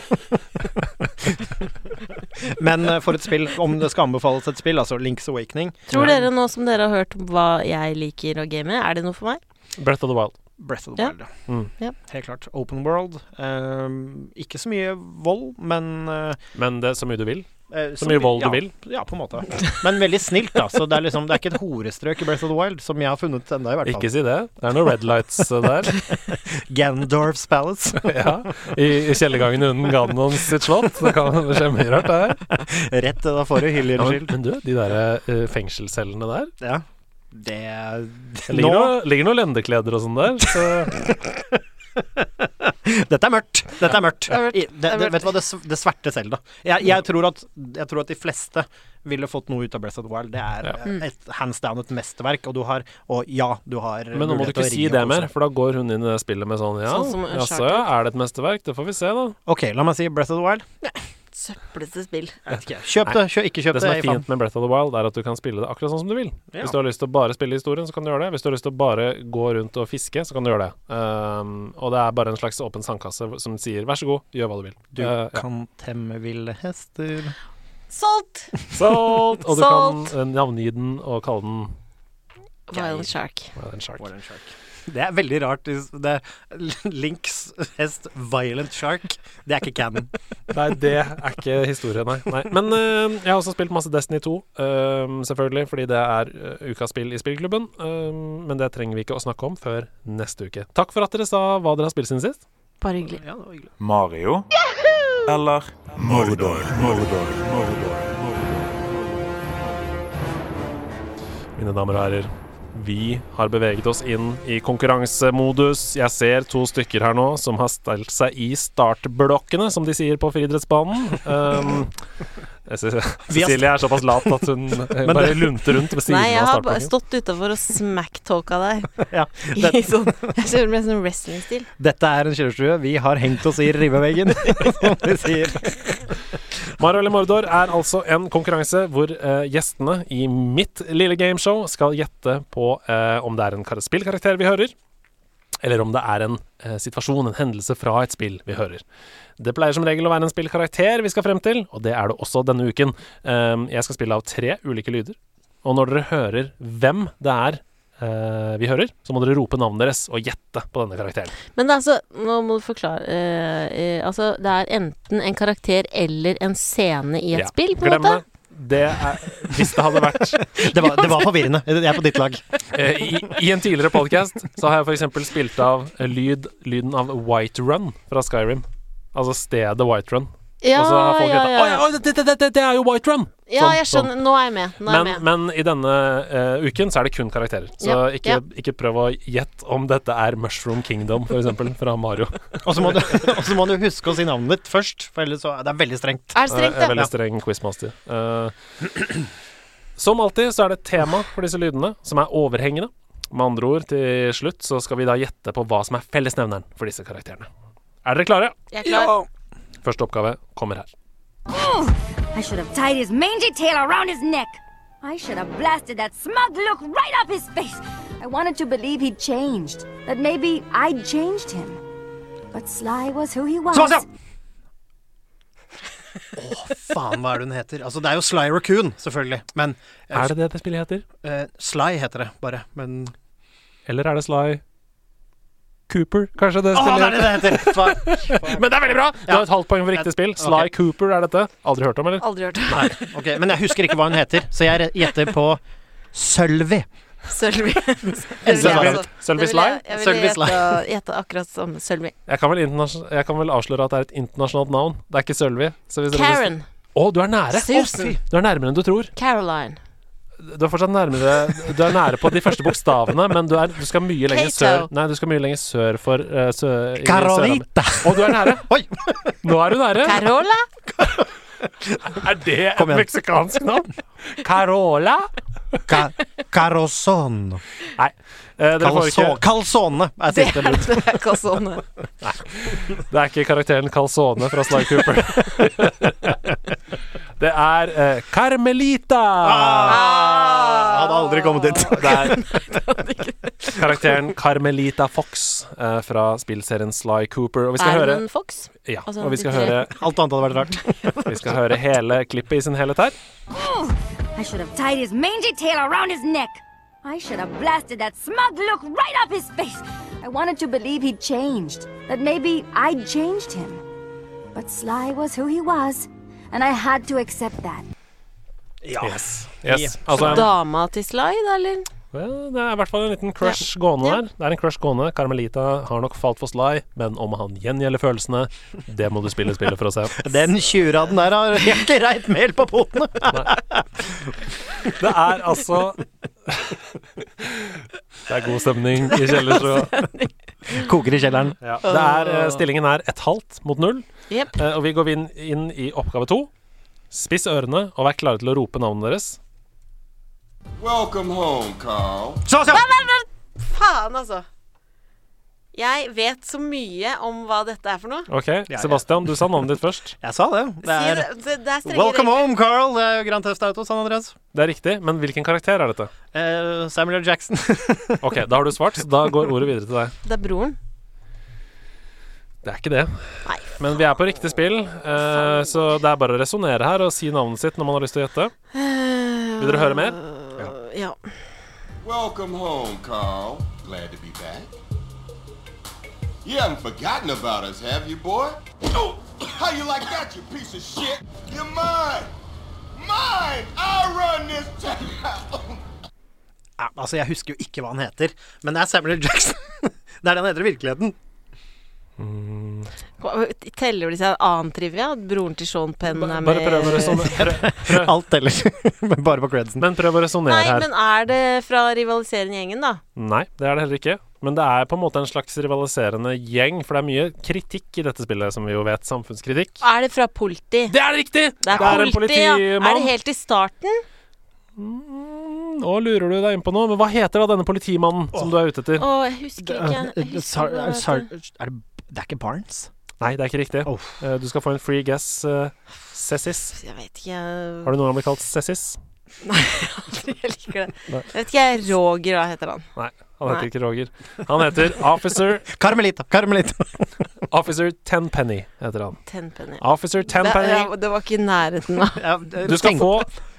Speaker 4: Men eh, for et spill, om det skal anbefales et spill, altså Links Awakening,
Speaker 1: Tror dere nå som dere har hørt hva jeg liker å game, er det noe for meg?
Speaker 5: Breath of the Wild.
Speaker 4: Breath of the
Speaker 1: Ja.
Speaker 4: Wild. ja.
Speaker 5: Mm.
Speaker 1: Ja.
Speaker 4: Helt klart. Open world. ehm, ikke så mye vold, men eh,
Speaker 5: Men det er så mye du vil.
Speaker 4: eh,
Speaker 5: Så mye vold
Speaker 4: ja,
Speaker 5: du vil.
Speaker 4: Ja, på en måte. Men veldig snilt, da. Så det er liksom Det er ikke et horestrøk i Breath of the Wild, som jeg har funnet ennå, i hvert fall.
Speaker 5: Ikke si det. Det er noen red lights eh, der. *laughs*
Speaker 4: Gandorf's Palace. *laughs*
Speaker 5: ja. I, i kjellergangen under Ganon sitt slott. Det kan skje mye rart, det *laughs* her.
Speaker 4: Rett til da får du hyller
Speaker 5: Ja, men,
Speaker 4: skyld.
Speaker 5: men du, de der eh, fengselscellene der
Speaker 4: Ja. Det
Speaker 5: Det ligger, noe, ligger noen lendekleder og sånn der. Så
Speaker 4: *laughs* Dette er mørkt. Dette er mørkt.
Speaker 1: Det er mørkt.
Speaker 4: I- Det,
Speaker 1: Det er
Speaker 4: det,
Speaker 1: mørkt.
Speaker 4: vet du hva, det, s- det sverte Selda. Jeg, jeg, tror at, jeg tror at de fleste ville fått noe ut av Breath of the Wild. Det er
Speaker 5: Ja.
Speaker 1: Mm.
Speaker 4: et, hands down et mesterverk, og du har Og ja, du har
Speaker 5: men nå må du
Speaker 4: Eh, mulighet til å
Speaker 5: ikke si
Speaker 4: ringe
Speaker 5: det
Speaker 4: og kose
Speaker 5: mer,
Speaker 4: deg.
Speaker 5: for da går hun inn i det spillet med sånn Ja,
Speaker 1: Sånn som
Speaker 5: jaså,
Speaker 1: Uncharted.
Speaker 5: ja, er det et mesterverk? Det får vi se, da.
Speaker 4: OK, la meg si Breath of the Wild.
Speaker 1: Søplete spill.
Speaker 4: Jeg vet ikke. Kjøp det, kjøp, ikke kjøp
Speaker 5: Det
Speaker 4: det.
Speaker 5: som er
Speaker 4: jeg faen.
Speaker 5: fint med Breath of the Wild, er at du kan spille det akkurat sånn som du vil.
Speaker 4: Ja.
Speaker 5: Hvis du har lyst til å bare spille historien, så kan du gjøre det. Hvis du har lyst til å bare gå rundt og fiske, så kan du gjøre det. Um, og det er bare en slags åpen sandkasse som sier vær så god, gjør hva du vil.
Speaker 4: Du
Speaker 5: Eh, ja.
Speaker 4: kan temme ville hester
Speaker 1: Solgt!
Speaker 5: Salt! Og du
Speaker 1: Salt!
Speaker 5: kan eh, navngi den og kalle den
Speaker 1: Wild Shark.
Speaker 5: hva er det, en shark.
Speaker 4: Violent Shark. Det er veldig rart. hvis Det er Links hest Violent Shark. Det er ikke canon.
Speaker 5: Nei, det er ikke historie, nei. nei. Men eh, jeg har også spilt masse Destiny 2, eh, selvfølgelig, fordi det er eh, ukas spill i spillklubben. Eh, men det trenger vi ikke å snakke om før neste uke. Takk for at dere sa hva dere har spilt siden sist.
Speaker 1: Bare hyggelig.
Speaker 4: Ja, det var hyggelig.
Speaker 2: Mario eller Mordor. Mordor. Mordor.
Speaker 5: Mine damer og herrer, Vi har beveget oss inn i konkurransemodus. Jeg ser to stykker her nå som har stelt seg i startblokkene, som de sier på friidrettsbanen.
Speaker 4: *laughs*
Speaker 5: Um, jeg synes-
Speaker 4: Vi
Speaker 5: *laughs*
Speaker 4: har-
Speaker 5: Cecilie er såpass lat at hun eh,
Speaker 4: Men
Speaker 5: bare
Speaker 4: det-
Speaker 5: lunter rundt ved siden
Speaker 1: Nei, jeg
Speaker 5: av
Speaker 1: har bare
Speaker 5: startblokken.
Speaker 1: stått utafor og smacktalka deg.
Speaker 5: *laughs*
Speaker 4: Ja,
Speaker 1: I sånn, *laughs* jeg kjører med sånn wrestling-stil.
Speaker 4: Dette er en kjølestue. Vi har hengt oss i ribbeveggen, *laughs* som de sier.
Speaker 5: Mario eller Mordor er altså en konkurranse hvor eh, gjestene i mitt lille gameshow skal gjette på eh, om det er en kar- spillkarakter vi hører, eller om det er en eh, situasjon, en hendelse fra et spill vi hører. Det pleier som regel å være en spillkarakter vi skal frem til, og det er det også denne uken. Eh, jeg skal spille av tre ulike lyder, og når dere hører hvem det er eh, vi hører, så må dere rope navnet deres og gjette på denne karakteren.
Speaker 1: Men det er altså Nå må du forklare. eh, eh, altså, det er enten en karakter eller en scene i et
Speaker 5: Ja.
Speaker 1: spill, på en
Speaker 5: Glem
Speaker 1: måte.
Speaker 5: det. Det er, hvis det hadde vært
Speaker 4: Det var, det var forvirrende. Jeg er på ditt lag.
Speaker 5: Eh, I, I en tidligere podcast så har jeg for eksempel spilt av eh, lyd, lyden av White Run fra Skyrim. Altså stedet White Run.
Speaker 1: Ja,
Speaker 5: og så har folk
Speaker 1: ja,
Speaker 5: hetta,
Speaker 1: ja.
Speaker 5: «Å ja, det, det, det, det er jo White Run!
Speaker 1: ja,
Speaker 5: Sånn,
Speaker 1: jeg skjønner. Nå er jeg med. Nå er
Speaker 5: Men,
Speaker 1: jeg med.
Speaker 5: men i denne eh, uken så er det kun karakterer. Så
Speaker 1: Ja,
Speaker 5: ikke,
Speaker 1: ja.
Speaker 5: ikke prøv å gjette om dette er Mushroom Kingdom, for eksempel, fra Mario.
Speaker 4: Og så må, du- og så må du huske å si navnet ditt først, for ellers så det er veldig strengt.
Speaker 1: Er det
Speaker 5: Jeg
Speaker 1: strengt,
Speaker 5: er
Speaker 1: da?
Speaker 5: veldig streng quizmaster. Eh, som alltid så er det et tema for disse lydene som er overhengende. Med andre ord, til slutt så skal vi da gjette på hva som er fellesnevneren for disse karakterene. Er dere klare?
Speaker 1: Jeg er klar.
Speaker 5: Første oppgave kommer her.
Speaker 3: Oh, I should have tied his mangy tail around his neck. I should have blasted that smug look right off his face. I wanted to believe he'd changed, that maybe I'd changed him. But Sly was who he was.
Speaker 4: Sebastian! Faen, hva er det hun heter? Altså, det er jo Sly Raccoon, selvfølgelig. Men
Speaker 5: Er det det det spillet heter?
Speaker 4: eh, Sly heter det bare. Men
Speaker 5: Eller er det Sly Cooper, kanskje det
Speaker 4: Å, det er
Speaker 5: spillet heter?
Speaker 4: det det heter! Fuck.
Speaker 5: Men det er veldig bra! Du har et halvt poeng for riktig spill. Sly
Speaker 4: Ok.
Speaker 5: Cooper er dette. Aldri hørt om, eller?
Speaker 1: Aldri hørt om
Speaker 4: Ok, Men jeg husker ikke hva hun heter, så jeg gjetter på Sølvi.
Speaker 1: Sølvi.
Speaker 5: *laughs*
Speaker 4: Sølvi.
Speaker 5: Sølvi Sly?
Speaker 1: Jeg
Speaker 4: Sølvi
Speaker 1: ville
Speaker 4: Sly.
Speaker 1: gjette- *laughs* gjette akkurat som Sølvi.
Speaker 5: Jeg kan, vel internasjon- jeg kan vel avsløre at det er et internasjonalt navn. Det er ikke Sølvi. så hvis dere vil-
Speaker 1: Karen.
Speaker 5: Å, du er nære!
Speaker 1: Susan.
Speaker 5: Du er nærmere enn du tror.
Speaker 1: Caroline.
Speaker 5: Du er fortsatt nærmere Du er nære på de første bokstavene, men du, er, du skal mye lenger sør
Speaker 1: Kato.
Speaker 5: Nei, du skal mye lenger sør for eh, sø, i Sør-Amerika.
Speaker 4: Carolita!
Speaker 5: Å, du er nære!
Speaker 4: Oi!
Speaker 5: Nå er du nære!
Speaker 1: Carola?
Speaker 5: Er det et
Speaker 4: Kom igjen.
Speaker 5: meksikansk navn? Carola?
Speaker 4: Ca Carosone.
Speaker 5: Nei. eh, dere får ikke,
Speaker 4: Calzone. Calzone er
Speaker 1: Det
Speaker 4: siste
Speaker 1: er
Speaker 4: bud.
Speaker 1: *laughs* det er sånn. kalsone.
Speaker 5: det er ikke karakteren Calzone fra Sly Cooper. *laughs* det er eh, Carmelita!
Speaker 4: Ah, hadde aldri kommet
Speaker 1: *laughs*
Speaker 4: dit.
Speaker 5: Det er karakteren Carmelita Fox eh, fra spillserien Sly Cooper. Og vi skal
Speaker 1: Er
Speaker 5: høre
Speaker 1: hun en fox?
Speaker 5: ja,
Speaker 1: altså,
Speaker 5: og vi skal
Speaker 1: litt-
Speaker 5: høre,
Speaker 4: Alt annet hadde vært rart.
Speaker 5: vi skal høre hele klippet i sin helhet her.
Speaker 3: Oh, I should have tied his mangy tail around his neck. I should have blasted that smug look right off his face. I wanted to believe he'd changed, that maybe I'd changed him. But Sly was who he was, and I had to accept that.
Speaker 5: Yes. yes. Altså,
Speaker 1: Dama til Sly, da, eller?
Speaker 5: Ja, det er i hvert fall en liten crush gående
Speaker 1: Ja.
Speaker 5: her. Det er en crush gående. Carmelita har nok falt for Sly, men om han gjengjelder følelsene, det må du spille spillet for å se.
Speaker 4: Den tjuraden der har helt reint mel på potene.
Speaker 5: *laughs* Det er altså Det er god stemning i kjellerstua.
Speaker 4: Koker i kjelleren.
Speaker 5: *laughs* Ja. Det er, eh, Stillingen er ett halvt mot null,
Speaker 1: Jepp.
Speaker 5: eh, og vi går inn, inn i oppgave to. Spiss ørene og vær klare til å rope navnet deres.
Speaker 6: Welcome home, Carl.
Speaker 4: Sebastian!
Speaker 1: Faen, altså. Jeg vet så mye om hva dette er for noe.
Speaker 5: Ok,
Speaker 4: ja.
Speaker 5: Sebastian, du sa navnet ditt først.
Speaker 4: Jeg sa det. Det
Speaker 1: Si
Speaker 4: er
Speaker 1: det, det, det er strenge
Speaker 4: Welcome
Speaker 1: regler.
Speaker 4: home, Carl. Det er jo Grand Theft Auto, San Andreas.
Speaker 5: Det er riktig, men hvilken karakter er dette?
Speaker 4: Eh, Samuel L.
Speaker 5: *laughs*
Speaker 4: Jackson.
Speaker 5: Ok, da har du svart, så da går ordet videre til deg.
Speaker 1: Det er broren.
Speaker 5: Det er ikke det.
Speaker 1: Nei.
Speaker 5: Men vi er på riktig spill, eh, så det er bare å resonnere her og si navnet sitt når man har lyst til å gjette. Vil dere høre mer?
Speaker 1: Ja.
Speaker 6: Welcome home, Carl. Glad to be back. You haven't forgotten about us, have you, boy? Oh, how you like that, you piece of shit? You're mine. Mine. I run this town. *laughs*
Speaker 4: Ja, *laughs* altså, jeg husker jo ikke hva han heter, men det er Samuel L. Jackson. det er det han heter i virkeligheten.
Speaker 1: Teller det seg annen trivia? At broren til Sean Penn er med
Speaker 5: Bare prøv å
Speaker 1: *laughs*
Speaker 5: resonnere.
Speaker 4: Alt ellers. *laughs* Men bare på credsen.
Speaker 5: Men prøv å resonnere
Speaker 1: Nei,
Speaker 5: her.
Speaker 1: men er det fra rivaliserende gjengen, da?
Speaker 5: Nei, det er det heller ikke. Men det er på en måte en slags rivaliserende gjeng, for det er mye kritikk i dette spillet, som vi jo vet. Samfunnskritikk.
Speaker 1: Er det fra politi?
Speaker 5: Det er det riktig!
Speaker 1: Det er, politi, ja. Er det helt i starten?
Speaker 5: Mm, Nå lurer du deg innpå noe, men hva heter da denne politimannen som du er ute etter?
Speaker 1: Å, jeg husker ikke. Jeg husker
Speaker 4: Eh, Sar-
Speaker 1: ikke hva det
Speaker 4: Sar-
Speaker 1: heter.
Speaker 4: Er det Det er ikke Barnes?
Speaker 5: Nei, det er ikke riktig.
Speaker 4: Oh.
Speaker 5: Eh, Du skal få en free guess. eh, Cessis.
Speaker 1: jeg vet ikke
Speaker 5: Har du noen gang blitt kalt Cessis?
Speaker 1: *laughs* Jeg liker det. Jeg vet ikke. Roger, hva heter han?
Speaker 5: Nei, han heter
Speaker 1: Nei.
Speaker 5: ikke Roger. Han heter Officer
Speaker 4: Carmelita. Carmelita.
Speaker 5: Officer Tenpenny, heter han.
Speaker 1: Tenpenny.
Speaker 5: Officer Tenpenny.
Speaker 1: Det, det var ikke i nærheten
Speaker 4: *laughs*
Speaker 1: av
Speaker 5: Du skal få,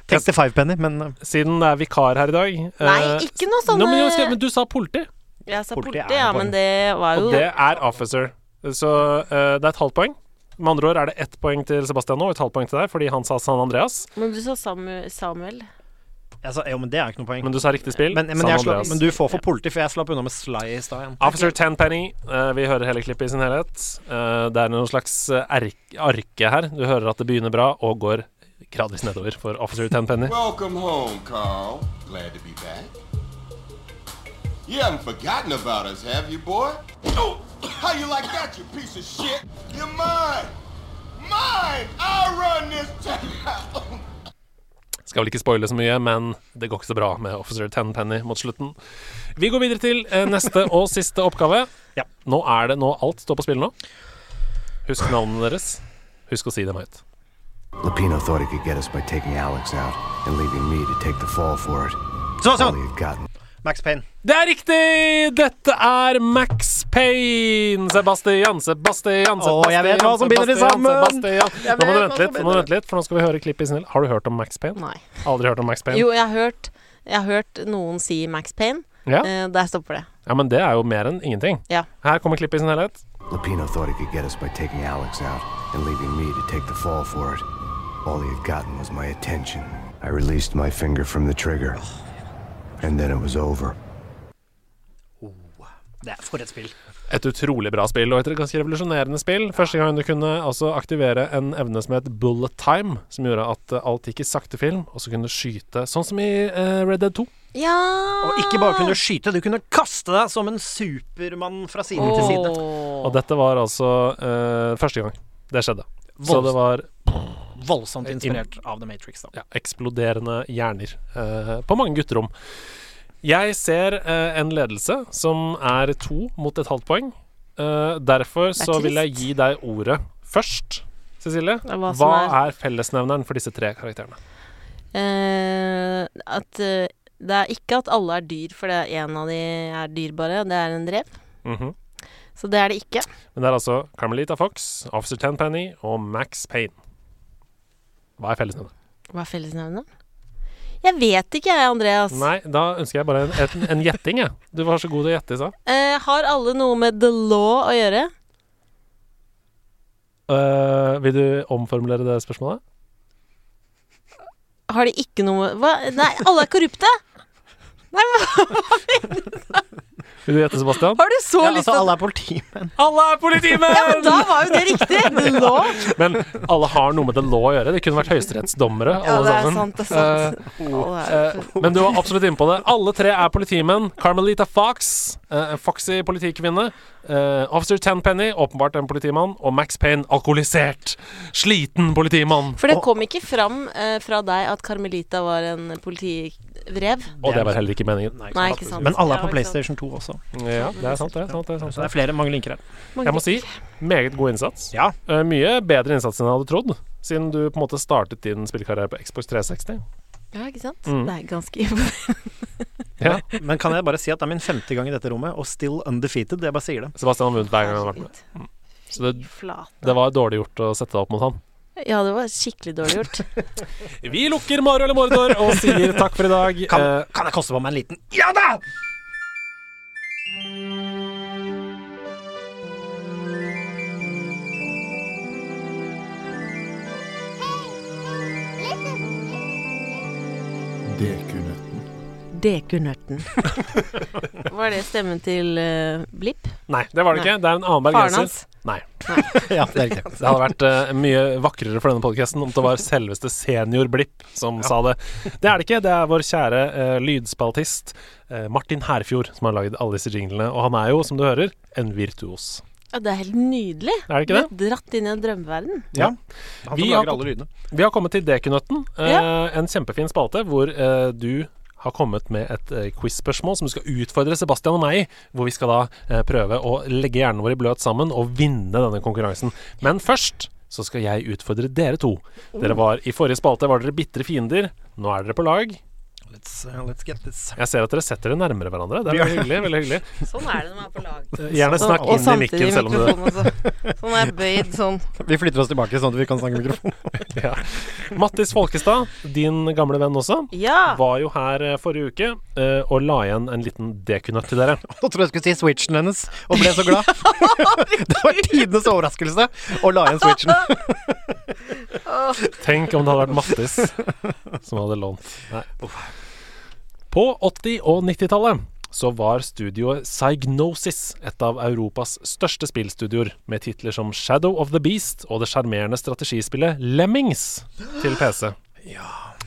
Speaker 4: Tenkte fivepenny, men uh,
Speaker 5: siden det er vikar her i dag
Speaker 1: Nei,
Speaker 5: eh,
Speaker 1: ikke noe
Speaker 5: Nå, men, jeg husker-
Speaker 1: sånn
Speaker 5: men du sa politi,
Speaker 1: Jeg sa
Speaker 4: Politi
Speaker 1: politi,
Speaker 4: er
Speaker 1: ja,
Speaker 4: bare-
Speaker 1: men det var jo
Speaker 5: og det er officer. Så eh, det er et halvt poeng. Med andre ord er det ett poeng til Sebastian nå, og et halvt poeng til deg, fordi han sa San Andreas.
Speaker 1: Men du sa Samu- Samuel.
Speaker 4: altså, Jo, men det er jo ikke noe poeng.
Speaker 5: Men du sa riktig spill.
Speaker 4: Men, men,
Speaker 5: San
Speaker 4: jeg slapp,
Speaker 5: Andreas.
Speaker 4: men du får for politi, for jeg slapp unna med Sly i stad igjen.
Speaker 5: Officer Tenpenny, eh, vi hører hele klippet i sin helhet. Eh, det er noe slags eh, erk- arke her. Du hører at det begynner bra og går gradvis nedover for Officer Tenpenny.
Speaker 6: Welcome home, Carl. Glad to be back. You haven't forgotten about us, have you, boy? Oh, how you like that, you piece of shit? You're mine. Mine. I'll run this town.
Speaker 5: Skal vel ikke spoile så mye, men det går ikke så bra med Officer Tenpenny mot slutten. Vi går videre til eh,
Speaker 4: *laughs*
Speaker 5: neste og siste oppgave.
Speaker 4: Ja.
Speaker 5: Nå er det nå alt står på spill nå. Husk navnene deres. Husk å si dem høyt.
Speaker 7: Lapino thought he could get us by taking Alex out and leaving me to take the fall for it.
Speaker 4: Sånn,
Speaker 7: All
Speaker 4: sånn!
Speaker 7: he had gotten.
Speaker 4: Max Payne.
Speaker 5: Det er riktig! Dette er Max Payne. Sebastian, Sebastian, Sebastian
Speaker 4: Å, jeg vet hva som binder de
Speaker 5: Sebastian,
Speaker 4: sammen.
Speaker 5: Sebastian.
Speaker 4: Jeg
Speaker 5: Nå må du
Speaker 4: vet hva
Speaker 5: vente
Speaker 4: som
Speaker 5: litt, nå må du vente litt, for nå skal vi høre klippet i snill. Har du hørt om Max Payne?
Speaker 1: Nei.
Speaker 5: Aldri hørt om Max Payne?
Speaker 1: Jo, jeg har hørt, jeg har hørt noen si Max Payne.
Speaker 5: Ja?
Speaker 1: Eh, der stopper det.
Speaker 5: ja, men det er jo mer enn ingenting.
Speaker 1: Ja.
Speaker 5: Her kommer klippet i sin helhet.
Speaker 7: Lapino thought he could get us by taking Alex out and leaving me to take the fall for it. All he had gotten was my attention. I released my finger from the trigger, and then it was over.
Speaker 4: Det er for et spill.
Speaker 5: Et utrolig bra spill, og et ganske revolusjonerende spill. Første gang du kunne altså aktivere en evne som het bullet time, som gjorde at eh, alt gikk i sakte film, og så kunne du skyte, sånn som i eh, Red Dead 2.
Speaker 1: Ja
Speaker 4: Og ikke bare kunne du skyte, du kunne kaste deg som en supermann fra side til side.
Speaker 5: Og dette var altså eh, første gang det skjedde. Så det var
Speaker 4: Voldsomt inspirert av The Matrix. da
Speaker 5: ja, eksploderende hjerner eh, på mange gutterom. Jeg ser eh, en ledelse som er to mot et halvt poeng. Eh, derfor
Speaker 1: er
Speaker 5: så vil jeg
Speaker 1: trist.
Speaker 5: gi deg ordet først, Cecilie.
Speaker 1: er hva
Speaker 5: Hva,
Speaker 1: som er-
Speaker 5: er fellesnevneren for disse tre karakterene?
Speaker 1: Eh, at eh, det er ikke at alle er dyr, for det er en av de er dyrebare, og det er en drev.
Speaker 5: Mhm.
Speaker 1: Så det er det ikke.
Speaker 5: Men det er altså Carmelita Fox, Officer Tenpenny og Max Payne. Hva er fellesnevneren?
Speaker 1: Hva er fellesnevnet? Jeg vet ikke, jeg, Andreas.
Speaker 5: Nei, da ønsker jeg bare en, en, en gjetting, jeg. Du var så god til å gjette i stad.
Speaker 1: Eh, har alle noe med the law å gjøre?
Speaker 5: Eh, vil du omformulere det spørsmålet?
Speaker 1: Har de ikke noe med Hva? Nei, alle er korrupte! Nei, men
Speaker 5: Vil du gjette, Sebastian?
Speaker 1: *laughs* har du så
Speaker 4: Ja,
Speaker 1: lyst
Speaker 4: altså,
Speaker 1: til at
Speaker 4: alle er politimenn.
Speaker 5: *laughs* Alle er politimenn!
Speaker 1: Ja, men da var jo det riktig! *laughs* The law.
Speaker 5: Men alle har noe med the law å gjøre. De kunne vært høyesterettsdommere,
Speaker 1: Ja,
Speaker 5: alle
Speaker 1: det er
Speaker 5: sammen.
Speaker 1: sant, det er sant. Alle er
Speaker 5: Eh, eh, men du var absolutt inne på det. Alle tre er politimenn. Carmelita Fox, eh, en foxy politikvinne. Eh, Officer Tenpenny, åpenbart en politimann. Og Max Payne, alkoholisert, sliten politimann.
Speaker 1: For det kom ikke fram eh, fra deg at Carmelita var en politivrev.
Speaker 5: Og det var heller ikke meningen.
Speaker 1: Nei, ikke sant.
Speaker 4: Men alle er
Speaker 1: Ja,
Speaker 4: på
Speaker 1: ikke sant.
Speaker 4: PlayStation 2 også.
Speaker 5: Ja, det er sant, det. er sant, det er sant,
Speaker 4: Så det
Speaker 5: det.
Speaker 4: er flere, mange linker her.
Speaker 5: Jeg må si meget god innsats.
Speaker 4: Ja.
Speaker 5: Eh, mye bedre innsats enn jeg hadde trodd, siden du på en måte startet din spillkarriere på Xbox 360.
Speaker 1: Ja, ikke sant?
Speaker 5: Mm.
Speaker 1: Det er ganske *laughs* imponerende.
Speaker 5: Ja.
Speaker 4: Men kan jeg bare si at det er min femte gang i dette rommet, og still undefeated. Jeg bare sier det.
Speaker 5: Sebastian har vunnet hver gang han har vært med. Mm. Så det-
Speaker 1: Fy flate.
Speaker 5: Det var dårlig gjort å sette deg opp mot han.
Speaker 1: Ja, det var skikkelig dårlig gjort.
Speaker 5: Vi lukker Mario eller Mordor og sier takk for i dag.
Speaker 1: *laughs*
Speaker 4: Kan,
Speaker 5: Eh,
Speaker 4: kan jeg koste på meg en liten Ja da!
Speaker 1: *laughs* Dekunørten. Var det stemmen til eh, Blipp?
Speaker 5: Nei, det var det
Speaker 1: Nei.
Speaker 5: ikke. Det er en annen
Speaker 1: Faren
Speaker 5: bergenser.
Speaker 1: hans.
Speaker 5: Nei. *laughs*
Speaker 4: Ja, det er riktig.
Speaker 5: Det hadde vært eh, mye vakrere for denne podkasten om det var selveste Senior Blipp som sa det. Det er det ikke. Det er vår kjære eh, lydspaltist eh, Martin Herfjord som har lagd alle disse jinglene. Og han er jo, som du hører, en virtuos.
Speaker 1: Ja, det er helt nydelig.
Speaker 5: Er det ikke det?
Speaker 1: Blir dratt inn i en drømmeverden.
Speaker 4: Ja. Han
Speaker 5: Vi har
Speaker 4: som lager
Speaker 5: fått-
Speaker 4: alle lydene.
Speaker 5: Vi har kommet til Dekunøtten. eh, En kjempefin spalte hvor eh, du har kommet med et eh, quiz-spørsmål som du skal utfordre Sebastian og meg i. Hvor vi skal da eh, prøve å legge hjernen vår i bløt sammen og vinne denne konkurransen. Men først så skal jeg utfordre dere to. Dere var I forrige spalte var dere bitre fiender. Nå er dere på lag.
Speaker 4: Let's, uh, let's get this.
Speaker 5: Jeg ser at dere setter dere nærmere hverandre. Det er veldig hyggelig. veldig hyggelig
Speaker 1: Sånn er det når man er på lag.
Speaker 5: Eh, Gjerne snakk inn i mikken selv om du
Speaker 1: Sånn er jeg bøyd sånn.
Speaker 4: Vi flytter oss tilbake sånn at vi kan snakke i mikrofon.
Speaker 5: ja. Mattis Folkestad, din gamle venn også,
Speaker 1: Ja!
Speaker 5: var jo her eh, forrige uke eh, og la igjen en liten dekunøtt til dere.
Speaker 4: Nå trodde jeg skulle si switchen hennes, og ble så glad. *laughs* det var tidenes overraskelse å la igjen switchen.
Speaker 5: Tenk om det hadde vært Mattis som hadde lånt. Nei. På 80- og 90-tallet så var studioet Psygnosis et av Europas største spillstudioer, med titler som Shadow of the Beast og det sjarmerende strategispillet Lemmings til PC.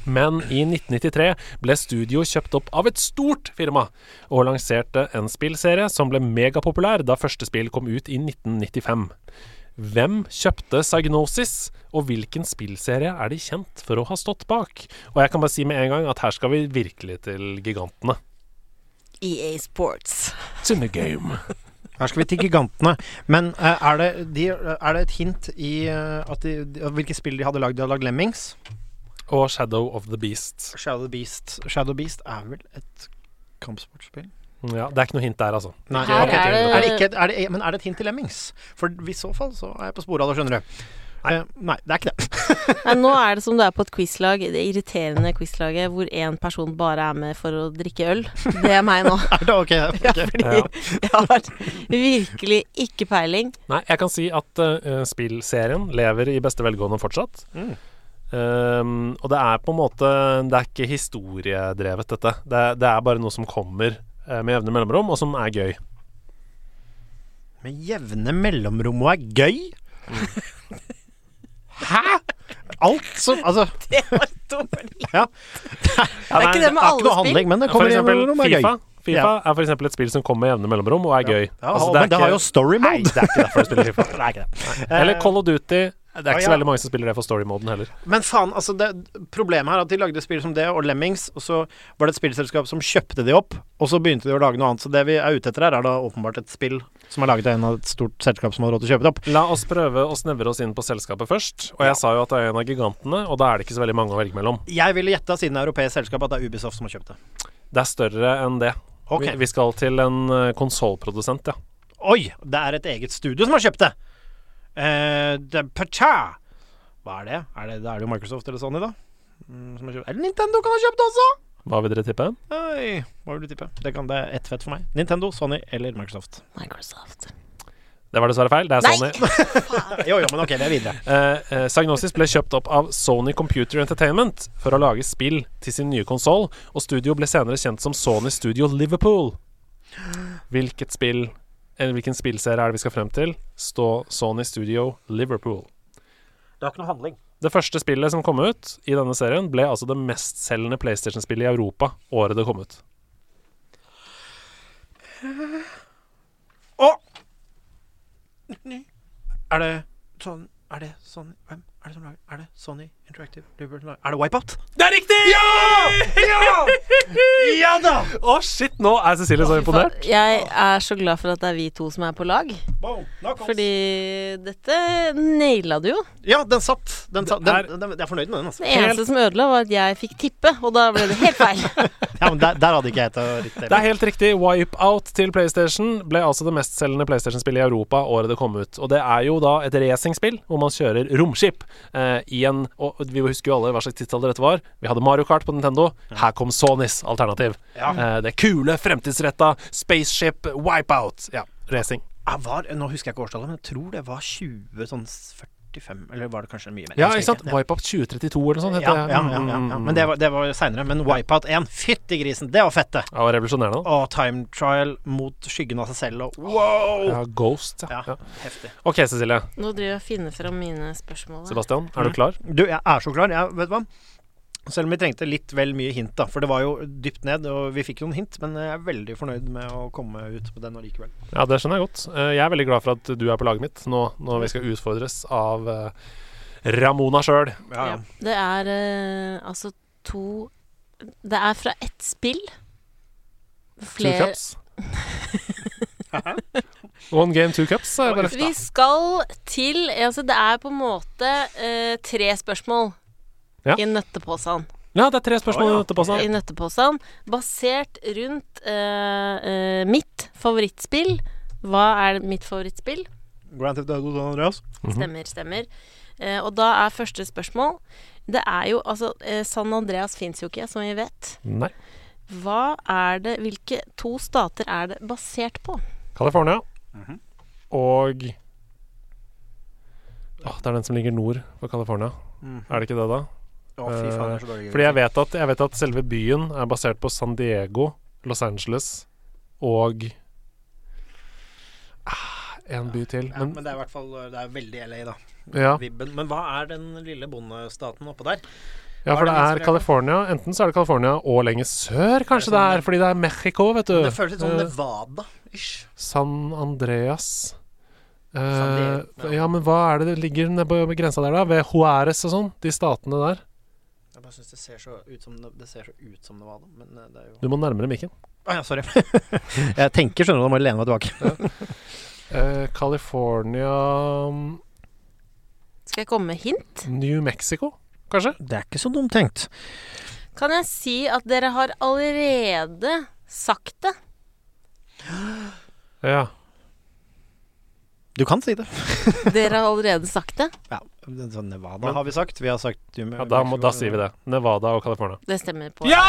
Speaker 5: Men i 1993 ble studio kjøpt opp av et stort firma, og lanserte en spillserie som ble megapopulær da første spill kom ut i 1995. Hvem kjøpte Psygnosis, og hvilken spillserie er de kjent for å ha stått bak? Og jeg kan bare si med en gang at her skal vi virkelig til gigantene.
Speaker 1: EA E Sports.
Speaker 5: Cinnegame.
Speaker 4: Her skal vi til gigantene. Men eh, er, det, de, er det et hint i eh, at de, de, at hvilke spill de hadde lagd? De hadde lagd Lemmings.
Speaker 5: Og Shadow of the Beast.
Speaker 4: Shadow Beast. Shadow Beast er vel et kampsportspill?
Speaker 5: Ja, det er ikke noe hint der, altså.
Speaker 4: Nei,
Speaker 1: Her
Speaker 4: ok.
Speaker 1: er det-
Speaker 4: er det ikke et, er det, e, men er det et hint til Lemmings? For i så fall så er jeg på sporet av det, skjønner du. Eh, nei, det er ikke det. *laughs*
Speaker 1: Nei, nå er det som du er på et quizlag, det irriterende quizlaget hvor én person bare er med for å drikke øl. Det er meg nå.
Speaker 5: *laughs*
Speaker 4: Er det ok? ok.
Speaker 1: Fordi
Speaker 5: Ja.
Speaker 1: jeg har virkelig ikke peiling.
Speaker 5: Nei, jeg kan si at eh, spillserien lever i beste velgående fortsatt.
Speaker 4: Mm.
Speaker 5: Um, og det er på en måte Det er ikke historiedrevet, dette. Det, det er bare noe som kommer eh, med jevne mellomrom, og som er gøy.
Speaker 4: Med jevne mellomrom og er gøy? Hæ? Alt som *laughs* Altså,
Speaker 1: Det var dumt.
Speaker 4: ja.
Speaker 5: Ja,
Speaker 1: ikke det med alle
Speaker 4: noe
Speaker 1: spill.
Speaker 4: handling, men det
Speaker 5: For
Speaker 4: kommer
Speaker 5: eksempel
Speaker 4: mellomrom og er
Speaker 5: Fifa.
Speaker 4: gøy.
Speaker 5: FIFA
Speaker 4: Ja.
Speaker 5: er for eksempel et spill som kommer med jevne mellomrom og er gøy.
Speaker 4: Ja,
Speaker 5: Altså,
Speaker 4: men
Speaker 5: er
Speaker 4: det, har jo story
Speaker 5: Nei,
Speaker 4: mode.
Speaker 5: det er ikke derfor du
Speaker 4: *laughs*
Speaker 5: spiller FIFA. Eh,
Speaker 4: Det er ikke det.
Speaker 5: Eller Call of Duty. Det er
Speaker 4: Ah,
Speaker 5: ikke så
Speaker 4: ja.
Speaker 5: veldig mange som spiller det for story-moden heller.
Speaker 4: Men faen, altså det, problemet her er at de lagde spill som det og Lemmings, og så var det et spillselskap som kjøpte de opp, og så begynte de å lage noe annet. Så det vi er ute etter her, er da åpenbart et spill som er laget av en av et stort selskap som hadde råd til å kjøpe det opp.
Speaker 5: La oss prøve å snevre oss inn på selskapet først. Og jeg sa jo at det er en av gigantene, og da er det ikke så veldig mange å velge mellom.
Speaker 4: Jeg ville gjette siden det er europeisk selskap at det er Ubisoft som har kjøpt det.
Speaker 5: Det er større enn det.
Speaker 4: Ok.
Speaker 5: Vi, vi skal til en konsollprodusent, ja.
Speaker 4: Oi, det er et eget studio som har kjøpt det! Eh, det er Pacha. Hva er det? Er det, da er det jo Microsoft eller Sony, da? Mm, som har kjøpt. Eller Nintendo kan ha kjøpt det også!
Speaker 5: Hva vil dere tippe?
Speaker 4: Oi, hva vil du tippe? Det, kan, det er ett fett for meg. Nintendo, Sony eller Microsoft.
Speaker 1: Microsoft.
Speaker 5: Det var dessverre feil. Det er
Speaker 1: Nei!
Speaker 5: Sony. Ah.
Speaker 4: Jo, jo, men ok, vi er videre.
Speaker 5: Eh, eh, Psygnosis ble kjøpt opp av Sony Computer Entertainment for å lage spill til sin nye konsoll, og studio ble senere kjent som Sony Studio Liverpool. Hvilket spill eller Hvilken spillserie er det vi skal frem til? Stå Sony Studio Liverpool.
Speaker 4: Det har ikke noe handling.
Speaker 5: Det første spillet som kom ut i denne serien, ble altså det mestselgende PlayStation-spillet i Europa året det kom ut.
Speaker 4: Å! Ny. Er det sånn Er det Sony Hvem er det som lager Er det Sony Interactive Liverpool som lager- Er det Wipeout?
Speaker 5: Det er riktig!
Speaker 4: Ja da!
Speaker 5: Å, shit! Nå er Cecilie så imponert.
Speaker 1: Jeg er så glad for at det er vi to som er på lag, fordi dette naila du jo.
Speaker 4: Ja, den satt. Den satt. Den,
Speaker 5: Det er-
Speaker 4: den, jeg er fornøyd med den, altså.
Speaker 1: Det eneste som ødela, var at jeg fikk tippe, og da ble det helt feil.
Speaker 5: *laughs*
Speaker 4: Ja, men der, der hadde ikke jeg et riktig.
Speaker 5: Det er helt riktig. Wipeout til PlayStation ble altså det mestselgende PlayStation-spillet i Europa året det kom ut. Og det er jo da et racingspill hvor man kjører romskip eh, i en Og vi husker jo alle hva slags tidsalder dette var. Vi hadde Mario Kart på Nintendo. Her kom Sonys alternativ. Eh, det kule, fremtidsretta spaceship wipeout. Ja, racing.
Speaker 4: Ah, Jeg var, nå husker jeg ikke årstallet, men jeg tror det var 20, sånn 40 45, eller var det kanskje mye mer?
Speaker 5: Ja, ikke
Speaker 4: Jeg husker
Speaker 5: sant? Wipeout 2032 eller noe sånt.
Speaker 4: Ja,
Speaker 5: heter
Speaker 4: ja,
Speaker 5: det.
Speaker 4: ja, ja, ja. Men det var, det var seinere. Men Wipeout 1, fytti grisen, det var fette!
Speaker 5: Ja, det var revolusjonerende. da.
Speaker 4: Og time trial mot skyggen av seg selv, og wow!
Speaker 5: Ja, Ghost, ja.
Speaker 4: Ja,
Speaker 5: ja.
Speaker 4: heftig.
Speaker 5: OK, Cecilie.
Speaker 1: Nå driver jeg og finner fram mine spørsmål. her.
Speaker 5: Sebastian, er du klar?
Speaker 4: Du, jeg er så klar. Jeg, vet du hva? Selv om vi trengte litt vel mye hint, da. For det var jo dypt ned, og vi fikk noen hint. Men jeg er veldig fornøyd med å komme ut på den allikevel.
Speaker 5: Ja, det skjønner jeg godt. Eh, Jeg er veldig glad for at du er på laget mitt nå når vi skal utfordres av eh, Ramona sjøl.
Speaker 4: Ja, ja.
Speaker 1: Det er eh, altså to Det er fra ett spill.
Speaker 5: Two
Speaker 1: Flere
Speaker 5: cups. *laughs* One game, two cups, sa jeg bare.
Speaker 1: Vi skal til altså Det er på en måte eh, tre spørsmål
Speaker 5: Ja.
Speaker 1: i nøtteposen.
Speaker 5: Ja, det er tre spørsmål i dette
Speaker 1: I
Speaker 5: passet.
Speaker 1: nøtteposen basert rundt eh, eh, mitt favorittspill. Hva er mitt favorittspill?
Speaker 4: Grand Theft Auto San Andreas.
Speaker 5: Mhm.
Speaker 1: Stemmer, stemmer. Eh, og da er første spørsmål Det er jo altså eh, San Andreas fins jo ikke, som vi vet.
Speaker 5: Nei.
Speaker 1: Hva er det Hvilke to stater er det basert på?
Speaker 5: California og Åh, Det er den som ligger nord for California. Er det ikke det, da?
Speaker 4: Å, fy faen, det er så dårlig.
Speaker 5: Eh, Fordi jeg vet, at, jeg vet at selve byen er basert på San Diego, Los Angeles og ah, en by til.
Speaker 4: ja,
Speaker 5: Men
Speaker 4: men det er i hvert fall eh, Det er veldig LA, da.
Speaker 5: ja,
Speaker 4: Vibben. Men hva er den lille bondestaten oppå der?
Speaker 5: ja for det
Speaker 4: Hva er det
Speaker 5: er
Speaker 4: inspirert av?
Speaker 5: California. Enten så er det California og lenger sør, kanskje det er, fordi det er Mexico, vet du.
Speaker 4: sånn Det føles litt sånn
Speaker 5: Eh,
Speaker 4: Nevada-ish.
Speaker 5: San Andreas. Eh,
Speaker 4: San Diego, ja.
Speaker 5: ja, men hva er det det ligger nede på grensa der, da? Ved Juárez og sånn? De statene der.
Speaker 4: Jeg bare syns det ser så ut som Det ser så ut som Nevada, men eh, det er jo
Speaker 5: Du må nærmere mikken.
Speaker 4: Å ja, sorry. *laughs* jeg tenker, skjønner du, da må jeg lene meg tilbake.
Speaker 5: Eh, California mm,
Speaker 1: Skal jeg komme med hint?
Speaker 5: New Mexico, kanskje?
Speaker 4: Det er ikke så dumt tenkt.
Speaker 1: Kan jeg si at dere har allerede sagt det?
Speaker 5: Ja.
Speaker 4: Du kan si det.
Speaker 1: Dere har allerede sagt det?
Speaker 4: Ja, det er sånn Nevada har vi sagt. Vi har sagt
Speaker 5: Ja, da, må, da sier vi det. Nevada og California.
Speaker 1: Det stemmer på ja!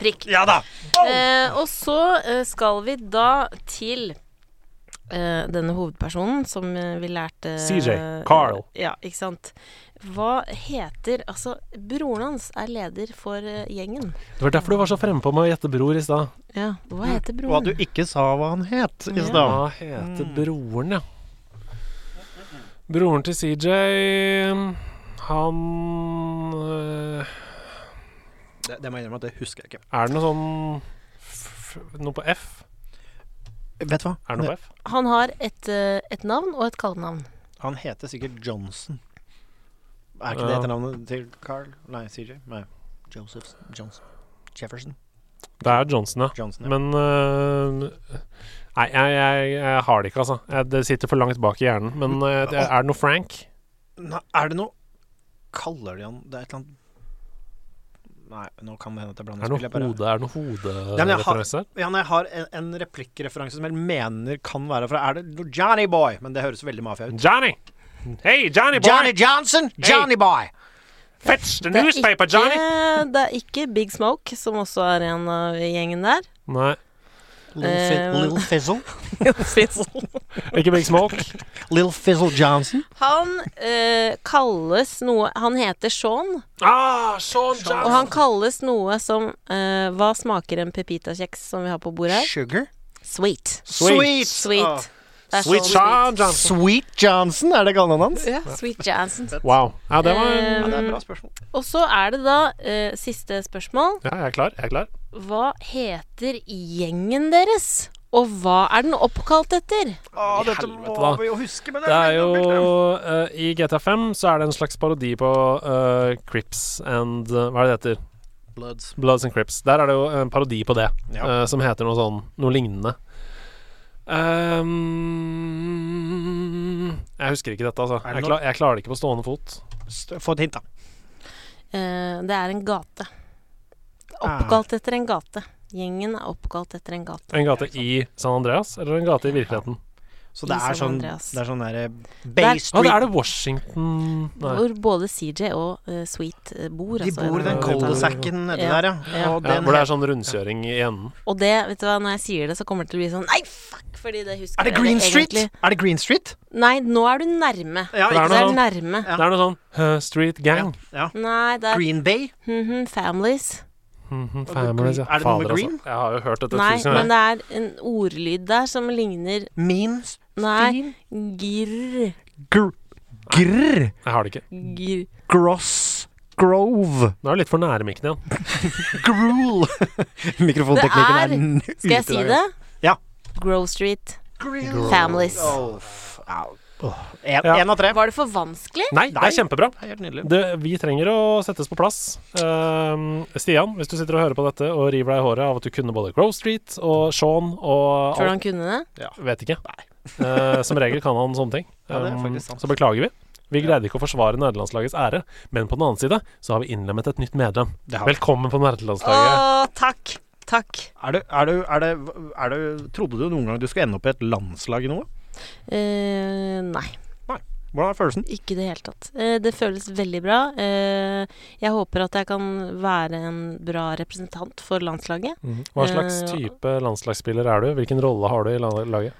Speaker 1: prikk.
Speaker 4: Ja da!
Speaker 1: Eh, og så eh, skal vi da til eh, denne hovedpersonen som eh, vi lærte eh,
Speaker 5: CJ, Carl.
Speaker 1: Ja, ikke sant. Hva heter Altså, broren hans er leder for eh, gjengen.
Speaker 5: Det var derfor du var så fremme på med å gjette bror i stad.
Speaker 1: Ja, hva heter
Speaker 4: Og at
Speaker 1: broren?
Speaker 4: du ikke sa hva han het i
Speaker 1: Ja.
Speaker 4: stad.
Speaker 5: Hva heter
Speaker 4: Mm.
Speaker 5: broren, ja? Broren til CJ Han øh,
Speaker 4: Det, det må jeg innrømme at det husker jeg ikke.
Speaker 5: Er det noe sånn f f- Noe på F?
Speaker 4: Vet du hva?
Speaker 5: Er det noe på F?
Speaker 1: Han har et, eh, et navn og et kallenavn.
Speaker 4: Han heter sikkert Johnson. Er ikke det
Speaker 5: Ja.
Speaker 4: etternavnet til Carl? Nei, CJ? Nei. Joseph Johnson. Jefferson
Speaker 5: Det er Johnson, ja.
Speaker 4: Johnson. Ja.
Speaker 5: Men øh, Nei, jeg, jeg, jeg har det ikke, altså. Jeg, det sitter for langt bak i hjernen. Men øh, det- er det noe Frank?
Speaker 4: Nei, er det noe Kaller de han Det er et eller annet Nei, nå kan det hende at jeg blander
Speaker 5: Er det
Speaker 4: spill, jeg
Speaker 5: noe
Speaker 4: bare-
Speaker 5: hode Er det noe
Speaker 4: Nei, men jeg har-
Speaker 5: hodereferanse?
Speaker 4: Ja, nei, jeg har en, en replikkreferanse som jeg mener kan være fra Er det noe Johnny Boy? Men det høres veldig mafia ut.
Speaker 5: Johnny! Hei, Johnny boy!
Speaker 4: Johnny Johnson! Johnny Boy!
Speaker 5: Fetch the
Speaker 1: Det er
Speaker 5: newspaper,
Speaker 1: ikke-
Speaker 5: Johnny!
Speaker 1: *laughs* Det er ikke Big Smoke, som også er en av gjengen *laughs* der.
Speaker 5: Nei,
Speaker 4: Little, fi
Speaker 5: *laughs*
Speaker 1: Eh,
Speaker 4: little Fizzle.
Speaker 5: ikke Big Smoke.
Speaker 4: Little Fizzle Johnson.
Speaker 1: Han eh, kalles noe Han heter Sean,
Speaker 5: Ah, Sean
Speaker 1: og han kalles noe som eh, Hva smaker en pepitakjeks som vi har på bordet her?
Speaker 4: Sugar.
Speaker 1: Sweet.
Speaker 4: Sweet.
Speaker 1: Sweet.
Speaker 4: Ah.
Speaker 1: Det er
Speaker 5: Sweet
Speaker 1: Sean
Speaker 5: Sean Johnson.
Speaker 4: Sweet Johnson, er det kallenavnet hans?
Speaker 1: Ja, Sweet Jansen.
Speaker 5: Wow. Ja, det var
Speaker 1: Eh,
Speaker 4: Ja, det er et bra spørsmål.
Speaker 1: Og så er det da eh, siste spørsmål.
Speaker 5: Ja, jeg er klar. Jeg er klar.
Speaker 1: Hva heter gjengen deres? Og hva er den oppkalt etter?
Speaker 4: Å, dette
Speaker 5: helvete, da.
Speaker 4: vi jo huske, men
Speaker 5: Det er jo
Speaker 4: veldig dumt,
Speaker 5: eh, I GTA5 så er det en slags parodi på eh, Crips and eh, Hva er det det heter?
Speaker 4: ja. Bloods.
Speaker 5: Bloods and Crips. Der er det jo en parodi på det,
Speaker 4: Ja.
Speaker 5: eh, som heter noe sånn Noe lignende. Um, jeg husker ikke dette, altså.
Speaker 4: Er det
Speaker 5: Jeg,
Speaker 4: noe-
Speaker 5: klar, jeg klarer det ikke på stående fot.
Speaker 4: St- Få et hint, da.
Speaker 1: Eh, det er en gate.
Speaker 4: Ah.
Speaker 1: Oppkalt etter en gate. Gjengen er oppkalt etter en gate.
Speaker 5: En gate i San Andreas, eller en gate i virkeligheten?
Speaker 4: Så det
Speaker 1: I
Speaker 4: er
Speaker 1: San
Speaker 4: sånn, det
Speaker 1: Andreas.
Speaker 4: er sånn derre
Speaker 1: Der-
Speaker 4: Bay
Speaker 5: Ja, det er
Speaker 4: Street.
Speaker 5: det Washington Nei.
Speaker 1: Hvor både CJ og eh, Sweet eh, bor.
Speaker 4: De
Speaker 1: altså,
Speaker 4: bor i den
Speaker 1: eller-
Speaker 5: cul-
Speaker 4: cul-de-sacken nedi
Speaker 1: Ja.
Speaker 4: der, ja.
Speaker 1: Ja.
Speaker 4: Og
Speaker 5: Ja,
Speaker 4: den
Speaker 5: hvor det er sånn rundkjøring i enden.
Speaker 1: Og det, vet du hva, når jeg sier det, så kommer det til å bli sånn Nei, fuck! Fordi det husker
Speaker 4: Er det
Speaker 1: jeg
Speaker 4: Green Street?
Speaker 1: egentlig.
Speaker 4: Er det Green Street?
Speaker 1: Nei, nå er du nærme.
Speaker 4: Ja,
Speaker 5: For det er noe
Speaker 1: Du er
Speaker 5: sånn
Speaker 1: nærme.
Speaker 4: Ja.
Speaker 5: Det er noe sånn «Huh, Street Gang.
Speaker 4: Ja.
Speaker 1: Nei, det er
Speaker 4: Green Bay?
Speaker 1: mhm, Families.
Speaker 5: Mhm, families, ja.
Speaker 4: Er det noe med
Speaker 5: Fader, altså.
Speaker 4: green?
Speaker 5: Jeg har jo hørt dette
Speaker 1: Nei,
Speaker 5: tusen
Speaker 1: men
Speaker 5: ganger.
Speaker 1: det er en ordlyd der som ligner
Speaker 4: Mean
Speaker 1: Nei, girr.
Speaker 4: Gr... Grr...
Speaker 5: Jeg har det ikke.
Speaker 1: girr.
Speaker 4: Gross... Grove...
Speaker 5: Nå er du litt for nære mikken igjen.
Speaker 4: Gruel. Mikrofonteknikken er
Speaker 1: Skal jeg si det?
Speaker 4: Ja.
Speaker 1: Grove Street.
Speaker 4: Gruel.
Speaker 1: Families.
Speaker 4: En,
Speaker 5: Ja.
Speaker 4: en av tre.
Speaker 1: Var det for vanskelig?
Speaker 5: Nei, det er kjempebra.
Speaker 4: Helt nydelig.
Speaker 5: Det, vi trenger å settes på plass. Ehm, Stian, hvis du sitter og hører på dette og river deg i håret av at du kunne både Grove Street og Sean og
Speaker 1: Tror du
Speaker 5: alt
Speaker 1: han kunne det?
Speaker 5: Vet ikke. Eh, som regel kan han sånne ting.
Speaker 4: Ja, det er faktisk
Speaker 5: Um,
Speaker 4: sant.
Speaker 5: så beklager vi. Vi greide ikke å forsvare nederlandslagets ære, men på den annen side så har vi innlemmet et nytt medlem.
Speaker 4: Det har vi.
Speaker 5: Velkommen på nederlandslaget.
Speaker 1: Å, takk. Takk.
Speaker 4: Er du, er, du, er, det, er du Trodde du noen gang du skulle ende opp i et landslag i noe?
Speaker 1: Eh, nei.
Speaker 4: Hvordan er følelsen?
Speaker 1: Ikke i det hele tatt. Eh, Det føles veldig bra. Eh, Jeg håper at jeg kan være en bra representant for landslaget.
Speaker 5: Mhm. Hva slags
Speaker 1: Eh, ja.
Speaker 5: type landslagsspiller er du? Hvilken rolle har du i la- laget?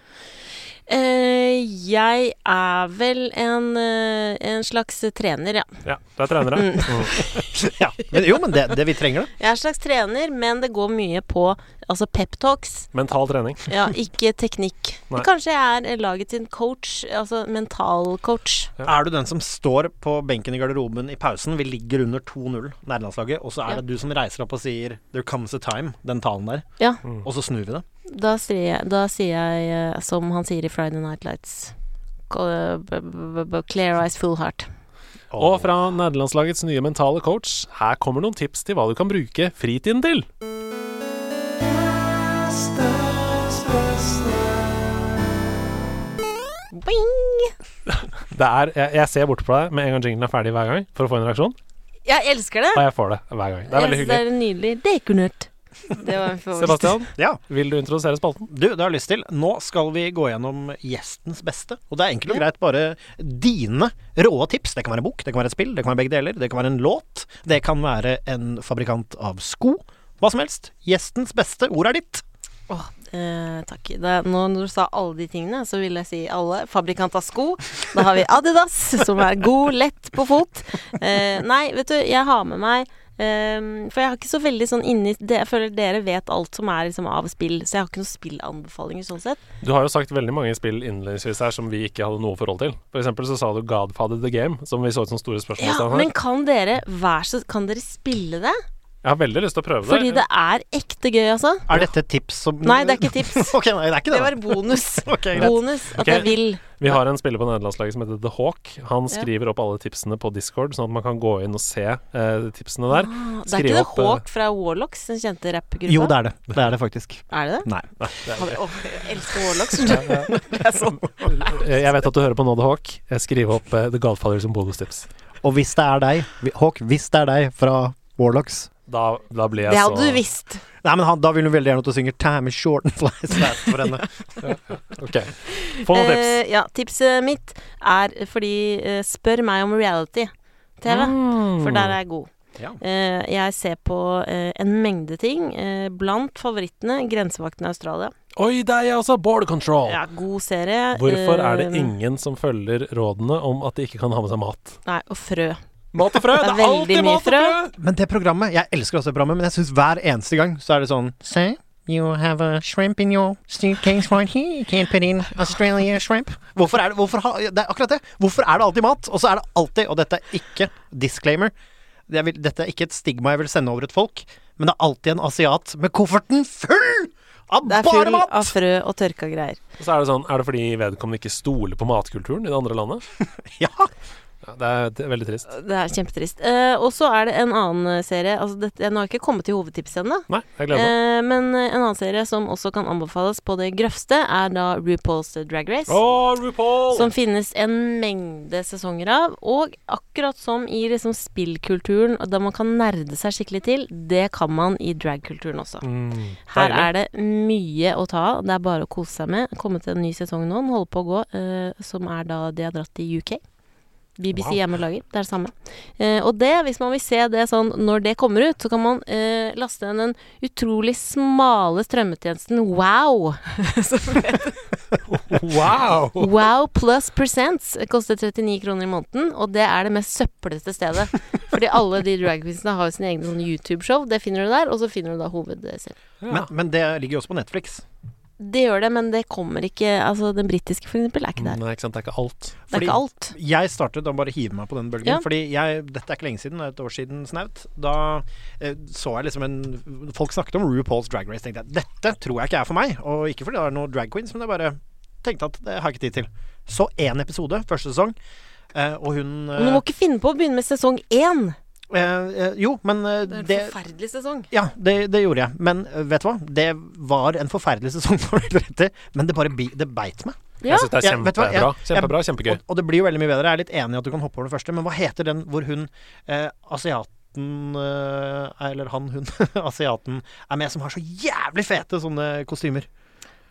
Speaker 1: Eh, Jeg er vel en, eh, en slags trener, ja.
Speaker 5: Ja, du er trenere.
Speaker 1: Mm.
Speaker 4: ja. men, jo, men det, det vi trenger det.
Speaker 1: Jeg er en slags trener, men det går mye på altså peptalks,
Speaker 5: *laughs* Mental trening.
Speaker 1: ja, ikke teknikk.
Speaker 5: Nei.
Speaker 1: Kanskje jeg er laget sin coach, altså mentalcoach.
Speaker 4: Er du den som står på benken i garderoben i pausen? Vi ligger under 2-0, nærlandslaget, og så er
Speaker 1: Ja.
Speaker 4: det du som reiser opp og sier 'There comes a time', den talen der,
Speaker 1: Ja,
Speaker 4: og så snur vi det.
Speaker 1: da sier jeg, da sier jeg eh, som han sier i Friday Night Lights. Co- b- b- b- Clear eyes, full heart.
Speaker 5: Og fra nederlandslagets nye mentale coach, her kommer noen tips til hva du kan bruke fritiden til.
Speaker 1: Boing!
Speaker 5: Det er, jeg, jeg ser bort på deg med en gang jinglen er ferdig hver gang, for å få en reaksjon.
Speaker 1: Jeg elsker det!
Speaker 5: Og jeg får det hver gang. Det er veldig
Speaker 1: Jeg synes
Speaker 5: hyggelig.
Speaker 1: Det er nydelig. Det er ikke nødt.
Speaker 5: *laughs*
Speaker 1: Det var en forvist.
Speaker 5: Sebastian,
Speaker 4: Ja.
Speaker 5: vil du introdusere spalten?
Speaker 4: Du, det har jeg lyst til. Nå skal vi gå gjennom gjestens beste. Og det er enkelt og greit bare dine rå tips. Det kan være en bok, det kan være et spill, det kan være begge deler. Det kan være en låt. Det kan være en fabrikant av sko. Hva som helst. Gjestens beste. Ordet er ditt.
Speaker 1: Åh, eh, takk. Da, nå når du sa alle de tingene, så vil jeg si alle. Fabrikant av sko. Da har vi Adidas, *laughs* som er god, lett på fot. Eh, nei, vet du, jeg har med meg ehm, For jeg har ikke så veldig sånn inni det, Jeg føler dere vet alt som er liksom, av spill, så jeg har ikke noen spillanbefalinger sånn sett.
Speaker 5: Du har jo sagt veldig mange spill innledningsvis her som vi ikke hadde noe forhold til. For eksempel så sa du Godfather the Game, som vi så ut som store spørsmål.
Speaker 1: Ja, men kan dere, vær så, kan dere spille det?
Speaker 5: Jeg har veldig lyst til å prøve
Speaker 1: Fordi
Speaker 5: det.
Speaker 1: det er ekte gøy, altså.
Speaker 4: Er dette et tips som
Speaker 1: Nei, det er ikke tips.
Speaker 4: *laughs* ok, nei, det er ikke
Speaker 1: Det
Speaker 4: det.
Speaker 1: var
Speaker 4: da.
Speaker 5: *laughs*
Speaker 1: bonus.
Speaker 4: *laughs* Ok, greit.
Speaker 1: Bonus at
Speaker 5: Ok.
Speaker 1: jeg vil.
Speaker 5: Vi har en spiller på nederlandslaget som heter The Hawk. Han
Speaker 1: Ja.
Speaker 5: skriver opp alle tipsene på Discord, sånn at man kan gå inn og se eh, tipsene der.
Speaker 1: Ah,
Speaker 5: eh,
Speaker 1: Det er ikke det Hawk fra Warlocks, den kjente rappgruppa?
Speaker 4: Jo, det er det. Det er det faktisk.
Speaker 1: Er det det?
Speaker 4: Nei.
Speaker 1: Hadde- Åh, jeg elsker Warlocks. skjønner du.
Speaker 5: eh, Jeg vet at du hører på nå, The Hawk. Jeg skriver opp eh, The Godfather som bonustips.
Speaker 4: Og hvis det er deg, vi- Håk, hvis det er deg fra Warlocks
Speaker 5: Da, da blir jeg
Speaker 1: Det
Speaker 5: så
Speaker 1: hadde du visst.
Speaker 4: Nei, men han, da vil hun veldig gjerne at du synger 'Time is short and flies fast' for
Speaker 1: *laughs*
Speaker 4: henne.
Speaker 5: Ok. Få noen tips.
Speaker 1: Eh, ja, tipset mitt er fordi eh, Spør meg om reality-TV,
Speaker 5: Mm.
Speaker 1: for der er jeg god.
Speaker 4: Ja.
Speaker 1: Eh, jeg ser på eh, en mengde ting, eh, blant favorittene Grensevakten i Australia.
Speaker 5: Mm. Oi, der er jeg også! Border Control.
Speaker 1: Ja, god serie.
Speaker 5: Hvorfor er det
Speaker 1: Eh,
Speaker 5: ingen som følger rådene om at de ikke kan ha med seg mat?
Speaker 1: Nei, og frø.
Speaker 5: Mat
Speaker 1: *laughs*
Speaker 5: og frø!
Speaker 1: Det er det er veldig alltid mye mat og frø. frø!
Speaker 4: Men det programmet, jeg elsker også det programmet, men jeg syns hver eneste gang så er det sånn Say, you have a shrimp in your suitcase right here. You can't put in Australia shrimp. Hvorfor er det, hvorfor ha, det er akkurat det. Hvorfor er det alltid mat? Og så er det alltid, og dette er ikke disclaimer, det er vil, dette er ikke et stigma jeg vil sende over et folk, men det er alltid en asiat med kofferten full av
Speaker 1: Det er
Speaker 4: bare
Speaker 1: full
Speaker 4: mat!
Speaker 1: *laughs* av frø og tørka greier.
Speaker 5: Så er det sånn, er det fordi vedkommende ikke stoler på matkulturen i det andre landet?
Speaker 4: Ja.
Speaker 5: Det er t- veldig trist.
Speaker 1: Det er kjempetrist. Eh, og så er det en annen serie altså dette, Nå har jeg ikke kommet til hovedtipset ennå.
Speaker 5: Nei, jeg gleder meg.
Speaker 1: Eh, men eh, en annen serie som også kan anbefales på det grøvste, er da RuPaul's Drag Race.
Speaker 5: Å, RuPaul!
Speaker 1: Eh, Som finnes en mengde sesonger av. Og akkurat som i liksom spillkulturen, og da man kan nerde seg skikkelig til, det kan man i dragkulturen også.
Speaker 5: Mm.
Speaker 1: Her
Speaker 5: deilig.
Speaker 1: er det mye å ta av. Det er bare å kose seg med. Kommet til en ny sesong nå, den holder på å gå, eh, som er da de har dratt til UK. BBC hjemmelager. Det er det samme. Eh, og det, hvis man vil se det sånn når det kommer ut, så kan man eh, laste ned den utrolig smale strømmetjenesten Wow.
Speaker 5: Wow!
Speaker 1: Wow Plus Presents koster 39 kroner i måneden, og det er det mest søppelete stedet.
Speaker 5: *laughs*
Speaker 1: Fordi alle de dragquinsene har jo sine egne sånne YouTube-show. Det finner du der, og så finner du da hovedserien.
Speaker 4: Men, men det ligger jo også på Netflix.
Speaker 1: Det gjør det, men det kommer ikke Altså, den britiske, for eksempel, er ikke *laughs* der.
Speaker 5: Nei, ikke sant, det er ikke alt.
Speaker 1: Det er
Speaker 4: Fordi-
Speaker 1: ikke alt.
Speaker 4: Jeg startet å bare hive meg på den bølgen.
Speaker 1: Ja.
Speaker 4: Fordi jeg, dette er ikke lenge siden, det er et år siden snaut. Da eh, så jeg liksom en Folk snakket om RuPaul's Drag Race. Tenkte jeg dette tror jeg ikke er for meg. Og ikke fordi det er noen drag queens, men jeg bare tenkte at det har jeg ikke tid til. Så én episode, første sesong. Eh, og hun
Speaker 1: Men du må ikke finne på å begynne med sesong én.
Speaker 4: eh, eh, Jo, men eh,
Speaker 1: Det er en
Speaker 4: det
Speaker 1: forferdelig sesong.
Speaker 4: ja, det, det gjorde jeg. Men eh, vet du hva? Det var en forferdelig sesong, *laughs* det var helt rett i, men det bare bi, det beit meg.
Speaker 1: Ja.
Speaker 5: Jeg syns det er
Speaker 4: Ja, vet du hva,
Speaker 5: kjempebra.
Speaker 4: jeg-
Speaker 5: Kjempebra, kjempegøy.
Speaker 4: Og, og det blir jo veldig mye bedre. Jeg er litt enig i at du kan hoppe over det første, men hva heter den hvor hun eh, asiaten eh, Eller han, hun *laughs* asiaten er med, som har så jævlig fete sånne kostymer.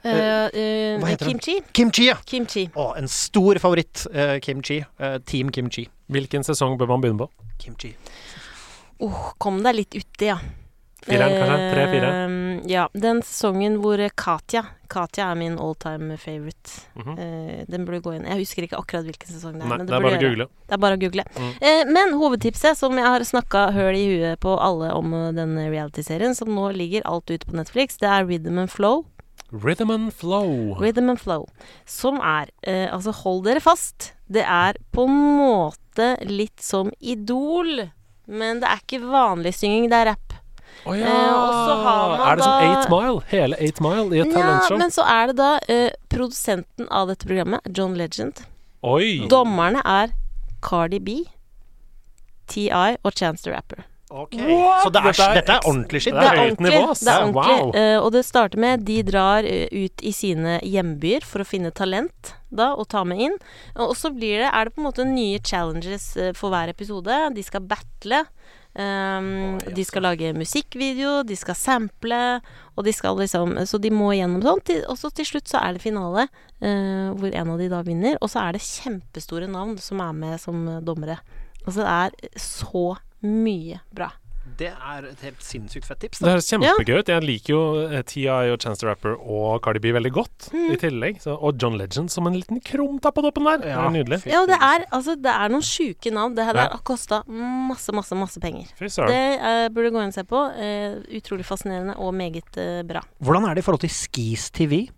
Speaker 1: Eh, eh,
Speaker 4: Hva heter den?
Speaker 1: kimchi.
Speaker 4: Kimchi, ja!
Speaker 1: Kimchi.
Speaker 4: Å, en stor favoritt. Eh, kimchi. Eh, team Kimchi.
Speaker 5: Hvilken sesong bør man begynne på?
Speaker 4: Kimchi.
Speaker 1: Oh, kom deg litt uti, ja.
Speaker 5: Fireren, kanskje? Tre,
Speaker 1: Eh, ja. Den sesongen hvor eh, Katja Katja er min all time favorite.
Speaker 5: Mhm.
Speaker 1: Eh, den burde gå inn. Jeg husker ikke akkurat hvilken sesong det er.
Speaker 5: Nei,
Speaker 1: men
Speaker 5: det er
Speaker 1: burde
Speaker 5: bare å
Speaker 1: gjøre.
Speaker 5: google.
Speaker 1: Det er bare å google.
Speaker 5: Mm.
Speaker 1: Eh, men hovedtipset, som jeg har snakka høl i huet på alle om eh, denne realityserien, som nå ligger alt ute på Netflix, det er Rhythm and Flow.
Speaker 5: Rhythm and flow.
Speaker 1: Rhythm and Flow. Som er eh, Altså, hold dere fast. Det er på en måte litt som Idol, men det er ikke vanlig synging, det er rap.
Speaker 5: Å ja.
Speaker 1: Eh, og så har man
Speaker 5: er det som
Speaker 1: da-
Speaker 5: Eight Mile? Hele Eight Mile i et
Speaker 1: Ja,
Speaker 5: talentshow?
Speaker 1: men så er det da eh, produsenten av dette programmet, John Legend.
Speaker 5: Oi!
Speaker 1: Dommerne er Cardi B, TI og Chance the Rapper.
Speaker 4: Ok. Så det er,
Speaker 5: Dette
Speaker 4: dette
Speaker 5: er
Speaker 4: er,
Speaker 5: eks-
Speaker 4: ordentlig shit.
Speaker 5: Det er
Speaker 4: det.
Speaker 5: høyt nivå, ass.
Speaker 1: Det er
Speaker 5: Ja,
Speaker 1: ordentlig.
Speaker 5: wow.
Speaker 1: Eh, og det starter med de drar eh, ut i sine hjembyer for å finne talent da, og ta med inn. Og så blir det, er det på en måte nye challenges eh, for hver episode. De skal battle. ehm, de skal lage musikkvideo, de skal sample, og de skal liksom Så de må gjennom sånn. Til- Og så til slutt så er det finale, eh, hvor en av de da vinner. Og så er det kjempestore navn som er med som eh, dommere. Altså det er så mye bra.
Speaker 4: Det er et helt sinnssykt fett tips.
Speaker 5: Det høres kjempegøy ut. Jeg liker jo eh, TI og Chance the Rapper og Cardi B veldig godt
Speaker 1: Mm.
Speaker 5: i tillegg. Så, og John Legend som en liten krumtapp på toppen der. Det
Speaker 4: Ja.
Speaker 5: er nydelig.
Speaker 1: Ja, og det er, altså, det er noen sjuke navn. Det her
Speaker 5: Ja.
Speaker 1: der har kosta masse, masse, masse penger.
Speaker 5: Fy
Speaker 1: Det
Speaker 5: søren.
Speaker 1: eh, burde gå inn og se på. Eh, utrolig fascinerende og meget
Speaker 5: *laughs*
Speaker 1: eh, bra.
Speaker 4: Hvordan er det i forhold til Skis TV?
Speaker 5: VGTV?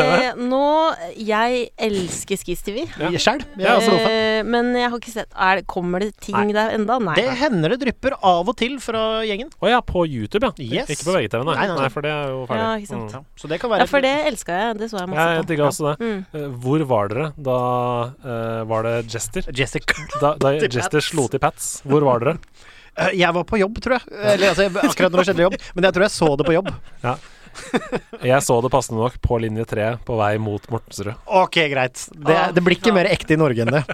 Speaker 1: Eh, nå Jeg elsker Skis TV.
Speaker 5: Ja.
Speaker 4: Selv?
Speaker 5: Ja, altså,
Speaker 4: Eh,
Speaker 1: Eh, men jeg har ikke sett er, det- Kommer det ting
Speaker 4: Nei.
Speaker 1: der enda? Nei.
Speaker 4: det hender det drypper av og til fra gjengen.
Speaker 5: Å ja, på YouTube, ja.
Speaker 4: Yes.
Speaker 5: Ikke på VGTV, nei. Nei,
Speaker 4: Nei, nei, nei.
Speaker 5: for det er jo ferdig.
Speaker 1: Ja, ikke sant.
Speaker 5: Mm.
Speaker 4: Så det kan være
Speaker 1: ja, for det elska jeg. Det så jeg
Speaker 5: Jeg
Speaker 1: masse på.
Speaker 5: digga også det. *laughs*
Speaker 1: Mm.
Speaker 5: Eh, Hvor var dere da eh, Var det Jester?
Speaker 4: Jessica.
Speaker 5: Da, da
Speaker 4: Til
Speaker 5: Jester
Speaker 4: Pats.
Speaker 5: slo til Pats, hvor var dere?
Speaker 4: Eh, Jeg var på jobb, tror jeg. Eller altså, jeg- akkurat når det skjedde jobb. Men jeg tror jeg så det på jobb.
Speaker 5: Jeg så det passende nok på linje tre på vei mot Mortensrud.
Speaker 4: Ok, greit. Det, det blir ikke mer ekte i Norge enn det.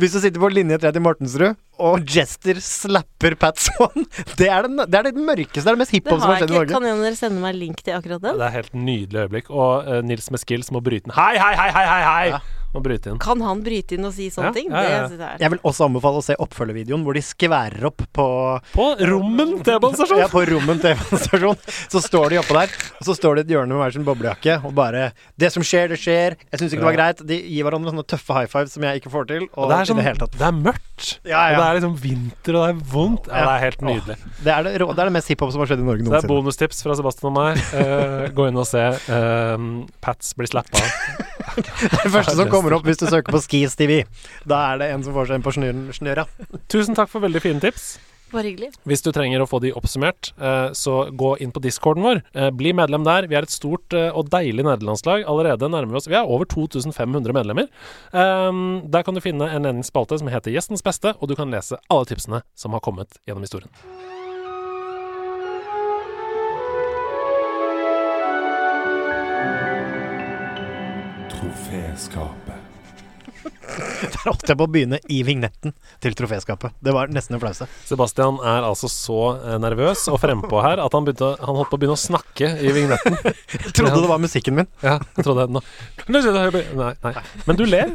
Speaker 4: Hvis du sitter på linje 3 til Mortensrud, og Jester slapper Pat Swan Det er den- det er det mørkeste, det er det mest
Speaker 1: Det
Speaker 4: hiphop som har
Speaker 1: har jeg
Speaker 4: skjedd i
Speaker 1: ikke.
Speaker 4: Norge.
Speaker 1: Kan en av dere sende meg link til akkurat den?
Speaker 5: Det er helt nydelig øyeblikk. Og eh, Nils med skills må bryte inn. Hei, hei, hei, hei, hei! hei!
Speaker 4: Ja.
Speaker 5: Må bryte inn.
Speaker 1: Kan han bryte inn og si
Speaker 5: Ja,
Speaker 1: sånne ting?
Speaker 5: ja, ja, ja.
Speaker 1: Det synes jeg er
Speaker 4: Jeg vil også anbefale å se oppfølgervideoen hvor de skværer opp på
Speaker 5: På Rommen
Speaker 4: *laughs* Ja,
Speaker 5: T-banestasjon!
Speaker 4: på Rommen TV-stasjon. Så står de oppå der, og så står de i et hjørne med hver sin boblejakke og bare 'Det som skjer, det skjer'. Jeg syns ikke det var greit. De gir hverandre sånne tøffe high fives som jeg ikke får til.
Speaker 5: Og
Speaker 4: Og
Speaker 5: det er
Speaker 4: i
Speaker 5: sånn
Speaker 4: det hele tatt.
Speaker 5: Det er mørkt.
Speaker 4: Ja, ja.
Speaker 5: Og det er liksom vinter, og det er vondt. Ja, det er helt
Speaker 4: Ja.
Speaker 5: nydelig.
Speaker 4: Det er det, rå- det er det mest hiphop som har skjedd i Norge
Speaker 5: Så det er
Speaker 4: noensinne.
Speaker 5: bonustips fra Sebastian og meg. Eh, gå inn og se eh, Pats blir slappa.
Speaker 4: *laughs* Det, er det *laughs* første som kommer opp hvis du søker på Skis TV. Da er det en som får seg en på snøren- snøra. *laughs*
Speaker 5: Tusen takk for veldig fine tips.
Speaker 1: det. Bare hyggelig.
Speaker 5: Hvis du trenger å få de oppsummert, eh, så gå inn på discorden vår. Eh, Bli medlem der. Vi er et stort eh, og deilig nederlandslag. Allerede nærmer vi oss Vi er over 2500 medlemmer. Ehm, Der kan du finne en egen spalte som heter Gjestens beste, og du kan lese alle tipsene som har kommet gjennom historien.
Speaker 2: Troféskapet.
Speaker 4: Der holdt jeg på å begynne i vignetten til troféskapet. Det var nesten det flaueste.
Speaker 5: Sebastian er altså så eh, nervøs og frempå her at han, begynte, han holdt på å begynne å snakke i vignetten.
Speaker 4: Jeg trodde det var musikken min.
Speaker 5: *laughs*
Speaker 4: *laughs*
Speaker 5: Ja, jeg trodde nå. Nei, nei. Men du ler.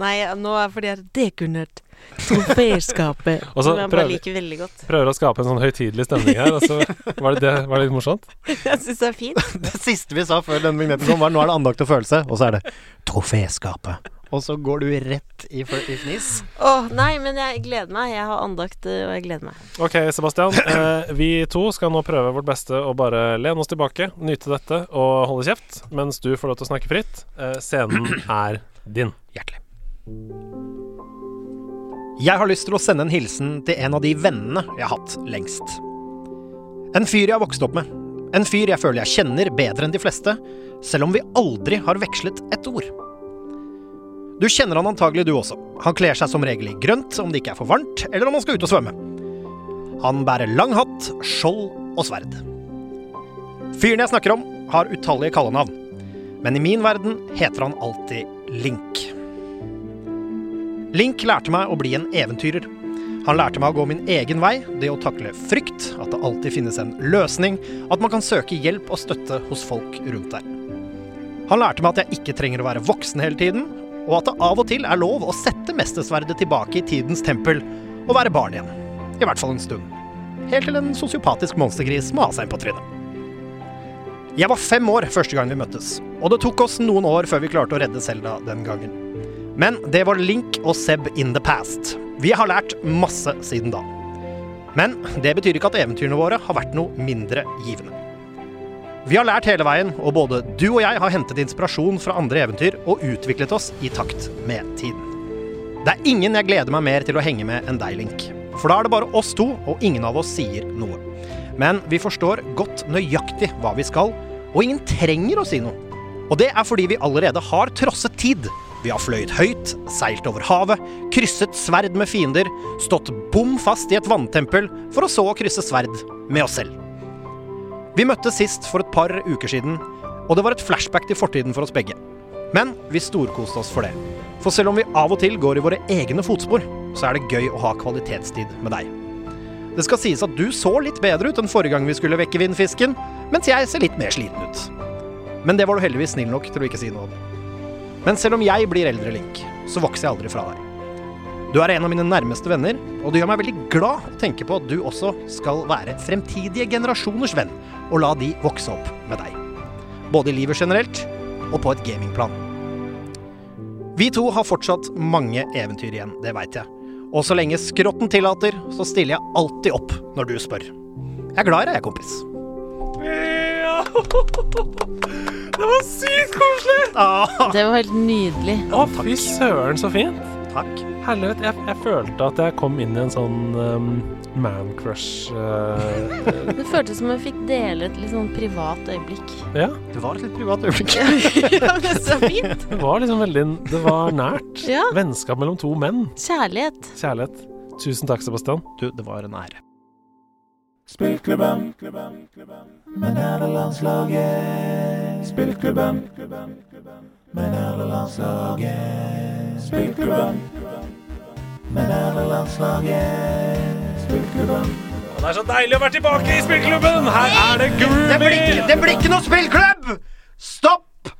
Speaker 1: Nei, nå er fordi jeg er dekunert. Troféskapet.
Speaker 5: *laughs* Og så
Speaker 1: Som jeg bare
Speaker 5: prøver-
Speaker 1: liker veldig godt.
Speaker 5: Prøver å skape en sånn høytidelig stemning her. Og så var det, det, var det litt morsomt?
Speaker 1: *laughs* Jeg syns det er fint.
Speaker 4: Det siste vi sa før denne vignetten kom, var 'nå er det andakt og følelse', og så er det 'troféskapet'. Og så går du rett i, fø- i fnis.
Speaker 1: Åh, nei, men jeg gleder meg. Jeg har andakt, eh, og jeg gleder meg.
Speaker 5: Ok, Sebastian. *coughs* Eh, vi to skal nå prøve vårt beste å bare lene oss tilbake, nyte dette og holde kjeft, mens du får lov til å snakke fritt. Eh, scenen er din.
Speaker 4: Hjertelig. Jeg har lyst til å sende en hilsen til en av de vennene jeg har hatt lengst. En fyr jeg har vokst opp med. En fyr jeg føler jeg kjenner bedre enn de fleste, selv om vi aldri har vekslet et ord. Du kjenner han antagelig du også. Han kler seg som regel i grønt om det ikke er for varmt, eller om han skal ut og svømme. Han bærer lang hatt, skjold og sverd. Fyren jeg snakker om, har utallige kallenavn, men i min verden heter han alltid Link. Link lærte meg å bli en eventyrer. Han lærte meg å gå min egen vei, det å takle frykt, at det alltid finnes en løsning, at man kan søke hjelp og støtte hos folk rundt deg. Han lærte meg at jeg ikke trenger å være voksen hele tiden, og at det av og til er lov å sette mestersverdet tilbake i tidens tempel og være barn igjen. I hvert fall en stund. Helt til en sosiopatisk monstergris må ha seg en på trynet. Jeg var fem år første gang vi møttes, og det tok oss noen år før vi klarte å redde Selda den gangen. Men det var Link og Seb in the past. Vi har lært masse siden da. Men det betyr ikke at eventyrene våre har vært noe mindre givende. Vi har lært hele veien, og både du og jeg har hentet inspirasjon fra andre eventyr og utviklet oss i takt med tiden. Det er ingen jeg gleder meg mer til å henge med enn deg, Link. For da er det bare oss to, og ingen av oss sier noe. Men vi forstår godt nøyaktig hva vi skal, og ingen trenger å si noe. Og det er fordi vi allerede har trosset tid. Vi har fløyet høyt, seilt over havet, krysset sverd med fiender, stått bom fast i et vanntempel, for å så å krysse sverd med oss selv. Vi møttes sist for et par uker siden, og det var et flashback til fortiden for oss begge. Men vi storkoste oss for det. For selv om vi av og til går i våre egne fotspor, så er det gøy å ha kvalitetstid med deg. Det skal sies at du så litt bedre ut enn forrige gang vi skulle vekke vindfisken, mens jeg ser litt mer sliten ut. Men det var du heldigvis snill nok til å ikke si noe om. Men selv om jeg blir eldre, Link, så vokser jeg aldri fra deg. Du er en av mine nærmeste venner, og det gjør meg veldig glad å tenke på at du også skal være fremtidige generasjoners venn, og la de vokse opp med deg. Både i livet generelt, og på et gamingplan. Vi to har fortsatt mange eventyr igjen, det veit jeg. Og så lenge skrotten tillater, så stiller jeg alltid opp når du spør. Jeg er glad i deg, jeg, kompis.
Speaker 5: *laughs* Det var sykt koselig!
Speaker 4: Ah,
Speaker 1: Det var helt nydelig.
Speaker 5: Å, fy søren, så fint.
Speaker 4: takk.
Speaker 5: Helvete, jeg, jeg følte at jeg kom inn i en sånn um, man crush eh, *laughs*
Speaker 1: Det føltes som om jeg fikk dele et litt sånn privat øyeblikk.
Speaker 5: Ja,
Speaker 4: Det var et litt privat øyeblikk.
Speaker 5: *laughs*
Speaker 1: *laughs* ja, men så fint.
Speaker 5: det var liksom veldig Det var nært. *laughs*
Speaker 1: Ja.
Speaker 5: Vennskap mellom to menn.
Speaker 1: Kjærlighet.
Speaker 5: Kjærlighet. Tusen takk, Sebastian.
Speaker 4: Du, det var en ære.
Speaker 2: Spillklubben med nederlandslaget. Spillklubben med nederlandslaget. Spillklubben med nederlandslaget. Spillklubben
Speaker 5: Det er så deilig å være tilbake i spillklubben! Her er det
Speaker 4: Det blir, ikke-
Speaker 5: groovy!
Speaker 4: det blir ikke noe spillklubb! Stopp!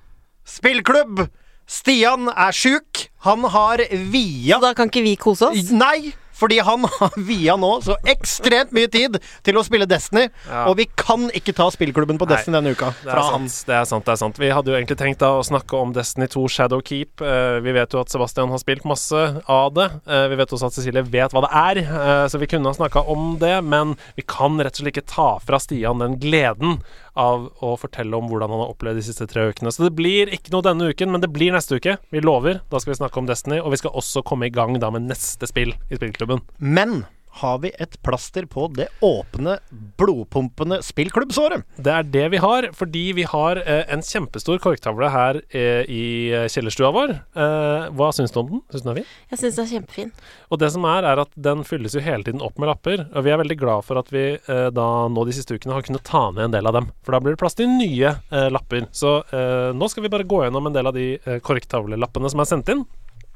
Speaker 4: Spillklubb! Stian er sjuk. Han har via
Speaker 1: Da kan ikke vi kose oss?
Speaker 4: Nei! Fordi han har via nå så ekstremt mye tid til å spille Destiny.
Speaker 5: Ja.
Speaker 4: Og vi kan ikke ta spillklubben på
Speaker 5: Nei.
Speaker 4: Destiny denne uka.
Speaker 5: Det er,
Speaker 4: Fra han.
Speaker 5: sant, det er sant. det er sant Vi hadde jo egentlig tenkt da å snakke om Destiny 2 Shadowkeep. Eh, vi vet jo at Sebastian har spilt masse av det. Eh, vi vet også at Cecilie vet hva det er, eh, så vi kunne ha snakka om det. Men vi kan rett og slett ikke ta fra Stian den gleden av å fortelle om hvordan han har opplevd de siste tre ukene. Så det blir ikke noe denne uken, men det blir neste uke. Vi lover. Da skal vi snakke om Destiny, og vi skal også komme i gang da med neste spill i spillklubben.
Speaker 4: Men har vi et plaster på det åpne, blodpumpende spillklubbsåret.
Speaker 5: Det er det vi har, fordi vi har eh, en kjempestor korktavle her eh, i eh, kjellerstua vår. Eh, hva syns du om den? Syns du den er fin?
Speaker 1: Jeg syns den er kjempefin.
Speaker 5: Og det som er, er at den fylles jo hele tiden opp med lapper. Og vi er veldig glad for at vi eh, da nå de siste ukene har kunnet ta ned en del av dem. For da blir det plass til nye eh, lapper. Så eh, nå skal vi bare gå gjennom en del av de eh, korktavlelappene som er sendt inn.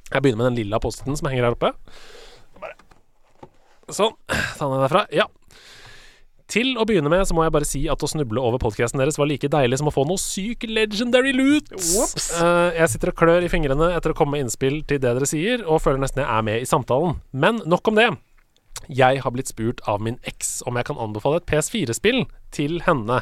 Speaker 5: Jeg begynner med den lilla posten som henger her oppe. Bare. Sånn. Ta den derfra. Ja. Til å begynne med så må jeg bare si at å snuble over podkasten deres var like deilig som å få noe syk legendary loot. Eh, jeg sitter og klør i fingrene etter å komme med innspill til det dere sier, og føler nesten jeg er med i samtalen. Men nok om det. Jeg har blitt spurt av min eks om jeg kan anbefale et PS4-spill til henne.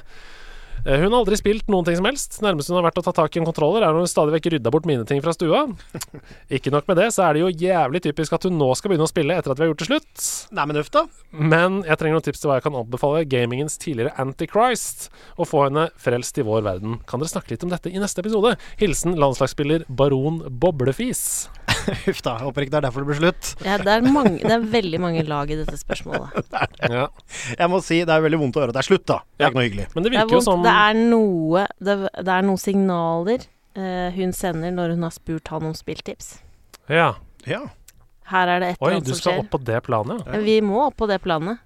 Speaker 5: Eh, Hun har aldri spilt noen ting som helst. Nærmest hun har vært å ta tak i en kontroller, er når hun stadig vekk rydda bort mine ting fra stua. *laughs* Ikke nok med det, så er det jo jævlig typisk at hun nå skal begynne å spille etter at vi har gjort det slutt.
Speaker 4: Nei, men uff, da.
Speaker 5: Men jeg trenger noen tips til hva jeg kan anbefale gamingens tidligere Antichrist, og få henne frelst i vår verden. Kan dere snakke litt om dette i neste episode? Hilsen landslagsspiller Baron Boblefis.
Speaker 4: *laughs* Uff da. Håper ikke det er derfor det blir slutt.
Speaker 1: Ja, det, er mange, det er veldig mange lag i dette spørsmålet.
Speaker 5: Ja.
Speaker 4: Jeg må si det er veldig vondt å høre at det er slutt, da. Det er ikke noe hyggelig.
Speaker 5: Men det
Speaker 1: Det
Speaker 5: *laughs*
Speaker 1: er,
Speaker 5: virker jo
Speaker 1: vondt.
Speaker 5: som
Speaker 1: det er noe Det, det er noen signaler eh, hun sender når hun har spurt han om spilltips.
Speaker 5: Ja.
Speaker 4: Ja.
Speaker 1: Her er det et
Speaker 5: Oi, du
Speaker 1: eller annet som
Speaker 5: skal
Speaker 1: skjer.
Speaker 5: opp på det planet, ja. Mm.
Speaker 1: Vi må opp på det planet.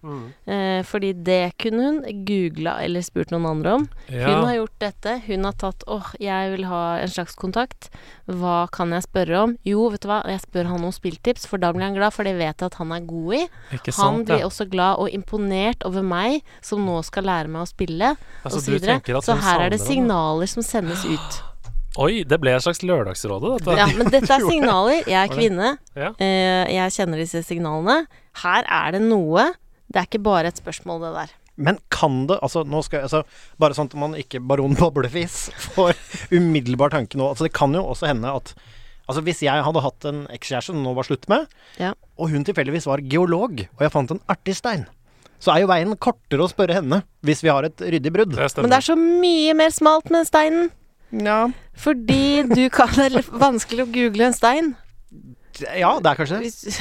Speaker 1: Eh, fordi det kunne hun googla eller spurt noen andre om. Hun har
Speaker 5: ja.
Speaker 1: gjort dette. Hun har tatt åh, jeg vil ha en slags kontakt. Hva kan jeg spørre om? Jo, vet du hva, jeg spør han om spilltips, for da blir han glad, for det vet jeg at han er god i.
Speaker 5: Ikke
Speaker 1: Han
Speaker 5: sant,
Speaker 1: blir
Speaker 5: ja.
Speaker 1: også glad og imponert over meg, som nå skal lære meg å spille,
Speaker 5: Altså,
Speaker 1: og
Speaker 5: du
Speaker 1: så videre.
Speaker 5: tenker at
Speaker 1: Så
Speaker 5: hun
Speaker 1: her er
Speaker 5: savner
Speaker 1: det
Speaker 5: han,
Speaker 1: signaler som sendes ut.
Speaker 5: Oi, det ble et slags Lørdagsrådet, dette.
Speaker 1: Ja, men dette
Speaker 5: *laughs*
Speaker 1: er signaler. Jeg er kvinne.
Speaker 5: Ja.
Speaker 1: Eh, Jeg kjenner disse signalene. Her er det noe. Det er ikke bare et spørsmål, det der.
Speaker 4: Men kan det altså, nå skal, jeg- altså Bare sånn at man ikke baron Boblefis får umiddelbar tanke nå. Altså, det kan jo også hende at Altså, hvis jeg hadde hatt en ekskjæreste som nå var slutt med,
Speaker 1: Ja.
Speaker 4: og hun tilfeldigvis var geolog, og jeg fant en artig stein, så er jo veien kortere å spørre henne hvis vi har et ryddig brudd.
Speaker 5: Det
Speaker 1: Men det
Speaker 5: stemmer.
Speaker 1: er så mye mer smalt med den steinen.
Speaker 4: Ja.
Speaker 1: Fordi du kan Det er litt vanskelig å google en stein.
Speaker 4: ja, det er kanskje det.
Speaker 1: Hvis-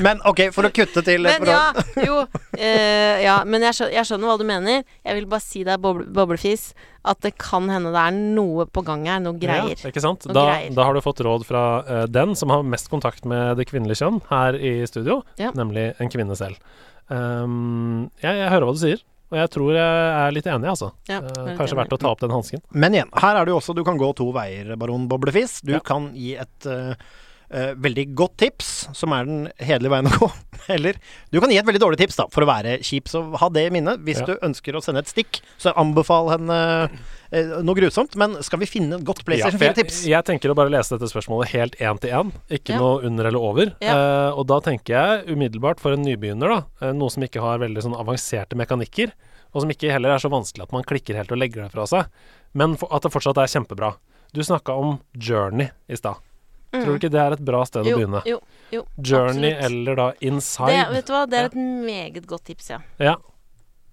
Speaker 4: Men ok, for å kutte til
Speaker 1: Men
Speaker 4: for å,
Speaker 1: ja,
Speaker 5: *laughs*
Speaker 1: jo. eh, ja, men jeg skjønner, jeg skjønner hva du mener. Jeg vil bare si deg, boble, boblefis, at det kan hende det er noe på gang her. Noe greier.
Speaker 5: Ja, ikke sant?
Speaker 1: Noe
Speaker 5: Da,
Speaker 1: greier.
Speaker 5: da har du fått råd fra eh, den som har mest kontakt med det kvinnelige kjønn her i studio,
Speaker 1: Ja.
Speaker 5: nemlig en kvinne selv. Um, jeg, jeg hører hva du sier, og jeg tror jeg er litt enig, altså.
Speaker 1: Ja,
Speaker 5: Eh,
Speaker 1: jeg er litt
Speaker 5: kanskje
Speaker 1: enig.
Speaker 5: verdt å ta opp den hansken.
Speaker 4: Men igjen, her er det jo også Du kan gå to veier, baron Boblefis. Du
Speaker 5: Ja.
Speaker 4: kan gi et eh, eh, veldig godt tips, som er den hederlige veien å gå. *laughs* Eller du kan gi et veldig dårlig tips, da, for å være kjip. Så ha det i minne. Hvis
Speaker 5: Ja.
Speaker 4: du ønsker å sende et stikk, så anbefal henne eh, noe grusomt. Men skal vi finne et godt
Speaker 5: Ja,
Speaker 4: PlayStation
Speaker 5: for jeg,
Speaker 4: 4-tips?
Speaker 5: jeg tenker å bare lese dette spørsmålet helt én til én, ikke
Speaker 1: Ja.
Speaker 5: noe under eller over.
Speaker 1: Ja.
Speaker 5: Eh, og da tenker jeg umiddelbart for en nybegynner, da, eh, noe som ikke har veldig sånn avanserte mekanikker, og som ikke heller er så vanskelig at man klikker helt og legger det fra seg, men for, at det fortsatt er kjempebra. Du snakka om Journey i stad. Tror du ikke det er et bra sted å
Speaker 1: Mm. Jo,
Speaker 5: begynne?
Speaker 1: jo, jo,
Speaker 5: Journey
Speaker 1: absolutt.
Speaker 5: eller da
Speaker 1: det,
Speaker 5: Inside.
Speaker 1: vet du hva, det er et meget godt tips, ja.
Speaker 5: Ja.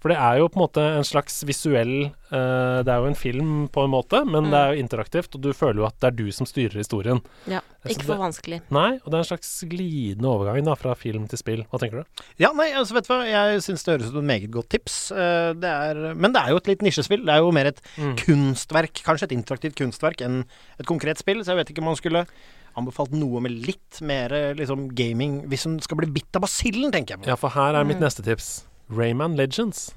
Speaker 5: For det er jo på en måte en slags visuell eh, Det er jo en film på en måte, men
Speaker 1: Mm.
Speaker 5: det er jo interaktivt, og du føler jo at det er du som styrer historien.
Speaker 1: ja. Ikke
Speaker 5: synes
Speaker 1: for
Speaker 5: det-
Speaker 1: vanskelig.
Speaker 5: Nei, og det er en slags glidende overgang da, fra film til spill. Hva tenker du?
Speaker 4: Ja, nei, altså vet du hva, jeg syns det høres ut som et meget godt tips. Eh, Det er, men det er jo et litt nisjespill. Det er jo mer et
Speaker 5: Mm.
Speaker 4: kunstverk, kanskje et interaktivt kunstverk, enn et konkret spill. Så jeg vet ikke om man skulle anbefalt noe med litt mer eh, liksom, gaming hvis hun skal bli bitt av basillen, tenker jeg.
Speaker 5: Ja, for her er mitt neste tips. Rayman Legends.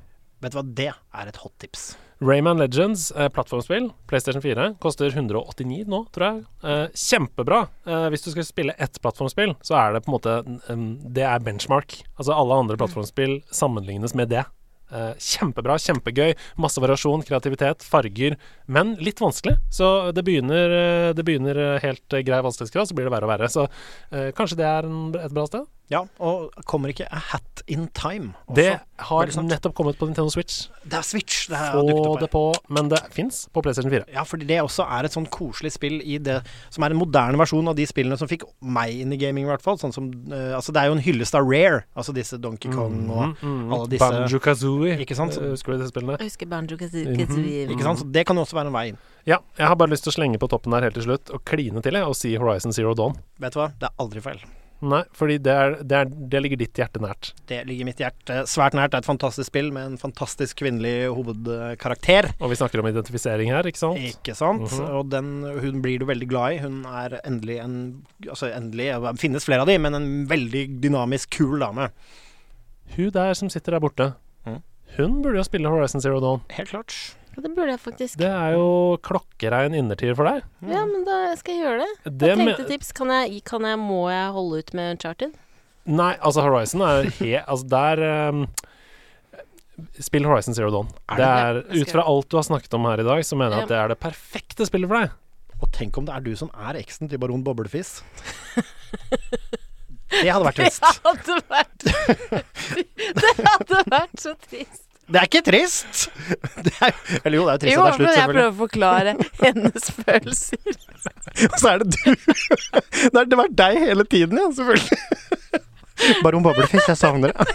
Speaker 4: Vet du hva, det er et hot tips.
Speaker 5: Rayman Legends, eh, plattformspill, PlayStation 4, koster 189 nå, tror jeg. Eh, kjempebra. Eh, hvis du skal spille ett plattformspill, så er det på en måte mm, Det er benchmark. Altså alle
Speaker 4: Mm.
Speaker 5: andre plattformspill sammenlignes med det. Eh, kjempebra, kjempegøy. Masse variasjon, kreativitet, farger. Men litt vanskelig. Så det begynner, eh, det begynner eh, helt eh, grei vanskelighetsgrad, så blir det verre og verre. Så eh, kanskje det er en, et bra sted?
Speaker 4: Ja, og kommer ikke A Hat In Time også?
Speaker 5: Det
Speaker 4: veldig
Speaker 5: har
Speaker 4: sant.
Speaker 5: nettopp kommet på Nintendo Switch.
Speaker 4: det er Switch det har dukket
Speaker 5: Få
Speaker 4: opp her.
Speaker 5: det på, men det fins på PlayStation 4.
Speaker 4: Ja, fordi det også er et sånn koselig spill i det Som er en moderne versjon av de spillene som fikk meg inn i gaming, i hvert fall. Sånn som eh, Altså, det er jo en hyllest av Rare. Altså disse Donkey Kong og alle disse
Speaker 5: Mm, Banjo Kazooie.
Speaker 4: Ikke sant?
Speaker 5: Eh, Husker du disse spillene?
Speaker 1: Jeg husker Banjo
Speaker 5: Mhm.
Speaker 4: Ikke sant? Så det kan jo også være en vei inn.
Speaker 5: Ja. Jeg har bare lyst til å slenge på toppen der helt til slutt og kline til, jeg, og si Horizon Zero Dawn.
Speaker 4: Vet du hva, det er aldri feil.
Speaker 5: Nei, fordi det, er, det, er, det ligger ditt hjerte nært.
Speaker 4: Det ligger mitt hjerte svært nært. Det er et fantastisk spill med en fantastisk kvinnelig hovedkarakter.
Speaker 5: Og vi snakker om identifisering her, ikke sant?
Speaker 4: Ikke sant?
Speaker 5: Mhm.
Speaker 4: Og den, hun blir du veldig glad i. Hun er endelig en Altså, endelig ja, Det finnes flere av de, men en veldig dynamisk, kul dame.
Speaker 5: Hun der som sitter der borte,
Speaker 4: Mhm.
Speaker 5: hun burde jo spille Horizon Zero Dawn.
Speaker 4: Helt klart.
Speaker 1: Ja, Det burde jeg faktisk.
Speaker 5: Det er jo klokkerein innertid for deg.
Speaker 1: Ja, men da skal jeg gjøre det.
Speaker 5: Det
Speaker 1: jeg
Speaker 5: me-
Speaker 1: trengte tips. Kan jeg, kan jeg, må jeg holde ut med Uncharted?
Speaker 5: Nei, altså Horizon er he... Altså, der ehm, Spill Horizon Zero Dawn.
Speaker 4: Er
Speaker 5: Det
Speaker 1: det-
Speaker 5: er,
Speaker 1: Skal jeg-
Speaker 5: ut fra alt du har snakket om her i dag, så mener jeg at det er det perfekte spillet for deg.
Speaker 4: Og tenk om det er du som er eksen til baron Boblefis. Det hadde
Speaker 1: *laughs*
Speaker 4: vært trist.
Speaker 1: hadde vært *laughs* Det hadde vært så trist.
Speaker 4: *laughs* Det er ikke trist! Det er, eller jo, det er jo trist
Speaker 1: Jo,
Speaker 4: at det er
Speaker 1: men
Speaker 4: slutt,
Speaker 1: jeg
Speaker 4: selvfølgelig.
Speaker 1: prøver å forklare *laughs* hennes følelser.
Speaker 4: *laughs* Og så er det du. *laughs* Det har vært deg hele tiden, ja, selvfølgelig. *laughs* Baron Boblefis, jeg savner det. *laughs*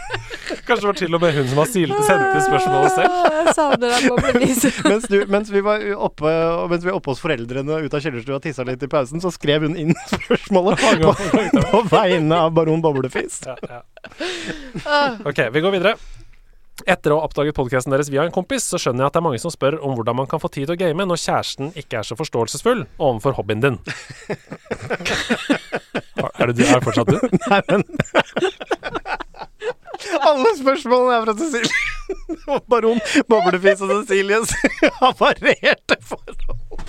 Speaker 5: Kanskje det var til og med hun som har silt, sendt spørsmålet selv.
Speaker 1: Jeg savner deg
Speaker 5: *laughs*
Speaker 1: på bevis.
Speaker 4: mens, du, mens vi var oppe og mens vi var oppe hos foreldrene ut av kjellerstua og tissa litt i pausen, så skrev hun inn *laughs* spørsmålet *laughs* på, på vegne av baron Boblefis.
Speaker 5: ja, ja. Ok, vi går videre. Etter å ha oppdaget podkasten deres via en kompis, så skjønner jeg at det er mange som spør om hvordan man kan få tid til å game når kjæresten ikke er så forståelsesfull overfor hobbyen din. er det du? Er det fortsatt du?
Speaker 4: Nei, men Alle spørsmålene er fra Cecilie. Og baron Boblefis og Cecilies har varierte forhold.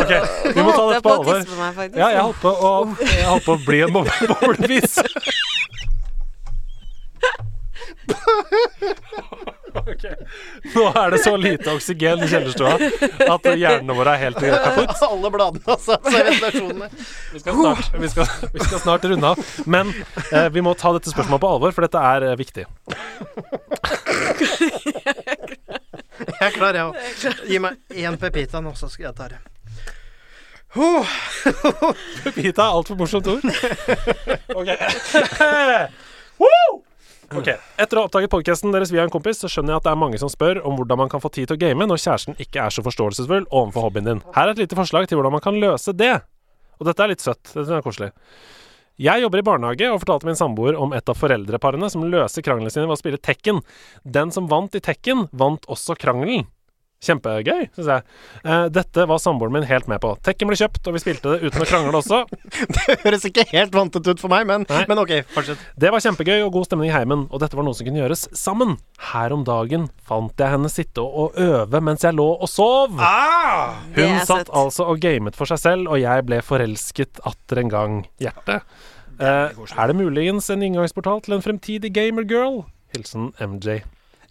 Speaker 5: Ok, vi må ta dette på alvor.
Speaker 1: meg, faktisk.
Speaker 5: Ja, jeg holdt på å, jeg holdt på å bli en bob- *laughs* boblefis. Ok. Nå er det så lite oksygen i kjellerstua at hjernene våre er helt kaputt.
Speaker 4: Alle bladene, altså. Seriøsasjonene.
Speaker 5: Vi skal snart, vi skal, vi skal snart runde av. Men eh, vi må ta dette spørsmålet på alvor, for dette er eh, viktig.
Speaker 4: Jeg er klar, jeg òg. Gi meg én pepita nå, så skal jeg ta det. Huh.
Speaker 5: Pepita er altfor morsomt ord. Ok. *laughs* Woo! Ok, Etter å ha oppdaget podkasten deres via en kompis, så skjønner jeg at det er mange som spør om hvordan man kan få tid til å game når kjæresten ikke er så forståelsesfull overfor hobbyen din. Her er et lite forslag til hvordan man kan løse det. Og dette er litt søtt. Dette er koselig. Jeg jobber i barnehage og fortalte min samboer om et av foreldreparene som løser kranglene sine ved å spille Tekken. Den som vant i Tekken, vant også krangelen. Kjempegøy, syns jeg. Eh, dette var samboeren min helt med på. Tekken ble kjøpt, og vi spilte det uten å krangle også.
Speaker 4: Det høres ikke helt vantet ut for meg, men,
Speaker 5: Nei.
Speaker 4: men ok, fortsett.
Speaker 5: Det var kjempegøy og god stemning i heimen, og dette var noe som kunne gjøres sammen. Her om dagen fant jeg henne sitte og og øve mens jeg lå og sov.
Speaker 4: Ah!
Speaker 1: Det
Speaker 5: Hun
Speaker 1: er
Speaker 5: satt
Speaker 1: søtt.
Speaker 5: altså og gamet for seg selv, og jeg ble forelsket atter en gang. Hjerte. Eh, er det muligens en inngangsportal til en fremtidig gamergirl? Hilsen MJ.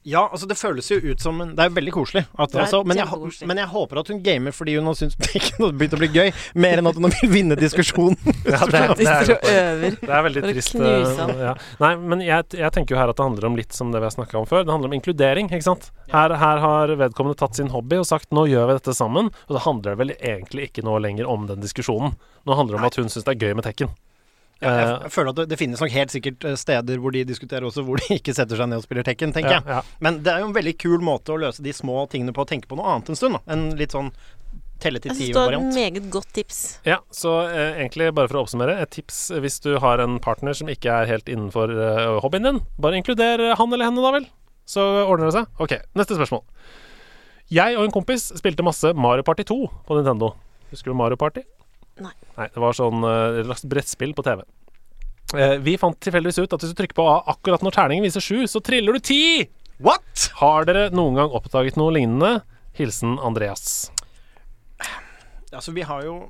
Speaker 4: Ja, altså det føles jo ut som en Det er veldig koselig. At,
Speaker 1: Det er
Speaker 4: altså, men, jeg,
Speaker 1: kjempekoselig.
Speaker 4: men jeg håper at hun gamer fordi hun har *laughs* syntes Tekken har begynt å bli gøy, mer enn at hun vil vinne diskusjonen.
Speaker 5: Ja, det,
Speaker 1: De står og øver.
Speaker 5: Det er veldig
Speaker 1: Bare
Speaker 5: trist.
Speaker 1: knuse han.
Speaker 5: eh, Ja. Nei, men jeg, jeg tenker jo her at det handler om litt som det vi har snakka om før. Det handler om inkludering, ikke sant. Her, her har vedkommende tatt sin hobby og sagt 'nå gjør vi dette sammen', og da handler det vel egentlig ikke nå lenger om den diskusjonen. Nå handler det om at hun syns det er gøy med tekken.
Speaker 4: Jeg,
Speaker 5: Eh,
Speaker 4: jeg føler at det, det finnes nok helt sikkert eh, steder hvor de diskuterer også hvor de *laughs* ikke setter seg ned og spiller Tekken, tenker
Speaker 5: ja,
Speaker 4: jeg.
Speaker 5: ja.
Speaker 4: Men det er jo en veldig kul måte å løse de små tingene på, å tenke på noe annet en stund. Da. En litt sånn telle til
Speaker 1: Jeg syns det var et
Speaker 4: ti-variant.
Speaker 1: meget godt tips.
Speaker 5: Ja, så eh, egentlig bare for å oppsummere, et tips hvis du har en partner som ikke er helt innenfor eh, hobbyen din, bare inkluder eh, han eller henne, da vel. Så ordner det seg. Ok, neste spørsmål. Jeg og en kompis spilte masse Mario Party 2 på Nintendo. Husker du Mario Party?
Speaker 1: Nei.
Speaker 5: Nei, det var sånn eh, et slags brettspill på TV. Eh, vi fant tilfeldigvis ut at hvis du trykker på A akkurat når terningen viser 7, så triller du 10!
Speaker 4: What?!
Speaker 5: Har dere noen gang oppdaget noe lignende? Hilsen Andreas.
Speaker 4: Altså, vi har jo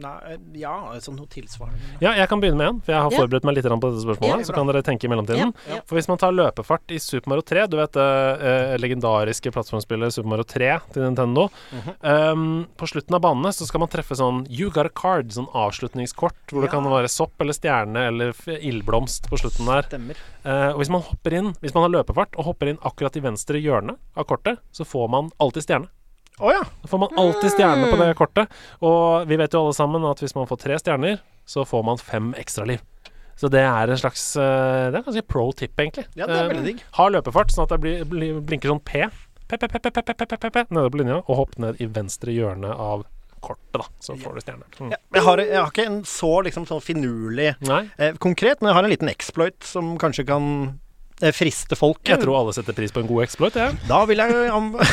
Speaker 4: Nei, eh, ja, altså noe tilsvarende.
Speaker 5: Ja, jeg kan begynne med en, for jeg har
Speaker 1: Ja.
Speaker 5: forberedt meg litt grann på dette spørsmålet.
Speaker 1: Ja,
Speaker 5: så kan dere tenke i mellomtiden.
Speaker 1: Ja, ja.
Speaker 5: For hvis man tar løpefart i Super Mario 3, du vet det eh, legendariske plattformspillet Super Mario 3 til Nintendo
Speaker 1: Mhm.
Speaker 5: um, På slutten av banene så skal man treffe sånn You got a card, sånn avslutningskort hvor det kan være sopp eller stjerne eller f- ildblomst på slutten der.
Speaker 4: Stemmer.
Speaker 5: Eh, og hvis man hopper inn, hvis man har løpefart og hopper inn akkurat i venstre hjørne av kortet, så får man alltid stjerne.
Speaker 4: Å ja.
Speaker 5: Da får man alltid stjerne på det kortet. Og vi vet jo alle sammen at hvis man får tre stjerner, så får man fem ekstraliv. Så det er en slags eh, Det er ganske pro tip, egentlig.
Speaker 4: Ja, det er
Speaker 5: Eh,
Speaker 4: veldig digg.
Speaker 5: Ha løpefart, sånn at det blir, blir, blinker sånn P. P, P, P, P, P, P, P, P, P, P, nede på linja, og hopp ned i venstre hjørne av kortet, da. Så får du stjerne. Mm.
Speaker 4: Jeg har, jeg har ikke en så liksom sånn finurlig
Speaker 5: Nei,
Speaker 4: eh, konkret, men jeg har en liten exploit som kanskje kan eh, friste folk.
Speaker 5: jeg tror alle setter pris på en god exploit, jeg.
Speaker 4: Da vil jeg jo om- *laughs*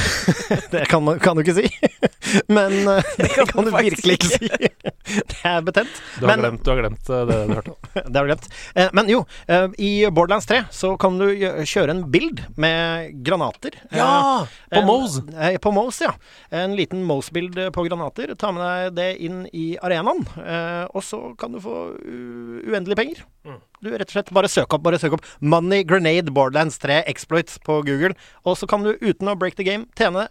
Speaker 4: Det kan, man- kan du ikke si. *laughs* Men eh, det kan,
Speaker 1: du
Speaker 4: du
Speaker 1: faktisk
Speaker 4: virkelig ikke si. *laughs* Det er betent.
Speaker 5: Du har
Speaker 4: Men-
Speaker 5: glemt, du har glemt eh, det du hørte.
Speaker 4: Det har du glemt. Eh, Men jo, eh, i Borderlands 3 så kan du gjø- kjøre en bild med granater. Eh,
Speaker 5: På
Speaker 4: en-
Speaker 5: Mose.
Speaker 4: eh, På Mose, ja. En liten Mose-bild på granater. Ta med deg det inn i arenaen, eh, og så kan du få u- uendelig penger.
Speaker 5: Mm.
Speaker 4: Du rett og slett bare søk opp, bare søk opp 'Money Grenade Borderlands 3 Exploits' på Google, og så kan du uten å break the game tjene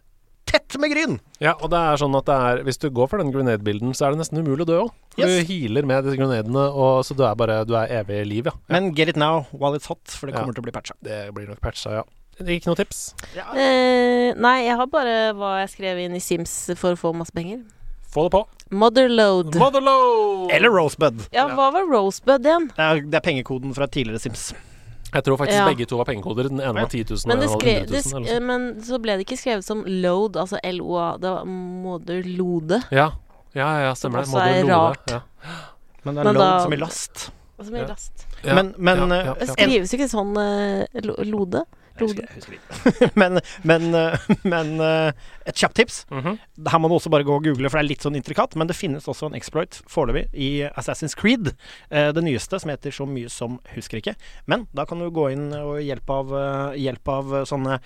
Speaker 4: tett med gryn.
Speaker 5: Ja, og det er sånn at det er Hvis du går for den grenade-bilden, så er det nesten umulig å dø òg.
Speaker 4: Yes.
Speaker 5: Du healer med disse grenadene, og så du er bare Du er evig i liv, ja.
Speaker 4: Men get it now while it's hot, for det
Speaker 5: Ja.
Speaker 4: kommer til å bli patcha.
Speaker 5: Det blir nok patcha, ja. Ikke noe tips?
Speaker 1: Eh, nei, jeg har bare hva jeg skrev inn i Sims for å få masse penger.
Speaker 5: Få det på.
Speaker 1: Motherload.
Speaker 5: Motherload!
Speaker 4: Eller Rosebud.
Speaker 1: Ja, hva var Rosebud igjen?
Speaker 4: Det er, det er pengekoden fra tidligere Sims.
Speaker 5: Jeg tror faktisk
Speaker 1: Ja.
Speaker 5: begge to var pengekoder. Den ene var 10 000,
Speaker 1: Men,
Speaker 5: og den
Speaker 1: det
Speaker 5: andre
Speaker 1: skre,
Speaker 5: var 100 000.
Speaker 1: det sk eh,
Speaker 5: Eller liksom. noe sånt.
Speaker 1: men så ble det ikke skrevet som load, altså LOA. Det var motherlode.
Speaker 5: Ja. ja, ja, stemmer det.
Speaker 1: Som også er
Speaker 5: Motherload,
Speaker 1: rart.
Speaker 5: Ja.
Speaker 4: Men det er load
Speaker 1: Men da-
Speaker 4: som i last.
Speaker 1: Altså med
Speaker 5: Ja.
Speaker 1: last.
Speaker 5: Ja,
Speaker 4: Men, men,
Speaker 5: ja,
Speaker 4: eh,
Speaker 5: ja,
Speaker 1: Det
Speaker 5: ja.
Speaker 1: skrives jo ikke sånn eh, lo- lode. lode.
Speaker 4: *laughs* men, men, eh, *laughs* men eh, et kjapt tips.
Speaker 5: Mhm.
Speaker 4: Her må du også bare gå og google, for det er litt sånn intrikat. Men det finnes også en exploit foreløpig i Assassin's Creed. eh, Det nyeste, som heter så mye som husker ikke. Men da kan du gå inn og hjelp av, eh, hjelp av eh, sånne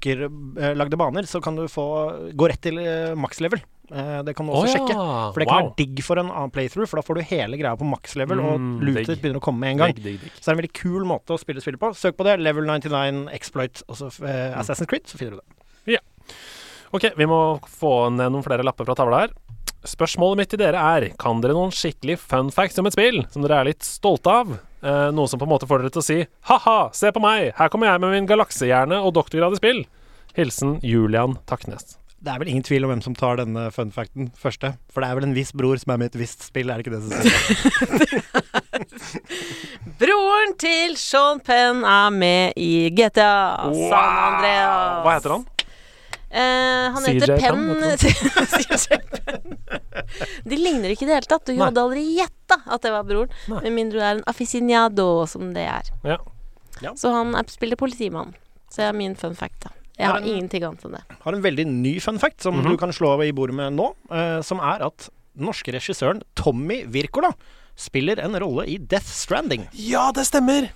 Speaker 4: brukerlagde baner, så kan du få gå rett til eh, max level. Eh, Det kan du
Speaker 5: Å
Speaker 4: også
Speaker 5: ja,
Speaker 4: sjekke. For det kan være digg for en annen playthrough, for da får du hele greia på max level,
Speaker 5: Mm,
Speaker 4: og
Speaker 5: digg.
Speaker 4: lootet begynner å komme med en gang.
Speaker 5: Digg, digg, digg.
Speaker 4: Så det er en veldig kul måte å spille spillet på. Søk på det. Level 99 Exploit og så eh, Assassin's Creed, så finner du det.
Speaker 5: Ok, vi må få ned noen flere lapper fra tavla her. Spørsmålet mitt til dere er Kan dere noen skikkelig fun facts om et spill som dere er litt stolte av? Eh, noe som på en måte får dere til å si Ha-ha, se på meg! Her kommer jeg med min galaksehjerne og doktorgrad i spill! Hilsen Julian Taknes.
Speaker 4: Det er vel ingen tvil om hvem som tar denne fun facten første. For det er vel en viss bror som er med i et visst spill, er det ikke det som *laughs* sier?
Speaker 1: Broren til Sean Penn er med i GTA San Andreas.
Speaker 5: Hva heter han?
Speaker 1: Eh, han
Speaker 5: CJ
Speaker 1: heter Penn.
Speaker 5: Penn,
Speaker 1: *laughs* CJ Penn. De ligner ikke i det hele tatt. Du
Speaker 5: Nei.
Speaker 1: hadde aldri gjetta at det var broren.
Speaker 5: Nei.
Speaker 1: Med mindre du er en aficinado, som det er.
Speaker 5: Ja.
Speaker 4: Ja.
Speaker 1: Så han er, spiller politimann. Så det er min fun fact, da. Jeg
Speaker 4: Er
Speaker 1: har
Speaker 4: han-
Speaker 1: ingenting annet enn det.
Speaker 4: Har en veldig ny fun fact som
Speaker 5: Mhm.
Speaker 4: du kan slå i bordet med nå, eh, som er at den norske regissøren Tommy Wirkola spiller en rolle i Death Stranding.
Speaker 5: Ja, det stemmer!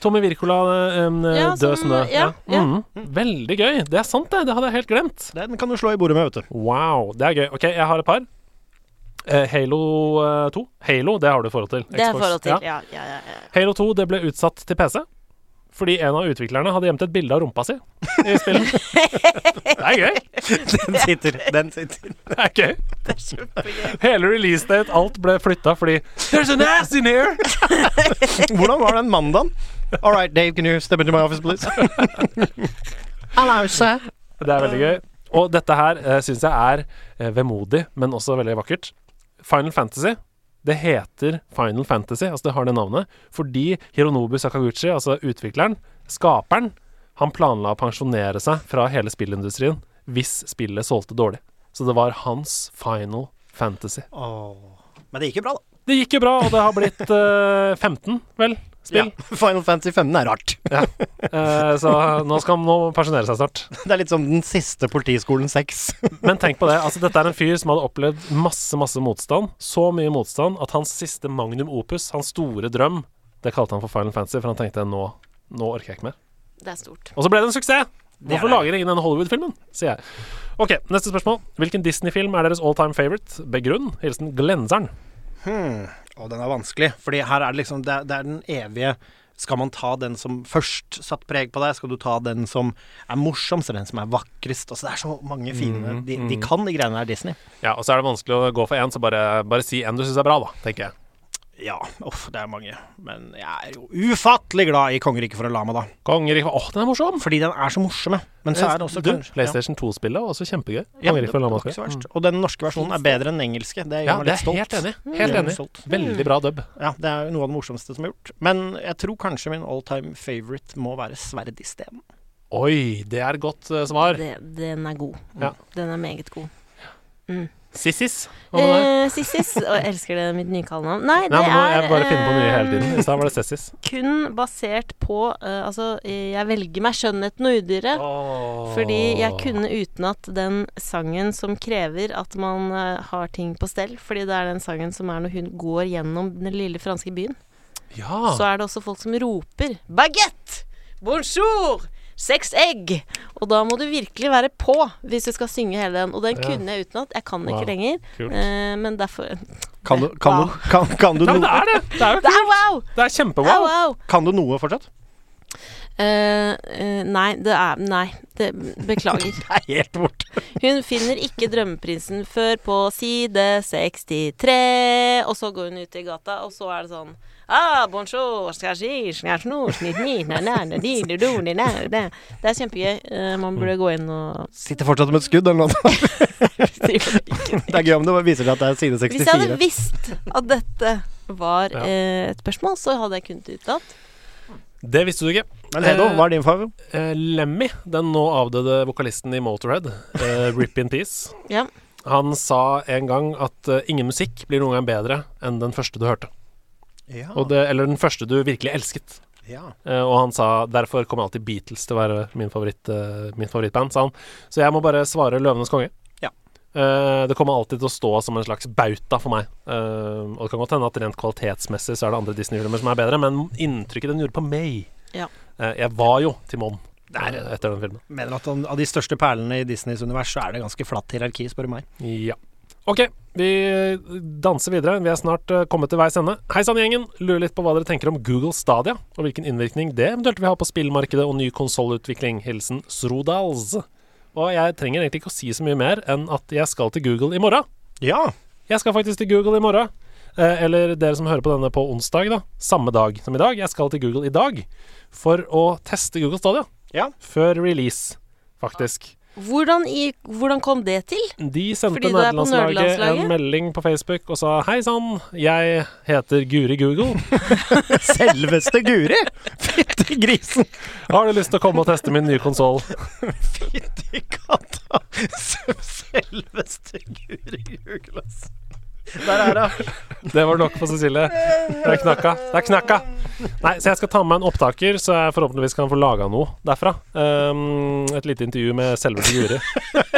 Speaker 5: Tommy Wirkola, en eh,
Speaker 1: Ja,
Speaker 5: død
Speaker 1: som-
Speaker 5: snø.
Speaker 1: ja, ja.
Speaker 5: Mhm. Veldig gøy. Det er sant, det. Det hadde jeg helt glemt.
Speaker 4: Den kan du slå i bordet med, *laughs* vet du.
Speaker 5: Wow, det er gøy. Ok, jeg har et par. Eh, Halo eh, 2. Halo, det har du forhold til.
Speaker 1: Det er
Speaker 5: Xbox.
Speaker 1: forhold til.
Speaker 5: Ja.
Speaker 1: Ja, ja, ja. ja.
Speaker 5: Halo 2 det ble utsatt til PC fordi en av utviklerne hadde gjemt et bilde av rumpa si i
Speaker 1: *laughs*
Speaker 5: spillet. Det er gøy.
Speaker 4: Den sitter. Den sitter.
Speaker 5: Det er gøy. Hele release date, alt ble flytta fordi There's an ass in here!
Speaker 4: Hvordan var den mandagen? All right, Dave, can you step into my office, please? Hello, sir.
Speaker 5: Det er veldig gøy. Og dette her uh, syns jeg er eh, vemodig, men også veldig vakkert. Final Fantasy. Det heter Final Fantasy, altså det har det navnet, fordi Hironobu Sakaguchi, altså utvikleren, skaperen, han planla å pensjonere seg fra hele spillindustrien hvis spillet solgte dårlig. Så det var hans Final Fantasy.
Speaker 4: Åh. Men det gikk jo bra, da.
Speaker 5: Det gikk jo bra, og det har blitt eh, 15, vel, spill.
Speaker 4: Ja. *laughs* Final Fantasy 15 er rart.
Speaker 5: Eh, så nå skal han nå pensjonere seg snart.
Speaker 4: Det er litt som den siste Politiskolen 6.
Speaker 5: Men tenk på det. altså Dette er en fyr som hadde opplevd masse masse motstand. Så mye motstand at hans siste magnum opus, hans store drøm, det kalte han for Final Fantasy, for han tenkte nå, nå orker jeg ikke mer.
Speaker 1: Det er stort.
Speaker 5: Og så ble det en suksess! Hvorfor
Speaker 4: det.
Speaker 5: lager ingen den Hollywood-filmen? sier jeg. Ok, Neste spørsmål. Hvilken Disney-film er deres all time favorite? Begrunn. Hilsen Glenseren.
Speaker 4: Og den er vanskelig, fordi her er det liksom Det, er- det er den evige Skal man ta den som først satt preg på deg? Skal du ta den som er morsomst, eller den som er vakrest? Altså, det er så mange
Speaker 5: Mhm,
Speaker 4: fine De, de kan de greiene her, Disney.
Speaker 5: Ja, og så er det vanskelig å gå for én, så bare, bare si én du syns er bra, da, tenker jeg.
Speaker 4: Ja, uff, det er mange. Men jeg er jo ufattelig glad i Kongeriket for Alama, da.
Speaker 5: Kongeriket Åh, den er morsom!
Speaker 4: Fordi den er så morsom, ja. Men så er det også
Speaker 5: du,
Speaker 4: kanskje ja.
Speaker 5: PlayStation 2-spillet var også kjempegøy.
Speaker 4: Ja,
Speaker 5: Kongeriket
Speaker 4: det
Speaker 5: for
Speaker 4: var
Speaker 5: Lama Mm.
Speaker 4: ikke så verst. Og den norske versjonen er bedre enn den engelske. Det gjør
Speaker 5: Ja,
Speaker 4: meg
Speaker 5: det
Speaker 4: litt
Speaker 5: er
Speaker 4: stolt.
Speaker 5: helt enig. Helt
Speaker 4: Det gjør meg
Speaker 5: enig.
Speaker 4: stolt.
Speaker 5: Veldig bra dub.
Speaker 4: Ja, det er jo noe av det morsomste som er gjort. Men jeg tror kanskje min all time favorite må være sverd isteden.
Speaker 5: Oi, det er godt eh, svar.
Speaker 1: Det, den er god.
Speaker 5: Ja.
Speaker 1: Den er meget god.
Speaker 5: Sissis? Hva med deg?
Speaker 1: Eh, Sissis. Og jeg elsker det mitt nye kallenavn. Nei, det
Speaker 5: Nei, men nå må
Speaker 1: er
Speaker 5: jeg bare finne på nye hele
Speaker 1: eh,
Speaker 5: tiden. I stad var det Sessis.
Speaker 1: kun basert på eh, Altså, eh, jeg velger meg skjønnheten og udyret. Fordi jeg kunne utenat den sangen som krever at man eh, har ting på stell. Fordi det er den sangen som er når hun går gjennom den lille franske byen.
Speaker 5: Ja.
Speaker 1: Så er det også folk som roper 'baguette', 'bonjour', 'seks egg'. Og da må du virkelig være på hvis du skal synge hele den. Og den
Speaker 5: Ja.
Speaker 1: kunne jeg utenat. Jeg kan den
Speaker 5: Wow.
Speaker 1: ikke lenger.
Speaker 5: Kult.
Speaker 1: Eh, men derfor *laughs*
Speaker 4: Kan du, kan du, kan, kan du,
Speaker 5: Nei, men det
Speaker 4: noe,
Speaker 5: er det! Det er, jo-
Speaker 1: Det er wow!
Speaker 5: det er
Speaker 1: Det er
Speaker 5: kjempewow.
Speaker 1: wow.
Speaker 4: kan du noe fortsatt?
Speaker 1: Eh, eh, nei, det er Nei, det, beklager.
Speaker 4: Det er helt borte.
Speaker 1: Hun finner ikke drømmeprinsen før på side 63, og så går hun ut i gata, og så er det sånn ah, bonjour, skashi, skasno, snitni, na, na, na, di, du, du, ni, na, na. Det er kjempegøy. Eh, man burde gå inn og *laughs*
Speaker 4: Sitter fortsatt med et skudd eller noe. *laughs* Det er gøy om det viser seg at det er side
Speaker 1: Hvis jeg hadde
Speaker 4: 64.
Speaker 1: visst at dette var
Speaker 5: Ja.
Speaker 1: eh, et spørsmål, så hadde jeg kunnet uttalt.
Speaker 5: Det visste du ikke.
Speaker 4: Men Hedo, hva er din favor?
Speaker 5: Eh, Lemmy, den nå avdøde vokalisten i Motorhead, eh, Rip in Peace,
Speaker 1: *laughs* Ja.
Speaker 5: han sa en gang at eh, ingen musikk blir noen gang bedre enn den første du hørte.
Speaker 4: Ja,
Speaker 5: Og det, eller den første du virkelig elsket.
Speaker 4: ja.
Speaker 5: Eh, og han sa derfor kommer alltid Beatles til å være min, favoritt, eh, min favorittband, sa han. Så jeg må bare svare Løvenes konge.
Speaker 4: Ja.
Speaker 5: Eh, det kommer alltid til å stå som en slags bauta for meg. Eh, og det kan godt hende at rent kvalitetsmessig så er det andre Disney-filmer som er bedre, men inntrykket den gjorde på meg
Speaker 1: Ja.
Speaker 5: Eh, Jeg var jo Timon
Speaker 4: Det er-
Speaker 5: eh, etter den filmen.
Speaker 4: Mener at han- av de største perlene i Disneys univers, så er det ganske flatt hierarki, spør du meg.
Speaker 5: Ja. Ok, vi danser videre. Vi er snart eh, kommet til veis ende. Hei sann, gjengen. Lurer litt på hva dere tenker om Google Stadia, og hvilken innvirkning det eventuelt vil ha på spillmarkedet og ny konsollutvikling. Hilsen Srodals. Og jeg trenger egentlig ikke å si så mye mer enn at jeg skal til Google i morgen.
Speaker 4: Ja.
Speaker 5: Jeg skal faktisk til Google i morgen. Eh, eller dere som hører på denne på onsdag, da. Samme dag som i dag. Jeg skal til Google i dag for å teste Google Stadia.
Speaker 4: Ja.
Speaker 5: Før release, faktisk.
Speaker 1: Hvordan, i, hvordan kom det til?
Speaker 5: De sendte
Speaker 1: Fordi du er på
Speaker 5: nederlandslaget en
Speaker 1: nerdelandslaget?
Speaker 5: melding på Facebook og sa Hei sann, jeg heter Guri Google.
Speaker 4: *laughs* Selveste *laughs* Guri! Fytti grisen!
Speaker 5: Har du lyst til å komme og teste min nye konsoll?
Speaker 4: Fytti katta! Selveste Guri Jugelass. Der er hun.
Speaker 5: Det var nok for Cecilie. Det er knakka. Det er knakka. Nei, så jeg skal ta med meg en opptaker, så jeg forhåpentligvis kan få laga noe derfra. Um, et lite intervju med selveste
Speaker 4: *laughs*
Speaker 5: Guri.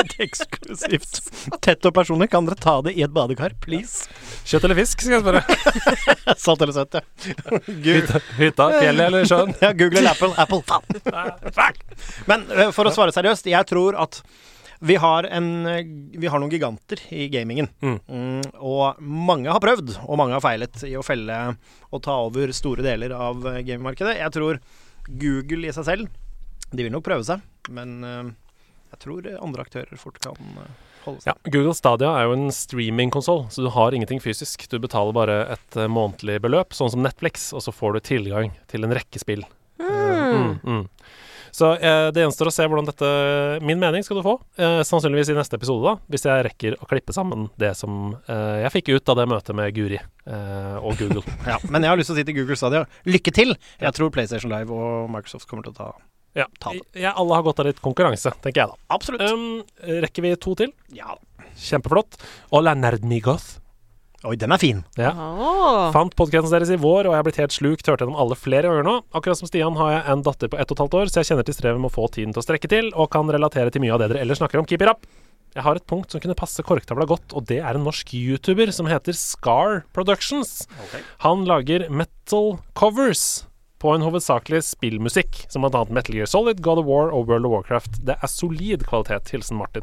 Speaker 4: Et eksklusivt. Tett og personlig. Kan dere ta det i et badekar, please?
Speaker 5: Kjøtt eller fisk, skal jeg spørre.
Speaker 4: Salt eller søtt, ja. Gu-
Speaker 5: Hytta, fjellet eller sjøen?
Speaker 4: Ja, Google eller Apple. Apple, faen. Men eh, for å svare seriøst, jeg tror at vi har, en, eh, vi har noen giganter i gamingen.
Speaker 5: Mm.
Speaker 4: Mm, og mange har prøvd, og mange har feilet i å felle og ta over store deler av eh, gamingmarkedet. Jeg tror Google i seg selv De vil nok prøve seg, men eh, jeg tror eh, andre aktører fort kan eh, holde seg.
Speaker 5: Ja, Google Stadia er jo en streamingkonsoll, så du har ingenting fysisk. Du betaler bare et eh, månedlig beløp, sånn som Netflix, og så får du tilgang til en rekke spill. Mm,
Speaker 1: Hmm.
Speaker 5: mm. Så eh, det gjenstår å se hvordan dette Min mening skal du få, eh, sannsynligvis i neste episode, da, hvis jeg rekker å klippe sammen det som eh, jeg fikk ut av det møtet med Guri eh, og
Speaker 4: *laughs*
Speaker 5: Google.
Speaker 4: Ja, men jeg har lyst til å si til Google Stadia lykke til! Jeg tror PlayStation Live og Microsoft kommer til å ta
Speaker 5: ja,
Speaker 4: Ta det.
Speaker 5: jeg, alle har godt av litt konkurranse, tenker jeg da.
Speaker 4: Absolutt.
Speaker 5: Um, rekker vi to til?
Speaker 4: Ja.
Speaker 5: Kjempeflott. Hola, nerdmigos.
Speaker 4: Oi, den er fin.
Speaker 5: Ja.
Speaker 1: Åh.
Speaker 5: Fant podkasten deres i vår, og jeg er blitt helt slukt. Hørte gjennom alle flere ganger nå. Akkurat som Stian har jeg en datter på ett og et halvt år, så jeg kjenner til strevet med å få tiden til å strekke til, og kan relatere til mye av det dere ellers snakker om. Keep it up! Jeg har et punkt som kunne passe korktavla godt, og det er en norsk YouTuber som heter Scar Productions. Han lager metal covers på en hovedsakelig spillmusikk, som blant annet Metal Gear Solid, God of War og World of Warcraft. Det er solid kvalitet. Hilsen Martin.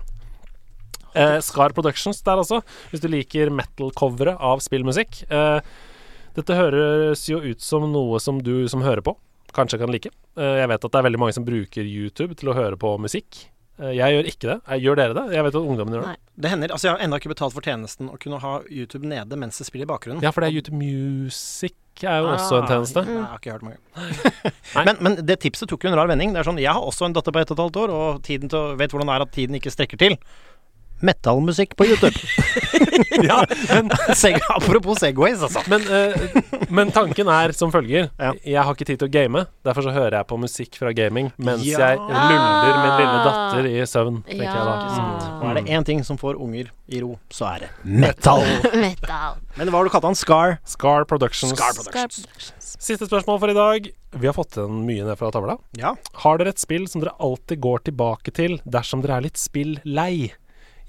Speaker 5: Eh, Scar Productions der altså, hvis du liker metal-covere av spillmusikk. Eh, dette høres jo ut som noe som du som hører på, kanskje kan like. Eh, Jeg vet at det er veldig mange som bruker YouTube til å høre på musikk. Eh, Jeg gjør ikke det. Jeg gjør dere det? Jeg vet at ungdommen gjør det.
Speaker 1: Nei.
Speaker 4: Det hender, altså Jeg har ennå ikke betalt for tjenesten å kunne ha YouTube nede mens det spiller i bakgrunnen.
Speaker 5: Ja, for det er YouTube Music er jo også en
Speaker 1: Ah.
Speaker 5: tjeneste.
Speaker 1: Mm.
Speaker 4: Nei, jeg har ikke hørt mange.
Speaker 5: *laughs* Nei.
Speaker 4: men, men det tipset tok jo en rar vending. Det er sånn, Jeg har også en datter på ett og et halvt år, og
Speaker 5: *laughs*
Speaker 4: tiden til, å- vet hvordan det er at tiden ikke strekker til. Metallmusikk på YouTube.
Speaker 5: Ja, *laughs* ja, men,
Speaker 4: *laughs* Seg- Apropos Segways, altså.
Speaker 5: men, eh, men tanken er som følger.
Speaker 4: Ja.
Speaker 5: Jeg har ikke tid til å game, derfor så hører jeg på musikk fra gaming mens
Speaker 4: Ja.
Speaker 5: jeg luller min lille datter i søvn. tenker jeg da.
Speaker 1: Ja.
Speaker 4: Og er
Speaker 5: Mm.
Speaker 4: det én ting som får unger i ro, så er det metal.
Speaker 1: Metal.
Speaker 4: Men hva har du kalt han? Scar?
Speaker 5: Scar Productions.
Speaker 4: Scar Productions.
Speaker 5: Siste spørsmål for i dag. Vi har fått igjen mye ned fra tavla.
Speaker 4: Ja.
Speaker 5: Har dere et spill som dere alltid går tilbake til dersom dere er litt spill-lei?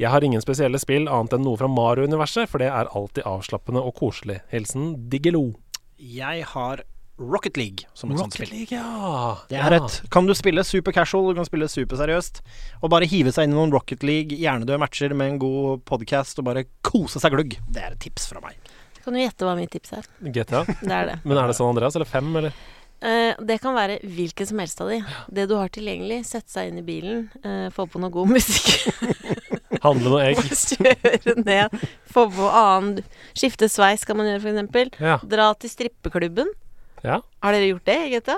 Speaker 5: Jeg har ingen spesielle spill annet enn noe fra Mario-universet, for det er alltid avslappende og koselig. Hilsen Diggelo.
Speaker 4: Jeg har Rocket League som et sånt spill.
Speaker 5: League, ja.
Speaker 4: Det er
Speaker 5: Ja.
Speaker 4: et Kan du spille super casual, du kan spille super seriøst, og bare hive seg inn i noen Rocket League, hjernedøde matcher med en god podkast, og bare kose seg gløgg. Det er et tips fra meg.
Speaker 1: Kan du gjette hva mitt tips er?
Speaker 5: GTA.
Speaker 1: Det er det.
Speaker 5: Men er det San Andreas eller fem, eller?
Speaker 1: Eh, det kan være hvilken som helst av de. Det du har tilgjengelig. Sette seg inn i bilen, eh, få på noe god musikk, *laughs*
Speaker 5: Handle noe egg.
Speaker 1: kjøre ned, få på annen Skifte sveis kan man gjøre, for eksempel.
Speaker 5: Ja.
Speaker 1: Dra til strippeklubben.
Speaker 5: Ja.
Speaker 1: Har dere gjort det i GTA?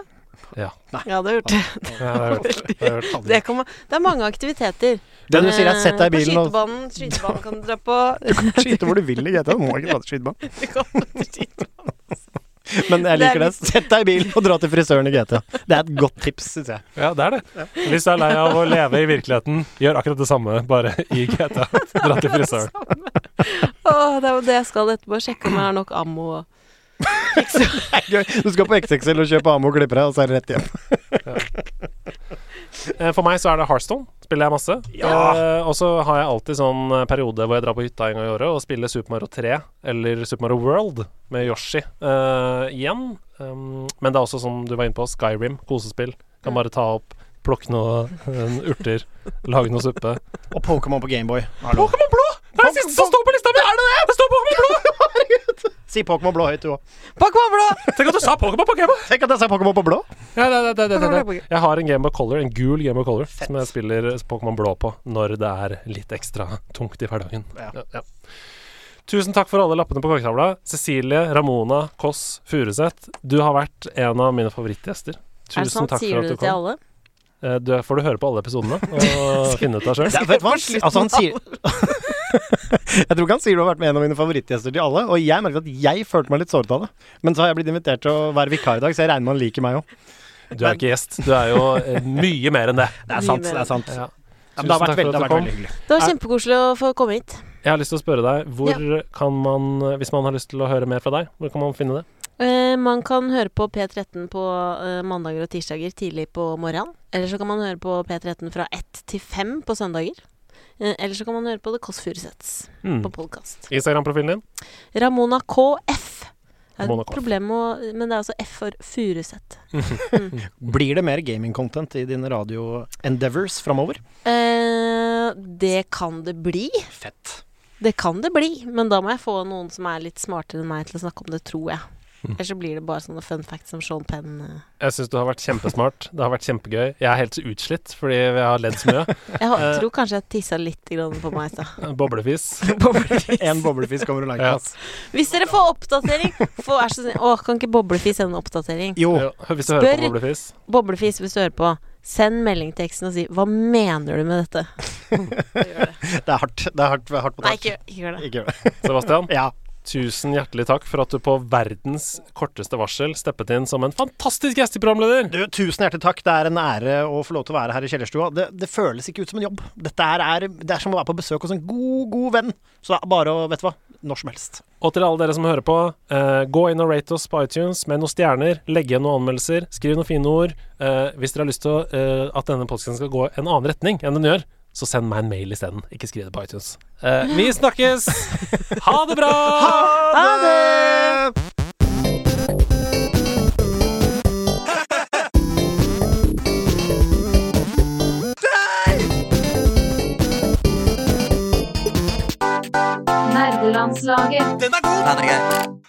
Speaker 5: Ja.
Speaker 1: Nei. Ja, det har gjort det.
Speaker 5: Det har jeg hørt. Det har jeg hørt.
Speaker 1: *laughs* Det, kan man, det er mange aktiviteter.
Speaker 4: Det du sier er sett deg i bilen og
Speaker 1: og eh, På skytebanen. Skytebanen kan du dra på.
Speaker 4: skyte hvor *laughs* du vil i GTA. *laughs* Du må ikke dra til skytebanen.
Speaker 1: Du kan dra til skytebanen.
Speaker 4: Men jeg liker det. Sett deg i bilen og dra til frisøren i GTA. Det er et godt tips, syns jeg.
Speaker 5: Ja, det er det. Hvis du er lei av å leve i virkeligheten, gjør akkurat det samme, bare i GTA. Dra til frisøren.
Speaker 1: Åh, det er jo det jeg skal etterpå. Sjekke om jeg har nok ammo. og-
Speaker 4: Det er gøy. Du skal på XXL og kjøpe ammo og klipper deg, og så er det rett hjem.
Speaker 5: Eh, For meg så er det Hearthstone. Spiller jeg masse.
Speaker 4: Ja.
Speaker 5: Eh, og så har jeg alltid sånn eh, periode hvor jeg drar på hytta en gang i året og spiller Super Mario 3 eller Super Mario World med Yoshi eh, igjen. Um, men det er også, som du var inne på, Skyrim. Kosespill. Kan bare ta opp, plukke noen eh, urter, lage noe suppe.
Speaker 4: Og Pokémon på Gameboy.
Speaker 5: Pokémon Blå! Det er det siste som står på lista mi! Er det det? Det står Pokémon Blå!
Speaker 4: Si Pokémon blå høyt, du òg.
Speaker 1: Pokémon blå!
Speaker 5: Tenk at du sa Pokémon på Gameboy!
Speaker 4: Tenk at jeg sa Pokémon på blå.
Speaker 5: Ja, det, det, det, det, det.
Speaker 1: Pokémon.
Speaker 5: Jeg har en Game of Color, en gul Game of Color, som jeg spiller Pokémon Blå på når det er litt ekstra tungt i hverdagen.
Speaker 4: Ja.
Speaker 5: Ja, ja. Tusen takk for alle lappene på kaketavla. Cecilie, Ramona, Kåss, Furuseth. Du har vært en av mine favorittgjester.
Speaker 1: Er det
Speaker 5: Tusen
Speaker 1: sant?
Speaker 5: takk
Speaker 1: Sier
Speaker 5: for at
Speaker 1: du
Speaker 5: du
Speaker 1: det til
Speaker 5: kom.
Speaker 1: alle?
Speaker 5: Eh, Du får du høre på alle episodene
Speaker 1: *laughs*
Speaker 5: og finne ut av sjøl.
Speaker 4: Det er, vet du hva? Altså, han sier *laughs* Jeg tror ikke han sier du har vært med en av mine favorittgjester til alle, og jeg merket at jeg følte meg litt såret av det. Men så har jeg blitt invitert til å være vikar i dag, så jeg regner med han liker meg òg.
Speaker 5: Du er ikke gjest. Du er jo eh, mye mer enn det.
Speaker 4: Det
Speaker 1: er sant, det er
Speaker 4: sant.
Speaker 5: Ja.
Speaker 4: men det har
Speaker 5: Tusen
Speaker 4: vært veldig, det
Speaker 5: takk
Speaker 4: har
Speaker 5: for at
Speaker 4: vært
Speaker 5: du
Speaker 4: veldig hyggelig.
Speaker 1: Det var kjempekoselig å få komme hit.
Speaker 5: Jeg har lyst til å spørre deg, hvor kan man, hvis man har lyst til å høre mer fra deg, hvor kan man finne det?
Speaker 1: Eh, man kan høre på P13 på eh, mandager og tirsdager tidlig på morgenen. Eller så kan man høre på P13 fra 1 til 5 på søndager. Eh, eller så kan man høre på The Kåss Furuseths
Speaker 5: Mm.
Speaker 1: på podkast.
Speaker 5: Instagram-profilen din?
Speaker 1: Ramona KF. Det er
Speaker 5: Ramona
Speaker 1: et
Speaker 5: KF.
Speaker 1: problem med å Men det er altså F for Furuseth.
Speaker 4: Blir det mer gaming-content i dine radio-endeavors framover?
Speaker 1: Eh, det kan det bli.
Speaker 4: Fett.
Speaker 1: Det kan det bli, men da må jeg få noen som er litt smartere enn meg til å snakke om det, tror jeg.
Speaker 5: Mm.
Speaker 1: Ellers så blir det bare sånne fun facts som Sean Penn. eh.
Speaker 5: Jeg syns du har vært kjempesmart. Det har vært kjempegøy. Jeg er helt utslitt fordi jeg har ledd så mye.
Speaker 1: Jeg har-
Speaker 5: Eh.
Speaker 1: tror kanskje jeg tissa litt grann på meg
Speaker 5: *laughs*
Speaker 1: i stad.
Speaker 5: Boblefis.
Speaker 4: En boblefisk kommer du langt.
Speaker 5: Ja.
Speaker 4: ass.
Speaker 1: Hvis dere får oppdatering, få, vær så snill Å, kan ikke Boblefis sende oppdatering?
Speaker 4: Jo,
Speaker 5: Ja, Hvis du hører på
Speaker 1: Spør-
Speaker 5: Boblefis.
Speaker 1: Boblefis, hvis du hører på, send melding til eksen og si 'Hva mener du med dette?'
Speaker 4: det er hardt. Det er hardt, hardt på
Speaker 1: Nei,
Speaker 4: tak.
Speaker 1: ikke, ikke gjør det.
Speaker 4: Ikke gjør det.
Speaker 5: Sebastian,
Speaker 4: Ja.
Speaker 5: tusen hjertelig takk for at du på verdens korteste varsel steppet inn som en fantastisk gjesteprogramleder.
Speaker 4: Du, tusen hjertelig takk. Det er en ære å få lov til å være her i kjellerstua. Det, det føles ikke ut som en jobb. Dette her er, det er som å være på besøk hos en god, god venn. Så det er bare å, vet du hva, når som helst.
Speaker 5: Og til alle dere som hører på, eh, gå inn og rate oss på iTunes med noen stjerner. Legg igjen noen anmeldelser. Skriv noen fine ord. Eh, hvis dere har lyst til å, eh, at denne podkasten skal gå en annen retning enn den gjør, så send meg en mail isteden. Ikke skriv det på iTunes. Eh, vi snakkes! Ha det bra!
Speaker 1: Ha det!
Speaker 8: Nerdelandslaget.
Speaker 9: Den er god! Den er grei.